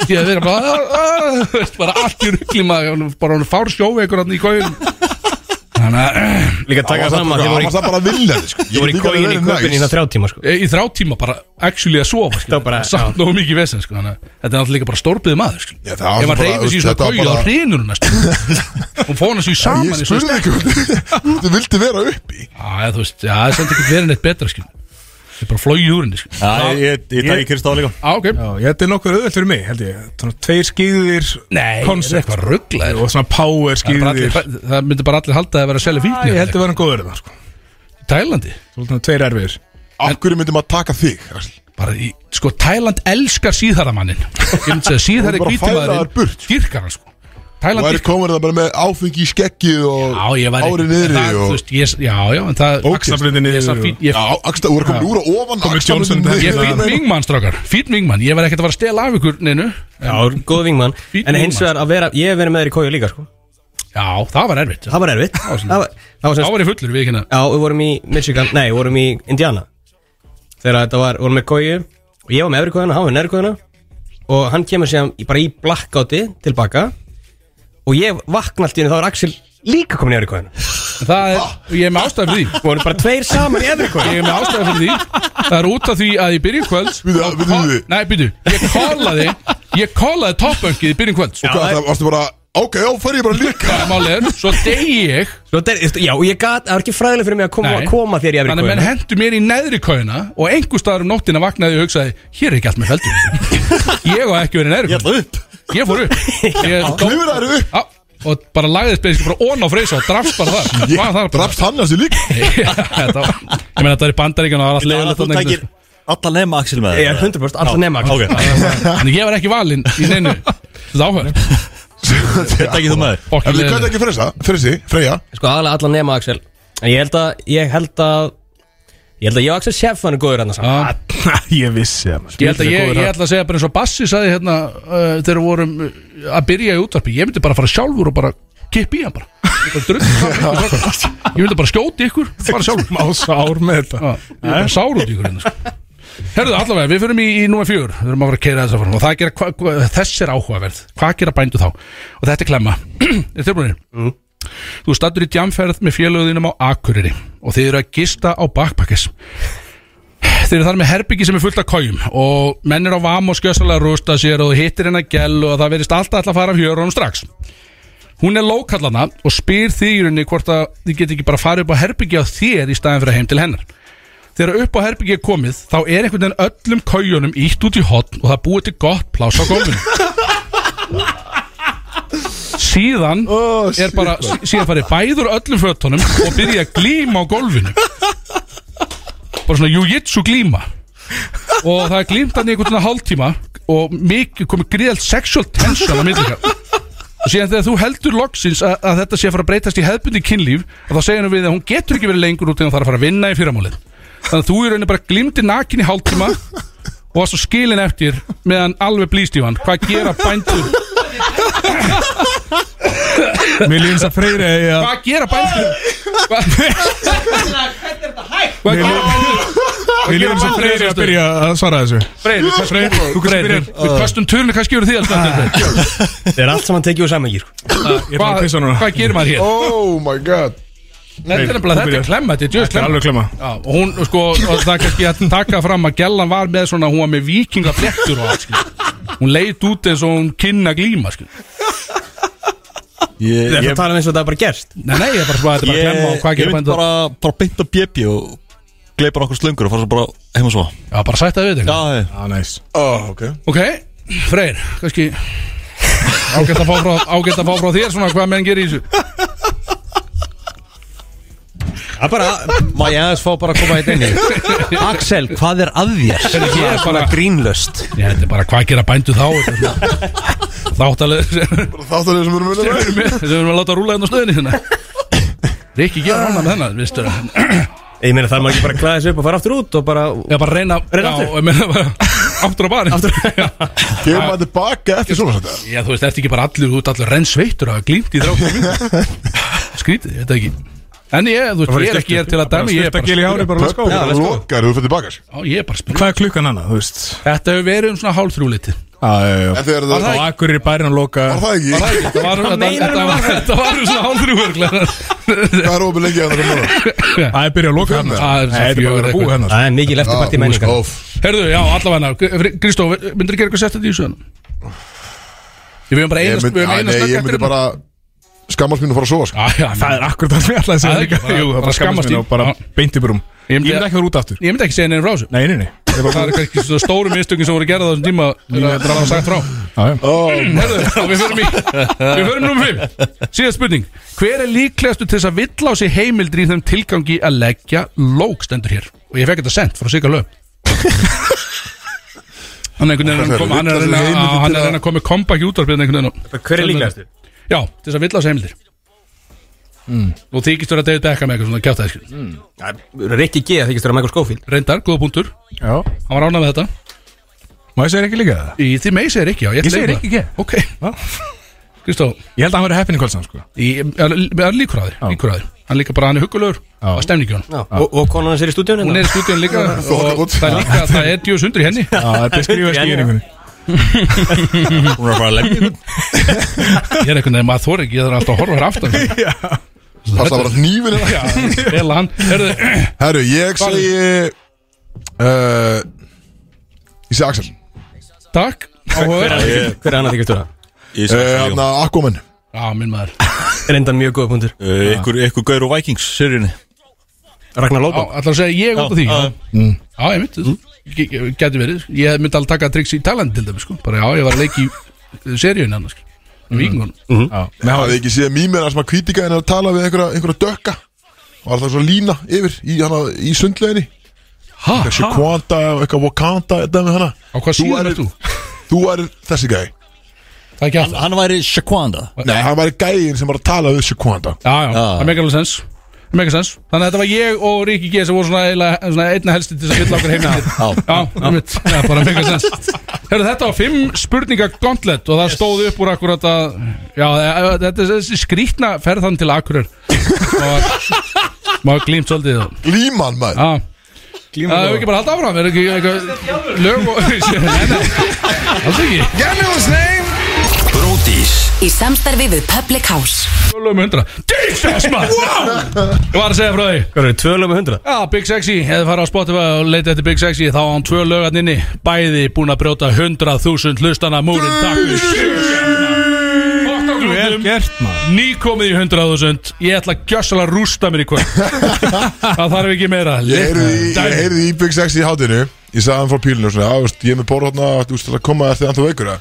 H: Ég hefði verið bara "Ah, ah", þú veist, Bara allt í rugli maður Bara hún fár sjóveikur hann í kóðum Þannig að
D: Líka taka
H: Hann
D: fram að þið
H: var það bara-
D: voru
H: hann var það bara vilja, sko. Ég
D: Þið voru í
H: líka alveg
D: kóin í
H: verið
D: köpun í
H: næs.
D: það þrjá tíma sko
H: eh, Í í þrjá tíma bara actually að sofa skilur.
D: bara-
H: Samt nógu mikið vesen sko, þannig að Þetta er náttúrulega líka bara stórbyði maður skilur.
A: það var
H: Ef maður
A: bara-
H: reyfir sér í
A: þetta
H: svona
A: var
H: kói
A: bara-
H: þá hreinur hún næstu Hún fór hann svo í saman
A: Ég
H: í svona
A: spurði ekki hvort <laughs> Þú vildi vera uppi
H: Já, þú veist, já, það er samt ekki verið neitt betra skil Það er bara flóið úr henni skil
B: Kristá líka
H: Á, ok
B: Já, ég þetta er nokkuð auðvöld fyrir mig, held ég Þannig tveir skýðir
H: Nei,
B: concept.
H: er eitthvað rugglaður
B: Og svona power
H: Það er bara allir-
B: skýðir
H: Það myndi bara allir halda að það vera að selja fíknir
B: Ég held að vera hann góður þetta, sko
H: Tælandi
B: Svona tveir erfiðir
A: Akkur myndi maður taka þig
H: Bara í, sko, Tæland elskar síðharamannin Ég myndi segja síðhari
A: Hún bara fæla þær
H: kvítumæðurinn Dyrkar hann sko
A: Þú
H: Tæland
A: væri
H: dyrkar
A: komin það bara með áfengi í skeggið og
H: Já, ég væri
A: árið
H: en það,
A: niðri
H: þú
A: og
H: veist, ég, Já, já, en það
A: Ógeðslegt.
B: Axlablindi
H: Ég er
B: niður
H: samt fín- ég-
A: Já, axla, þú er komin úr að ofan
B: Komið Johnson hérna.
A: axlablöndin
H: Ég
B: Ég-
H: er fýtt
A: niður.
H: vingmann, strákar Fýtt vingmann, ég var ekkert að fara að stela af ykkur neinu
D: Já, góð vingmann
H: Fínn
D: En hins
H: vingmann.
D: vegar að vera, ég hef verið með þér í kói líka sko
H: Já, það var erfitt
D: Það var erfitt Það var- það var
H: Þá
D: sem
H: var ég fullur við ekki hérna.
D: Já, við vorum í Michigan, nei, við vorum í Indiana Þegar þetta var, vorum með kói Og ég var með efri kóina, hann var með neðri kóina Og hann kemur síðan í- bara í blackouti tilbaka Og ég vakna allt í henni, þá er Axel líka komin í efri kóina
H: Það er, ég er með ástæði fyrir því
D: Við vorum bara tveir saman í efri
H: Ég
D: <laughs> kóina
H: er með ástæði fyrir því Það er út af því að í byrjun kvölds
A: Við- við- við- við-
H: Nei, byrju, ég kallaði Ég kallaði toppöngið í byrjun kvölds
A: Og hvað, það varstu bara Ok, já, fer ég bara líka
H: Það er málið, svo degi ég
D: Svo þetta er- Já, og ég gat, það var ekki fræðileg fyrir mig að koma,
H: Nei.
D: að koma þér í efri
H: Þannig að menn
D: kóina
H: hendur mér í neðri kóina Og einhver staðar um nóttina vaknaði og hugsaði Hér er ekki allt með feldur Ég var ekki verið í neðri
J: Ég ætla
H: kóina
J: upp
H: Ég fór upp Ég dó
A: Klifur það eru upp
H: Já, og bara lagðist basically bara ón á freysa og drafst bara það Hvað
A: Ég
H: það bara
A: drafst hann að
H: <laughs>
A: sér líka
H: Þetta var- Ég meina þetta var í bandaríkjana og það var allt
J: Þannig að
H: leiðilegt
J: þú takir
H: þarna einhvern veginn,
J: alla nema Axel með
D: Ég er 100% alltaf nema <laughs> Axel
J: Ok,
H: sko. En ég var ekki valinn í neinu Þetta áhverð
A: Þetta
J: takir þú með þér
A: En við kvæðum ekki freysa, freysi, freyja
D: Sko aðalega allan nema Axel En ég held að Ég held að Ég held að ég og Axel Sjefan er góður hann saman
J: Ah,
H: Já.
B: Ég vissi það maður.
H: Ég held að ég,
B: Góður
H: ég
B: að-
H: ætla að segja bara eins og Bassi sagði hérna uh, þegar við vorum uh, að byrja í útvarpi ég myndi bara fara sjálfur og bara kippa í hann bara, Ég bara drukka, ég myndi bara skjóti ykkur bara sjálfur
B: Má sár með þetta
H: Já, sko. ég er bara sár út í ykkur hérna sko. Herðu allavega, við förum í, í númer fjör við erum að fara að keira þess að fara og það gera, hva, hva, þess er áhugaverð, hvað gera bændu þá og þetta er klemma, <clears throat> er þið búinir? Þú stattur í djamferð með félögðinum á Akureyri og þið eru að gista á bakpakkis Þeir eru þar með herbyggi sem er fullt af kójum og menn eru á vam og skjössalega rústa sér og þú hittir hennar gæl og það verist alltaf alltaf að fara af hjörunum strax. Hún er lókallana og spyr þig í rauninni hvort að þið geti ekki bara farið upp á herbyggi á þér í staðin fyrir heim til hennar. Þegar upp á herbyggi er komið þá er einhvern veginn öllum kójunum ítt út í hotn og það búið til gott pláss á gólfinu. Síðan er bara, sí- síðan farið bæður öllum fötunum og byrja að glíma á gólfinu bara svona jujitsu glíma og það er glímdan í einhvern svona hálftíma og mikið komið gríðalt sexual tension á myndlika og síðan þegar þú heldur loksins að, að þetta sé að fara að breytast í hefðbundi kynlíf og þá segir hann við að hún getur ekki verið lengur út en hún þarf að fara að vinna í fyrramálið þannig að þú í rauninni bara glímdi nakin í hálftíma og varst svo skilin eftir meðan alveg blístífan hvað gera bændur
B: Mér líðins að freyri að ég
H: hvað gera bændur hvað hvað gera bændur
B: Mér líðins að freyri að byrja að svara þessu
H: Freyr, Freyr, þú Freyr, við kastum turni, hvað skifur þig alltaf?
D: Þetta er allt saman tekið úr saman gír sko.
B: Ah, Ég er bara að pissa núna
H: Hvað gerir maður hér?
A: Oh my god
H: Þetta er nefnilega, þetta er klemma, þetta er djöðs
B: Þetta er
H: klemma
B: alveg klemma
H: Já, og hún, sko, og það er kannski að taka fram að Gellan var með svona, hún var með vikingaflettur og allt, skil Hún leit út eins og hún kynna glíma, sko. skil
J: Ég-
D: Þetta er
J: ég-
D: að tala um eins og þetta er bara gerst
H: Nei, nei, ég er bara, bara, þetta er bara klemma og
J: Ég
H: hvað
J: ég
H: gerir
J: myndi
H: bændur
J: bara bara beint á bjöbbi og gleipar okkur slöngur og fara svo bara heim og svo
H: Já, bara sætta við þetta
J: Já,
D: Ah,
B: Já, næs
A: Oh, ok
H: hérna. Ok, Freyr, kannski ágætt að fá frá, ágætt að fá frá þér svona hvað menn gerir í þessu
D: Það er bara
M: Má ég aðeins fá bara að koma hérna inn í Axel, hvað er að þér?
H: Ég er bara,
M: grínlöst
H: já, þetta er bara hvað gera bændur þá þetta er svona Þáttalega
A: Þáttanir sem eru
H: Þeir
A: með
H: eru með- þeir eru að láta rúla hérna á stöðinni hérna Rikki gera hana með hennar, viðstu
D: Ég meina þarf maður ekki bara að klæða þessu upp og fara aftur út og bara
H: Já, bara reyna
D: Reyna
H: já,
D: aftur.
H: ég meina bara, <laughs> Aftur á barinn aftur. <laughs> Já.
A: Kemur maður tilbaka eftir svona þetta
H: já, þú veist, ertu ekki bara allir Þú ert allir rennsveittur að hafa glímt í þrjá
G: <laughs>
H: Skrítið, ég veit það ekki En ég, þú veist, ég er ekki ég er til að dæmi Ég er
B: Styrta gil í
H: bara,
B: hári bara let's go
A: Pöppur lokar, þú fyrir tilbaka
H: já, ég er bara spyr
B: Hvað er klukkan annað, þú veist?
H: Þetta hefur verið um svona hálf þrjúleiti
G: En
A: þegar
G: það Á Akureyri bærin að loka Var
A: það ekki?
G: Var það ekki?
H: Þetta var- Hvað þetta- meinar þetta var- hann? þetta var um svona hálfrúður
A: Hvað er opið lengi að það koma?
G: Það er byrjað að loka hann
H: Það er
G: Það er bara að vera búið hennar
D: Það er mikið
G: eftirparti menningar.
H: Herðu, já, allavega Kristó, myndir þú gera eitthvað sett að því þessu hann? Við höfum bara
A: Ég
H: eina
A: myndi-
H: við
A: Æ,
H: höfum eina
A: nei,
H: snögg
A: ég myndi
H: eftir hérna.
A: bara skammast mín og fara að sofa sko.
G: Það er akkurat það sem ég ætlaði að
H: Það
G: segja
H: er
G: líka
H: ekki bara-
G: Jú, það
H: bara
G: bara skammast
H: skammast
G: mín og bara beint í brum Ég myndi ekki að vera út aftur
H: Ég myndi ekki segja neina frá þessu
G: Nei, nei, nei
H: Það er bara- það er kannski svona stóru mistökin sem voru gerða á þessum tíma Það er bara sagt frá Herðu, já, við förum í Við förum nummer 5 Síðan spurning Hver er líklegastu til þess að vill á sig heimildri í þeim tilgangi að leggja lók stendur hér Og ég fekk þetta sent frá Sigga Löf Hann er einhvern veginn að koma- hann er að reyna að- hann er að reyna að koma kompakt í útvarpið hérna einhvern veginn
D: Hver er líklegastur?
H: Já, til þess að vill á sig heimildir
G: Mm.
H: Nú þykist þú að deyta ekka með eitthvað svona kjátaði
D: Rikki G þykist vera Michael Schofield
H: Reyndar, góða punktur
G: Já
H: Hann var ánað með þetta
G: Má ég segja ekki líka það?
H: Í því megi segir ekki, já
G: Ég segir ekki
H: ekki
G: ekki
H: Ok Kristó
G: Ég held að hann verið heppin í kvöldsam sko
H: Í- er- er líkur að þér, líkur að þér Hann líka bara, hann er hugulegur á stemningu hann
D: Og, og konan hans er í stúdíunni
H: Hún er í
G: <laughs>
H: stúdíun líka og það er líka, það er djús undir í henni Já,
G: það beskrifa skýringunni.
H: Hún er að fara að lemja Ég er einhvern veginn, maður þóri ekki, ég þarf alltaf að horfa
G: <laughs>
H: hér aftan
A: Passa bara hnífinn hérna.
H: Já, vel hann Herðu,
A: Herru, ég
H: Hvað-
A: segi uh, Ég segi Axel
H: <clears throat> Takk
D: Hver
H: áhugaverð.
D: er- hver er annar þykist vera?
A: Ég segi Axel Þannig að Eh, hérna, Aquaman
H: Já, minn maður
D: Reyndan mjög góða punktur
J: Uh, ykkur, ykkur gaur og Vikings, sérjunni
D: Ragnar
H: Já, ætlar að segja ég út af því Já, Mm. Já, ég myndi, geti verið Ég myndi alveg taka triks í Thailand til þeim, sko Bara já, ég var að leiki í eh, seríunni annars, sko Í vikingunum
A: Ég hafði ekki séð mýmið þar sem að kvítika henni að tala við einhverja, einhverja dökka Var það svo lína yfir í, hana, í sundleginni
H: Ha,
A: Þessi kvanta og eitthvað wakanda Þetta með hana
H: Á hvað síðan ert þú?
A: Þú er þessi gæi
H: Það er ekki alltaf
J: Hann væri Shaquanda
A: Nei, hann var gæin sem var að tala við Shaquanda
H: Já, já, það meikar alveg sens Það meikar sens Þannig að þetta var ég og Ríkki G sem voru svona, eiginlega- svona einna helsti til þess að fylla okkar heimildir
J: Já.
H: <laughs> Já, það mitt, já, bara meikar <laughs> sens Hörru, þetta var fimm spurninga gauntlet og það stóð upp úr akkurat að Já, e- þetta er þessi skrýtna ferðan til <laughs> Akurur og maður glýmt svolítið þá
A: Glíman maður
H: Já Það hefur ekki bara haldið áfram, er ekki eitthvað lög og... <laughs> Nei, nei, alls ekki.
N: Bródís
F: Í samstarfi við Public House
H: Lög með hundra. Jesus, maður! Wow! Ég var að segja frá því.
D: Hvað er tvö lög með hundra?
H: Já, Big Sexy, hefði farið á Spotify og leitið eftir Big Sexy þá á hann tvö lögarn inni, bæði búin að brjóta 100.000 hlustana múrin
G: Vel
H: takk
G: gert maður
H: Nýkomið í 100.000 Ég ætla að gjössalega rústa mér í kvöld Það þarf ekki meira
A: Ég heyrði í-
H: Dæmi.
A: ég heyrði í Big Sex í hátinu Ég sagði hann frá pílinu og svona "Já, veist, Ég er með bóra hátna, þú veist til að koma þegar hann þá veikur eða?"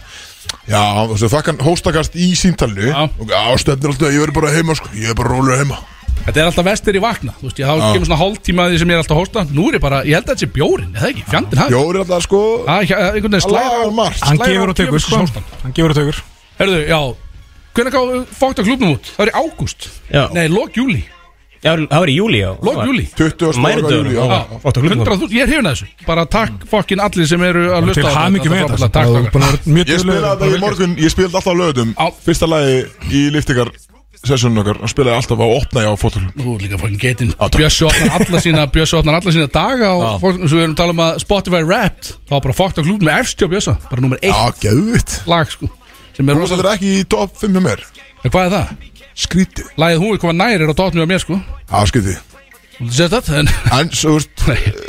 A: Já, þú veist, það fæk hann hóstakast í síntalinu Og á, stefnir alltaf, ég verður bara heima sko Ég er bara rólega heima
H: Þetta er alltaf vestir í vakna Þú veist, ég þá
A: Já.
H: kemur svona hálftíma að því sem ég er alltaf að hósta Nú er ég bara, ég held að þetta sé bjórin, eða ekki, fjandinn hann
A: Jóri alltaf sko
H: Það er eh, einhvern veginn
A: Lagar
H: slæra
A: margt.
G: Hann gefur og tekur sko
H: hóstan
G: Hann gefur og tekur
H: Herðu, já, hvernig fókt að klubnum út? Það er í ágúst
D: Já.
H: Nei, lók júli
D: Já, það var í júli, já
H: Lók júli
A: 20. okkar
D: Mænudagur.
A: júlí, já,
H: Já,
A: já.
H: 100.000, ég er hefna þessu Bara takk fokkin allir sem eru að
G: Til
H: lusta
G: hamingi með þetta
H: Takk
G: Það er
H: okkar
G: búin að vera mjög
A: Ég
G: duglegur.
A: spilaði þetta í morgun, ég spilaði alltaf á lögutum
H: Á.
A: Fyrsta lagi í liftikar sessjónu okkar Hann spilaði alltaf á opna ég á fótölum
H: Þú er líka fokkin getinn Bjössi opnar alla sína
D: <laughs>
H: Bjössi opnar alla sína daga Og fólk, svo við erum að tala um að Spotify Wrapped Það var bara fokkt að klúpa með efstjá Bjössa Bara nummer
A: Já,
H: eitt
A: geðvitt
H: lag sko Sem er
A: Þú veist
H: rosa
A: þetta er ekki í top 5 hjá mér
H: En Hvað er það?
A: Skrítið
H: Lagið hún er koma næri er á dotnum á mér sko
A: Já, skrítið
H: Sér þetta en
A: En, svo veist
H: <laughs> Nei.
A: Eh,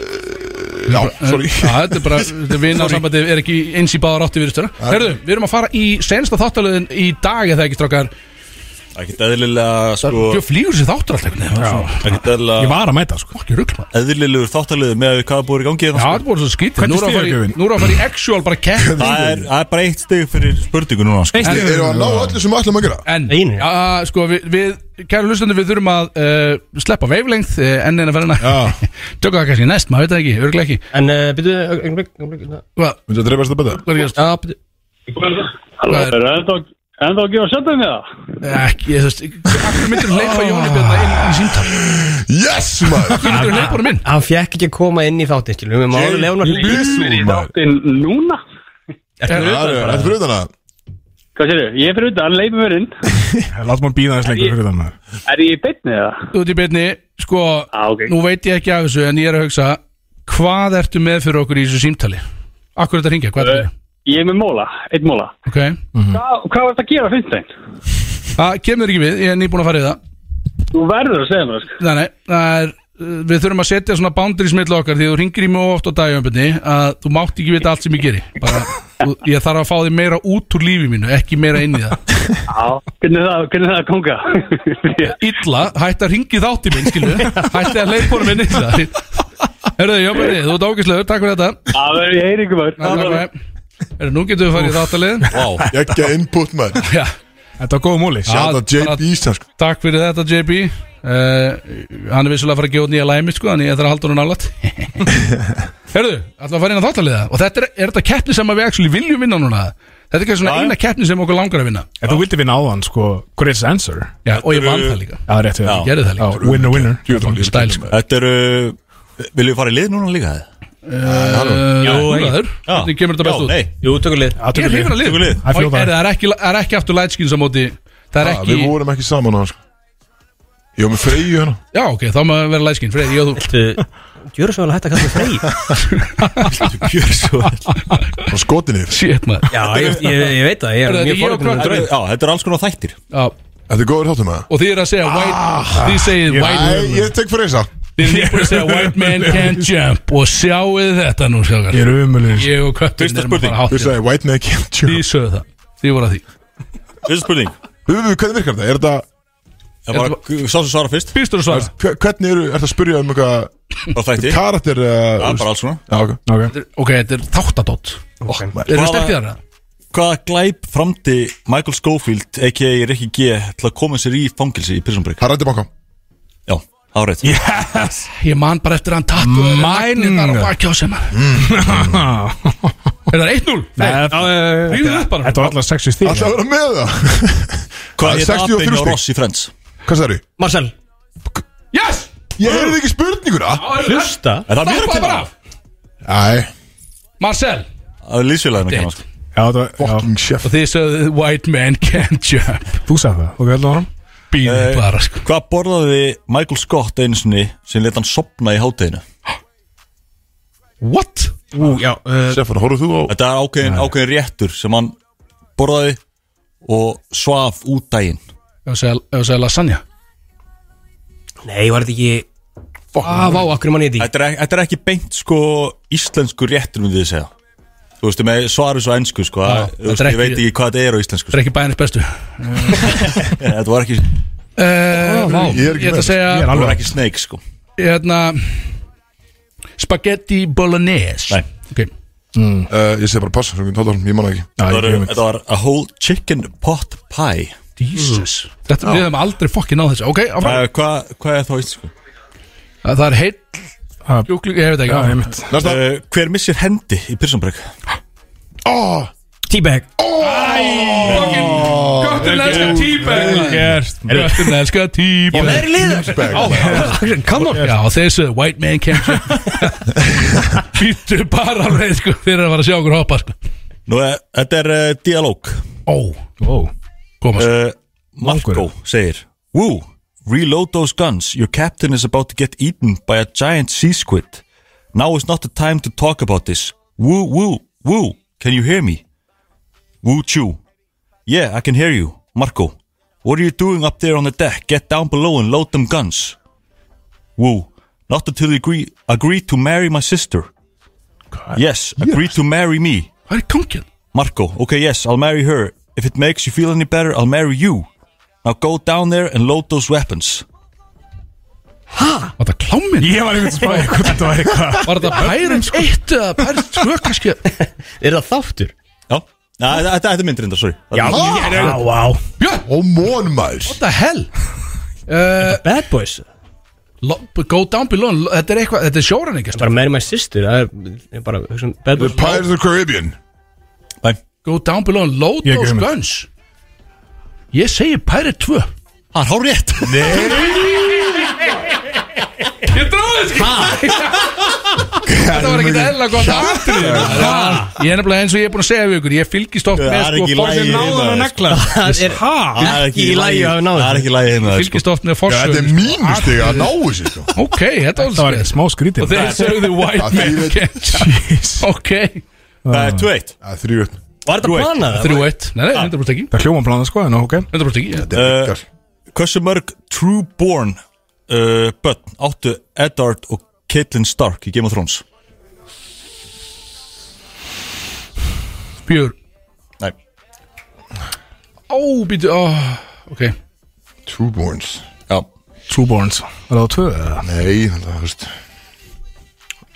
H: Eh,
A: Já, sorry
H: Já, þetta er
A: <laughs>
H: bara, þetta er vinn á sambandi er ekki eins í báðar átti virðistöra Herðu, við erum að fara í sensta þáttalöðin í dag eða ekki strákar
J: Ekkert eðlilega sko
H: Þú flýgur sér þáttur alltaf einhvern veginn Já,
J: Ekkert
G: Ég
J: eðlilega
G: var að mæta sko
H: ekki rugg maður
J: eðlilegur þáttalegur með að við hvað búið í gangi
H: Já,
J: hérna,
H: það voru svo skrítið Nú
G: Hvernig
H: er að fara í-
G: stigagjöfin?
H: nú erum við að fara í actual bara
J: sko.
H: kepp
J: Það er, það er bara eitt stig fyrir spurningu núna sko.
G: Eitt
A: Erum við að ná öllu sem við ætlum að gera?
H: En,
D: Einu.
H: já, sko, við, við kæru hlustandi, við þurfum að uh, sleppa veifelengð uh, enn eina ferðina <laughs> Tökum það kannski næst, maður veit það ekki, örgulega ekki
D: En uh, byrju,
H: Hvað,
A: Myndi að dreifast það betur?
H: hvað er gerst?
D: já, byrju
H: Hvað er,
O: Enda að gefa sjöndum í það?
H: ekki, ég þú veist Akkur myndir leifa Jóni Björna inn í símtal
A: Yes, maður
H: Akkur myndir leifa honum inn
D: Hann fekk ekki að koma inn í þáttinn, skilum við máli lefna
A: Bísum, maður
O: núna?
A: Það er þetta fyrir utan að
O: Hvað sér Ég er fyrir utan, leifum mér inn.
G: Látum hann býða aðeins lengur fyrir þannig
O: Er ég í beinni eða?
H: Þú ert í beinni, sko,
O: Á, ok.
H: nú veit ég ekki af þessu En ég er að hugsa, hvað ertu með fyrir okkur í þessu símtali? Akkur þetta hringja, hvað er þetta?
P: Eh, Ég er með móla, eitt móla
H: Ok
P: Hva, Hvað var þetta að gera fyrst einn?
H: Það kemur ekki við, ég er nýbúin að fara í það
P: Þú verður að segja mér það, sko.
H: Nei, nei, það er uh, Við þurfum að setja svona boundaries mittla okkar Því þú ringir í mjög oft á dagjömbunni Að þú mátt ekki vita allt sem ég geri Bara, þú- Ég þarf að fá þig meira út úr lífi mínu Ekki meira inn í það
P: Já, hvernig það, hvernig það konga?
H: <laughs> Illa, hætti að ringi þátti minn, skilu Hætti að leið bóra minn illa Herðu, já, bara þið, þú ert ágæslegur, takk fyrir þetta
P: Já, það er í heyringum
H: maður Herðu, nú getum við farið í þáttalið
A: Vá. Geggja input, maður
H: Já
Q: Þetta var góð múli
A: Shout out JB Ísland sko.
H: Takk fyrir þetta JB uh, Hann er vissulega að fara að gefa út nýja læmi sko, Þannig ég þarf að halda
Q: <laughs>
H: hún nálat Herðu, ætlum að fara inn á þáttaliða Og þetta er, er þetta keppni sem að við actually viljum vinna núna Þetta er ekki svona eina keppni sem okkur langar að vinna
Q: En þú vildi vinna á hann, sko, Chris Answer
H: Já, og ég vann það líka
Q: Já, rétt við
H: Ég gerði það líka.
Q: Winner, winner
H: Stæl, sko.
J: Þetta eru Viljum við fara í lið núna líka?
H: Uh, Jú, húraður Hvernig kemur þetta best út?
D: Jú, tökum lið
H: Ég er hrifin að lið
Q: Það er
H: Og
Q: fljótað.
H: er- Það er ekki- það er ekki aftur lightskins á móti Það
A: Ah,
H: er ekki
A: Við vorum ekki saman á hann sko. Ég var með Freyju hérna
H: Já, ok, þá maður vera læskinn Freyr, ég og þú
D: Gjöru svo vel að hætta að kalla
H: Freyr
J: Gjöru svo
A: Og skotinni
H: <laughs> Shit maður
D: Já, ég, ég, ég veit það, ég er
H: Þetta er
D: mjög
H: ég og
D: fórhættur
H: Krökkur.
J: Já, þetta eru alls konar þættir
H: Já
A: Þetta er góður þáttum að
H: Og þið er að segja
Q: Ah,
H: white Þið segið white
A: Nei, ég tek Freysa
H: Þið erum nýbúin að segja White
Q: <laughs>
H: man can't jump Og sjáuð þetta nú sjákar
Q: Ég er umulur
H: Ég og köttin erum að fara hátt
A: Þú sagði white man can't jump
H: Þið sögðu það Þið voru að því
J: Fyrsta spurning
A: Við veitum hvernig virkar þetta Er þetta
J: Það er bara Sá sem svara fyrst
H: Fyrst og svara
A: hver- Hvernig eru Er þetta að spyrja um eitthvað
J: Bara þætti.
A: Karakter
J: Já, bara alls svona
A: Já, ok
Q: Ok
H: Ok, þetta er þáttadótt Erum við sterkið þarna?
J: Hvaða glæp framdi Michael Schofield a.k.a. Ricky G til að koma sér í fangilsi í Pilsenbrygg?
A: Hann rætti banka
J: Já, það var rétt
Q: Yes
H: Ég man bara eftir hann tattu
Q: Mann.
H: Mænirnar á bakkjá sem hann <laughs> Er það 1-0?
Q: Mm. Nei, þetta-
H: Rífið upp bara
Q: Þetta var alltaf sexy stíl
A: Alltaf að vera með það
J: Hvað er
A: 63
J: apinn á
A: stig.
J: Ross í Friends?
A: Hvað sagði
D: Marcel
H: Yes!
A: Ég heyrði ekki spurninguna
D: Hlusta
J: Er það mér að
H: Stoppa
J: kenna?
H: bara af.
A: Æ
H: Marcel
J: Það er lýsfélagin að kenna sko.
Q: Já, þetta var já,
A: Fucking chef
H: Og þið sögðu White man can't jump
Q: Þú sagði það, ok, Eh, heldur áram
H: Býðið bara sko
J: Hvað borðaði Michael Scott einu sinni sem leta hann sopna í hátteginu?
H: What?
D: Ú, já
Q: eh,
D: uh,
A: Stefán, horfðu þú á
J: Þetta er ákveðin, ákveðin réttur sem hann borðaði og svaf út daginn
H: Ef að segja- ef að segja lasagna
D: Nei, var þetta ekki Hvað vá, akkur mann ég þetta ekki
J: Þetta er, þetta er ekki beint sko íslensku réttur myndi ég segja Þú veistu með svarið svo ennsku sko
H: Já,
J: að, þú
H: þetta
J: veist, Ég
H: er
J: veit
H: ekki-
J: ekki hvað þetta er á íslensku
H: Það
J: sko.
H: er ekki bæðinist bestu
J: <laughs> Þetta var ekki,
H: Eh, vá,
A: Ég er ekki
H: Ég ætla
A: með.
H: að segja
Q: Ég er
J: þetta var
Q: alveg
J: ekki snake sko
H: hérna Spaghetti bolognese
J: Nei.
H: Ok,
A: uh, Ég segi bara pass Ég manna ekki
Q: Já,
J: Þetta
Q: ég
J: var,
Q: glemir
J: þetta var a whole chicken pot pie
H: Jesus Þetta, Við höfum aldrei fokkin á þessu Ok, áfram. Eh,
J: Hvað hvað er þá íslensku?
H: það er heill
Q: Það-
H: Júkling, ég veit ekki
Q: Já,
H: áfram.
Q: ég mitt
A: Næsta
J: Uh, hver missir hendi í Pyrsunbrygg?
A: Ó
D: T-bag
H: Kötturinn elskar
Q: Gert
H: tíber Kötturinn elskar tíber Ég meðri liður Come on Já, þessu white man <laughs> can't Býttu bara alveg sko Þeir eru að fara að sjá okkur hoppa sko
J: Nú, eh, þetta er uh, dialóg
H: Ó,
Q: Wow
H: koma sko
J: uh, Marco segir Woo, reload those guns Your captain is about to get eaten by a giant sea squid Now is not the time to talk about this Woo, woo, woo Can you hear me? Woo chew Yeah, I can hear you, Marco What are you doing up there on the deck? Get down below and load them guns Woo, not until you agree, agree to marry my sister Yes, agree to marry me
H: Hvað er hérna? kongin?
J: Marco, okay, yes, I'll marry her. If it makes you feel any better, I'll marry you. Now go down there and load those weapons.
H: Var það kláminn?
Q: Ég var einmitt spæði hvað þetta væri hvað
H: Var það Pirates 1 eða Pirates 2 kannski?
D: Er það þáttur?
J: Já, Nei, þetta- þetta þetta er myndir enda, sorry. Já.
D: Já, vá
H: Björn,
A: Ó món maður
H: what the hell? Uh,
D: Bad Boys
H: Lo- Go down below and lo- Þetta er eitthvað, þetta er sko. sjóran ekki
D: Bara Mary My Sister Það er ég bara hugsa um Bad Boys
A: Pirates of the Caribbean
J: Nei,
H: Go down below and load
Q: Ég er
H: those
Q: gömul.
H: guns Ég segi Pirate 2
J: það er hár rétt. Nei.
H: Ég dráði þessi Þetta var ekkert eðla gott atrið Ég er nefnilega eins og ég er búin að segja við ykkur Ég fylgist oft
J: Það
H: með
J: er
H: sko
J: ekki í
H: forsögu-
J: lagi
H: náðum
J: hérna,
H: að negla.
D: <laughs> Það er
J: Það er ekki í lagi,
D: að við náðum
J: það er ekki í lagi hérna, sko.
H: Fylgist oft með
A: Já,
H: forsögu
A: Þetta er
R: Ah.
A: mínustig að ná þessu
R: <laughs>
A: sko.
H: Ok, þetta var
Q: Það var
H: alveg
Q: ekkert smá
H: Og
Q: skrítið
H: þeir sögðu
A: Já,
H: white
A: því
H: man
A: veit-
H: can't jump. Ok
J: Það er 2-1
A: 3-1
D: Var þetta planað?
H: 3-1 Nei, nei, 100% ekki
R: Það hljóma planað sko, en ok Eh,
H: 100% ekki
J: Uh, Hversu mörg Trueborn uh, börn áttu Eddard og Caitlyn Stark í Game of Thrones?
H: Fjör
J: Nei
H: Ó, býtu, ó Ok
A: Trueborns
J: Já
R: Trueborns Er það tvö? eða?
A: Nei, þannig að það veist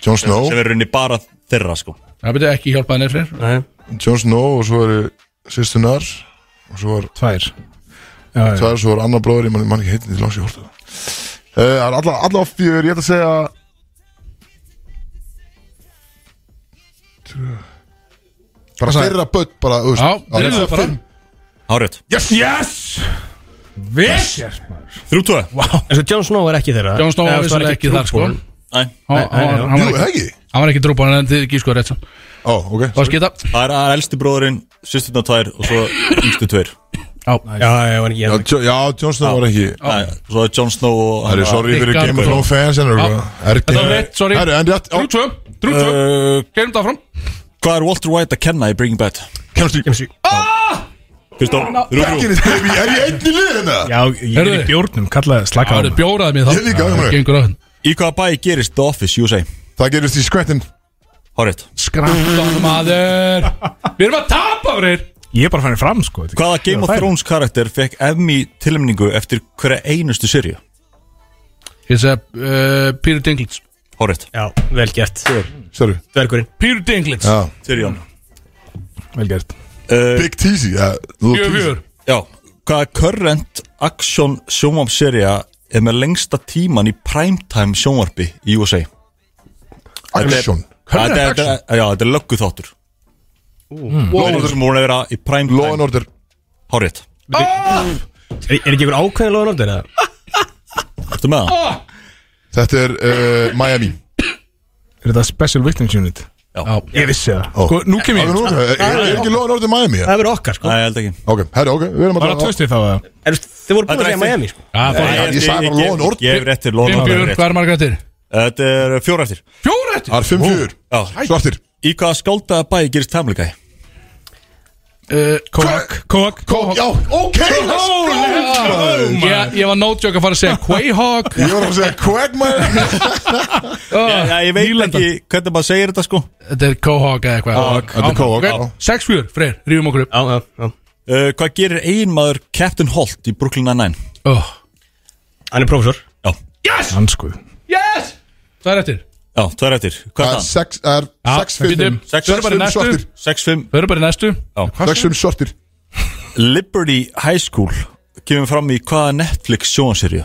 A: Jon Snow
J: Sem verður henni bara þeirra sko
H: Það byrja ekki hjálpað neður fyrir
A: Jon Snow og svo eru sýstunar og svo var
R: Tvær
A: já, já. Tvær, svo var annar bróður, ég man, man ekki heitin í langs í hortu Eh, Það er alla, alla fjör, ég ætla að segja Tvö. Bara
R: sagði-
A: þeirra börn bara, þú veist
R: Já,
A: á,
R: þeirra
A: þeirra
R: bara.
A: fimm.
J: Árið
A: Yes,
R: yes Vissjart
J: 3-2
D: En svo Jon Snow er ekki þeirra
H: Jon Snow
D: Eða,
H: var
D: þú
H: vissulega ekki þar, sko.
D: trúborn.
J: Nei
H: Hann- hann- hann var Jú, ekki- ekki? Hann var ekki drúbáin en þið gískuðu rétt svo
A: Ó, ok
H: Það var skita
J: Það er að elsti bróðurinn, sýsturna tvær og svo yngstu tveir
H: Já,
D: já, já, var ekki
A: Já, Jo- já, Jon Snow var ekki
J: Nei, Svo er Jon Snow og
A: Það eru sorry fyrir Game of Thrones fans en eru
H: sko. Þetta var rétt, sorry
A: Það eru enn rétt Eh,
H: Drú 2 Drú 2 Gerum það fram
J: Eh, Hvað er Walter White að kenna í Breaking Bad? Ah!
A: Kemstri
D: Kemstri
J: Kristof,
A: Bekkirinn, baby, er ég einn í hérna? liðin það?
R: Já, ég er
H: Heyrðu.
R: í bjórnum, kallaði slaka
H: Það eru bjóraðið mér þá
A: Ég líka,
H: Það
A: Hjálmar.
H: gengur hérna. að
J: Í hvaða bæ gerist The Office, USA?
A: Það gerist í skvettin
J: Hárið
H: Skræntan maður Við erum að tapa fyrir
R: Ég er bara fannir fram sko þetta-
J: Hvaða Game
R: Ég
J: of
R: var færin.
J: Thrones karakter fekk Emmy tilnæmningu eftir hverja einustu sirju?
H: Ég segi uh, Peter Dinklage
J: Hárið
D: Já, vel gert
A: Sorry
D: Dvergurinn
H: Peter Dinklage
A: Já
J: Sirjón
R: Vel gert
J: uh,
A: Big Teasy Já, Little
H: Fjögur
A: Teasy
H: fjögur
J: Já, hvaða current action sjónvarpserja er með lengsta tíman í primetime sjónvarpi í USA?
A: Action
J: Current þetta, action? Þetta, já, þetta er löggu þáttur
H: Wow.
J: Það er sem voru að vera í
A: Law and
J: primetime
A: Order
J: Hárið
D: Er, er ekki einhver ákveðin loðan áttur eða?
J: Ertu með það?
A: Þetta er uh, Miami
R: Er þetta Special Victims Unit?
J: Já.
R: Ég vissi það
A: Ó.
R: Sko, nú kem
A: Það
R: ég
A: er nú- Er er ekki Law and Order Miami? ja?
D: Það verður okkar sko
J: Nei, ég held ekki
A: Ok, herri, ok Við erum að
R: Bara tvöstið þá eða?
D: En þú veist, Þið voru búin
J: Þetta er
D: að segja
J: ekki-
D: Miami sko
H: Já, fór-
A: Nei, ég
J: held-
A: sagði bara
J: ég-
A: Law and Order.
J: Ég hef rétt til Law and
H: Fimm
J: Order
H: fjögur
J: rétt.
H: Hvað er margar til?
J: Þetta er fjóra eftir
H: Fjóra eftir
A: Það er fimm fjör
J: Já.
A: Svartir
J: Í hvaða skáldaða bæ gerist Family Guy?
H: Uh,
R: Kóak Kóak
A: Kó- Já, ok let's go. Oh
H: ég, ég var no joke að fara að segja
A: <laughs>
H: Quayhawk
A: Ég var að segja
H: <laughs>
A: Quagmire
J: Já,
H: oh,
J: ég veit
H: Nýlendan.
J: ekki hvernig maður segir þetta sko
H: Þetta er Quayhawk eða eitthvað
A: Þetta er Kóak
H: Ok, Sex fjögur, freyr, rífum okkur upp
D: Já, já, já
J: uh, Hvað gerir eiginmaður Captain Holt í Brooklyn Nine-Nine?
H: oh.
D: Hann er prófessor
J: Já,
R: Hansku
H: Yes! Það er eftir
J: já, það er eftir Hvað
A: Það er
J: er það?
A: sex Það er
H: Já,
A: sex fimm
H: bíddu.
A: Sex
H: Förum bara í
A: fimm
H: næstu.
A: svartir
J: 6-5
H: Förum bara í næstu
A: Sex fimm svartir
J: Liberty High School kemur fram í hvaða Netflix sjónserju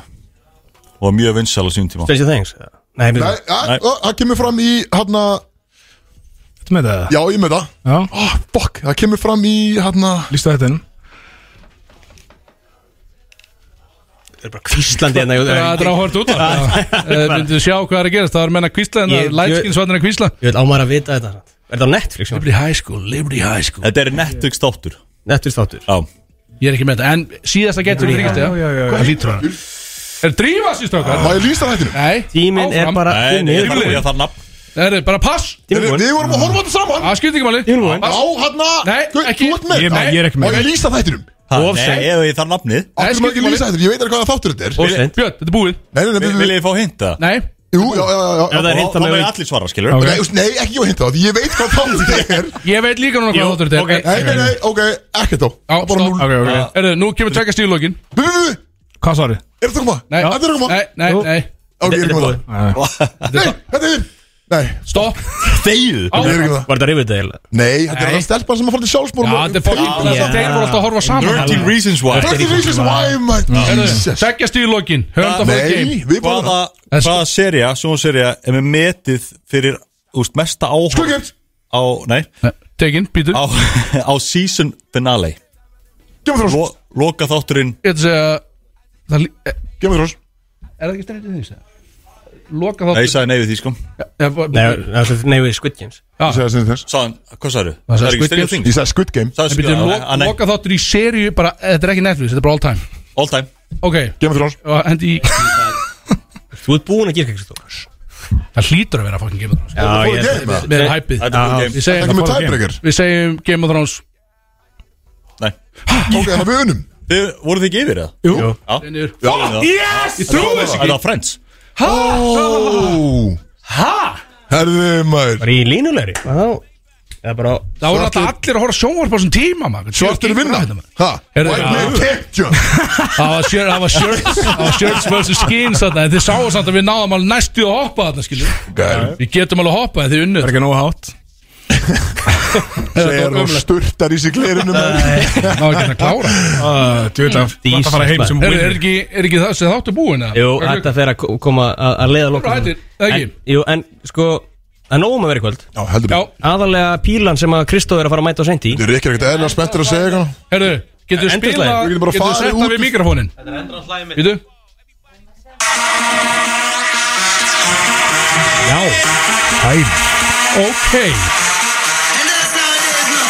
J: og mjög vinsal á sínum tíma
D: Stranger Things eða? Nei,
A: Nei,
D: byrju
A: að- að- Það kemur fram í Hanna
R: Þetta með það?
A: Já, ég með það
R: Já
A: Ah, fuck Það kemur fram í hérna, Hanna
R: Lýstu þetta inn
D: Það er bara kvíslandi hérna
H: Það
D: ég-
H: er áhört út Myndu Eh, sjá hvað er að gerast Það er menna kvísla hérna. en
D: Ég-
H: það Lightskinsvarnir að kvísla
D: Ég vil ámæra að vita þetta samt. Er þetta á Netflix? Jón?
H: Liberty High School, Liberty High School
J: Þetta er Netflix þáttur
D: Netflix þáttur
J: Já,
H: Ég er ekki með þetta En síðasta getur við þrýkist
R: já, já, já.
H: Það lítur hann Er drífa síst okkar?
A: Má ég lýsa hættinu?
H: Nei
D: Tíminn er
H: áfram.
D: bara
J: Nei, nei, ég
D: Tíminn
J: þarf
D: er bara-
J: ég þarf nafn
H: Það eru bara pass
A: Við
D: Tíminn er bara-
A: vorum að horfa á þetta saman
H: Það skiptir ekki máli
D: Tíminn er
A: Á
D: bara-
A: hann
H: Nei, ekki.
A: Þú ert með
R: Ég er með- ég er ekki með.
A: Má ég lýsa þættinum?
J: Ha,
D: Of seint.
J: Nei, eða ég þarf nafnið
H: Nei,
A: Akkur má ekki
H: skiptir
A: lýsa þættinum Ég veit ekki hvaða þáttur þetta er
D: Og seint
H: Björn, þetta er búið
A: Nei, nei, nei,
J: Vil
A: nei,
J: vil
A: nei,
J: ég fá hinta?
H: Nei
A: Jú, já, já, já, já.
D: Ef það er hinta
J: Þá
D: með
J: með allir svara, skilur
R: Ok.
A: Nei, þú veist, nei, ekki ég hinta á því Ég veit hvað þáttur þetta er
H: Ég veit líka núna
D: Jú,
H: hvað þáttur þetta
D: ok.
H: er
A: Nei, nei, nei, ok, ekkert þá
H: Já,
A: Bara
H: stopp.
A: núl
R: Ok, ok
H: Erðu, nú kemur tvekja stílókin
A: Við, við, við,
R: Hvað svarið?
A: er þetta að koma?
H: Nei,
A: Þetta er að koma?
H: nei, nei, nei
A: Ok, ég er ekki með það Nei,
H: Þetta er-
A: þetta er Nei, sko,
H: Stopp
J: Þegið
A: ég er ekki með það
D: Var þetta rifið þetta eiginlega?
A: Nei, þetta er það stelpan sem að fara til sjálfsmórum
H: Já, þetta er fólk
D: Já.
H: Þeir voru alltaf að horfa saman
J: 13 Reasons Why
A: Þetta er reasons why my Jesus
H: Tvekja stílókin Hörnda fór
A: Nei,
H: game
A: við búum
J: Hvaða, hvaða seria, sjónserja er með metið fyrir úst, mesta áhóð
A: Skuggans.
J: á, nei,
H: Tekin, býtu
J: á, <laughs> á season finale
A: Gemma þrós,
J: Lo, Loka þátturinn
H: Ég ætla að segja það lí- eh, Er
A: gemma þrós
H: Ah. það ekki strengt í því? sem? Loka
J: Nei, ég
H: þáttur
J: sagði nei við því sko
H: Já, bara-
D: Nei, það er nei við Squid Games
A: Ég sagði sinni þess
J: Sáðan, hvað sagðu? er
H: sagði Squid
J: ekki Stranger
H: Games.
A: Ég
J: Things
A: sagði Squid Game
J: Sagði
H: En
J: Squid
H: býtu,
J: Games
H: lo-
J: Ah, nei,
H: loka þáttur í seríu bara eh, Þetta er ekki Netflix, þetta er bara all time
J: All time
H: Ok,
A: Gemma þrós
H: og hendi í
D: Þú ert búin að gera eitthvað
H: Það hlýtur að vera fucking Game of Thrones
A: Já,
H: Við-
A: ég-
H: við-
A: með það.
H: Með
A: Nei,
H: hæpið
A: þetta er bara game.
H: Við
A: Þetta er
H: segjum
A: með tiebreaker.
H: Við segjum Game of Thrones
J: Nei
A: Ok, það við unum
J: Þið voruð þið ekki yfir það?
H: Jú.
J: Já
H: Ah, yes! Ég trúi þessu ekki.
J: Það var Friends
H: Hæ?
A: Hæ? Herðu maður
S: Bara í línulegri Það bara
H: Það voru alltaf allir að horfa á sjónvarp á þessum tíma maður.
A: Svartir vinna Hæ?
H: Herðu,
A: White
H: já.
A: man kept you
H: Það var shir- það var shirts Það var shirts versus skins þarna En þið sáu samt að við náðum alveg næstu að hoppa þarna skilju Við getum alveg að hoppa en þið unnur Það er ekki nóg hátt
A: Segir og sturtar í sig glerinu maður
H: Ná ekki að klára
A: Ah,
T: Djúvill að
S: Dísel,
T: að fara heim sem
H: Herðu,
T: winner
H: Er ekki, er ekki það sem þáttu búin? eða?
S: Jú,
H: Er-
S: þetta fer að ko- koma að að leiða lokum
H: Þú hættir, eða ekki?
S: En- Jú, en sko Það er nógum að vera í kvöld
A: Já, heldur
H: Já.
S: Aðalega pílan sem að Kristóð er að fara að mæta á sent í
A: Þú er ekki ekkert eðla spenntur að segja eitthvað
H: Herðu, getur
A: Endurslagið.
H: spila
A: Við getum bara
H: Getur
A: farið
H: setta
A: út.
H: við mikrofónin Getur Já Hæm Ok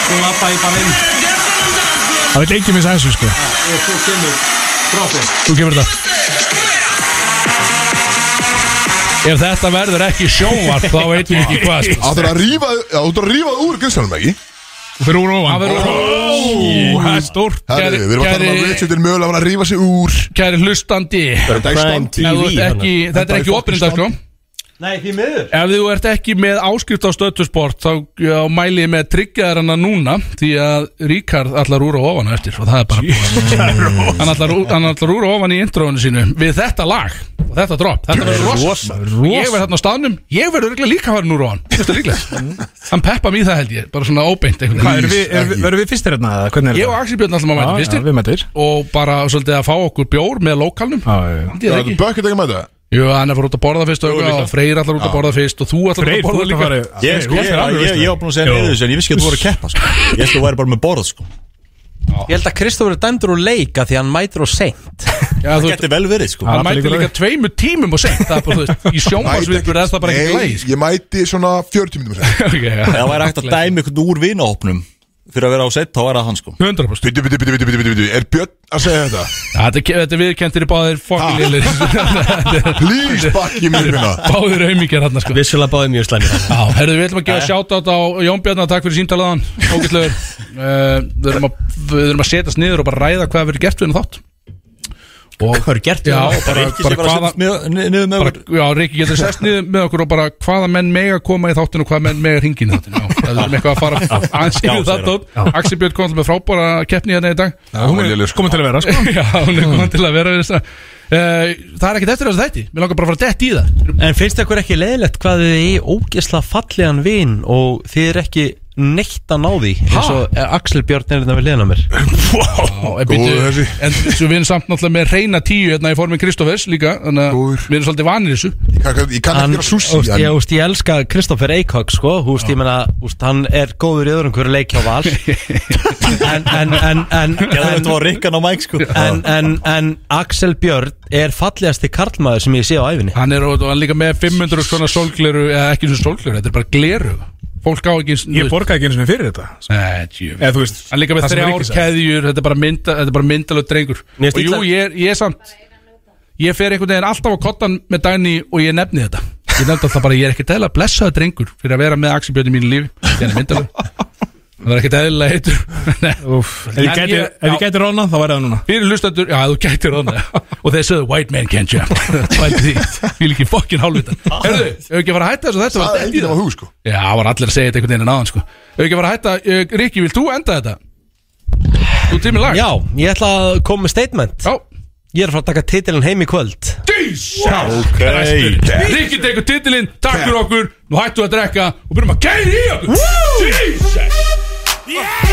S: Þú lappa í bara inn
T: Það vil ekki missa þessu sko
S: Og svo kemur Brófið
H: Þú kemur þetta Ef þetta verður ekki sjónvarp Þá veitum við ekki hvað sko.
A: Það er að rífa Já, þú er að rífa úr grinstanum ekki
T: Fyrir úr ofan
H: Fyrir úr
A: Ó,
T: Það er stórt
A: Herðu, við erum að tala um að
H: Kæri-
A: Richard er mögulega að fara að rífa sig úr
H: Kæri hlustandi
A: Bara Dagstán
H: Ef þú ert ekki, Þetta er ekki opnum dagskrá
S: Nei, því miður
H: Ef þú ert ekki með áskrift á stöttusport þá já, mæli ég með að tryggja þér hana núna því að Ríkard allar úr og ofan á eftir og það er bara búin hann allar, úr- hann allar úr og ofan í intróinu sínu við þetta lag og þetta drop þetta verður rosa, ég verður þarna á staðnum ég verður örugglega líka farin úr og ofan Þetta er líklega. hann peppa mér í það held ég bara svona óbeint einhvern
T: Hvað, erum
H: veginn.
T: við- erum við- verðum við fyrstir hérna? eða Hvernig er
H: ég og Axel Björn alltaf maður mæta
T: Já, já,
H: fyrstir
T: við mættir
H: og bara svolítið að fá okkur bjór með lokalnum
T: Já,
A: Það
H: Ég er
A: er
H: ekki.
A: bökkert ekki með það
H: Jú, hann er fyrir út að borða fyrst og,
A: Jú,
H: eitthvað,
A: líka.
H: og Freyr allar út að
A: Já.
H: borða fyrst og þú allar
T: Freyr,
H: út að
T: þú
H: borða
T: ert að
H: líka
T: fara
J: Ég, sko, ég, ég, ég, ég var búin að segja niður þessu en ég vissi ekki að þú voru að keppa sko. Ég veist að þú væri bara með borð sko.
D: Ég held að Kristófur er dæmdur úr leika því að hann mætir og seint
H: Já,
J: Það
H: þú veist,
J: geti vel verið sko.
H: hann mætti líka tveimur tímum og seint það er bara, þú veist, í sjónvarsvikur er það bara ekki sko.
A: Nei,
H: læg
A: ég mæti svona 40 minnum
J: Það væri hægt að dæmi einhvern úr vinahopnum fyrir að vera á set, þá væri það hann sko.
H: 100%
A: Bitti, bitti, bitti, bitti, bitti, bitti Er Björn að segja þetta?
H: Ja, Þetta þetta er viðkendir í báðir
J: <laughs>
H: fucking lilir <laughs>
A: Please, bakki mér minna
H: Báðir aumingjar hann sko
S: Vissulega báðið mjög slæmi þarna.
H: Já, herðu, við ætlum að gefa shoutout á Jón Bjarnar, takk fyrir símtalaðan Ógætlegur uh, við, erum að- við erum að setjast niður og bara ræða hvað verður gert við hennar þátt Og
S: Hvað er gert?
H: Já,
S: Já,
H: bara,
J: Rikki sé
H: bara
J: bara að
H: hvaða
J: setjast niður- ni- niður með
H: bara,
J: okkur.
H: Já, Rikki getur sest niður með okkur og bara hvaða menn mega koma í þáttinu og hvaða menn mega ringin í þáttinu Já, það er um eitthvað að fara aðeins
J: Já,
H: yfir
J: segir
H: það tótt Axi Björn kom alltaf með frábæra keppni hérna í dag
A: Hún er léleg, sko.
T: Komum til að vera sko
H: <laughs> Já, hún er komin til að vera við þess Það er ekkert eftir þessu þætti Mér langar bara að fara dett í það
D: En finnst ykkur ekki leiðilegt hvað þið er ógesla fallegan vin og þið er ekki neitt að ná því eins og eh, Axel Björn er þetta við leiðan að mér
H: En
A: Góður þessi.
H: býttu- Eh, en svo við erum samt náttúrulega með reyna tíu hérna í formin Kristofers líka Þannig að
A: Góður.
H: við erum svolítið vanir þessu
A: Ég kann ekki- ég kann ekki
D: Hann-
A: gera sushi
D: úst,
A: en-
D: Ég, úst, ég elska Kristoffer Eikhag sko, úst, ég meina, úst, hann er góður í öðrum hverju leik hjá val en, en, en, en,
J: Ég þarf
D: en,
J: þetta var Rikkan á mæk sko.
D: en, en, en Axel Björn er fallegasti karlmaður sem ég sé á æfinni
H: Hann er og og hann líka með 500 svona sólgleru Eða ekki svona sólgleru, þetta er bara gleru Fólk á ekki
T: Ég borgaði ekki eins og fyrir þetta
H: Nei, djöfull.
T: Eða þú veist
H: Hann líka með
T: það sem
H: þrjár
T: Rikki sagði.
H: keðjur Þetta er bara, mynda, þetta er bara myndalög drengur
S: Mér
H: Og
S: finnst
H: jú,
S: illa-
H: ég er, ég er samt Ég fer einhvern veginn alltaf á kottan með Dæni Og ég nefni þetta Ég nefndi alltaf bara, ég er ekki dæla blessaður drengur Fyrir að vera með axibjörn í mínu lífi Því hann er myndalög Það er ekki dæla heitur <laughs> Nei.
T: Úff, Ef
H: En
T: ég gæti-
H: ég-
T: ef ég gæti rónað þá væri það núna
H: Fyrir hlustandur, já, þú gætir þannig Og þeir sögðu, white man can't jump Pældi því, því líki fokkin hálfvitan Herðu, ef ekki að fara að hætta þessu þetta
A: Það
H: var
A: er
H: dett í
A: enginn að hú, sko
H: Já, það var allir að segja þetta einhvern veginn en aðan sko Ef ekki að fara að hætta, uh, Rikki, vilt þú enda þetta? Þú tímir lag?
D: Já, ég ætla að koma með statement
H: Já
D: Ég er að fara að taka titilin heim í kvöld
H: Jesus Rikki tekur titilinn, takk fyrir okkur Nú hættu að drekka og byrjum að gæri í okkur Jesus Yeah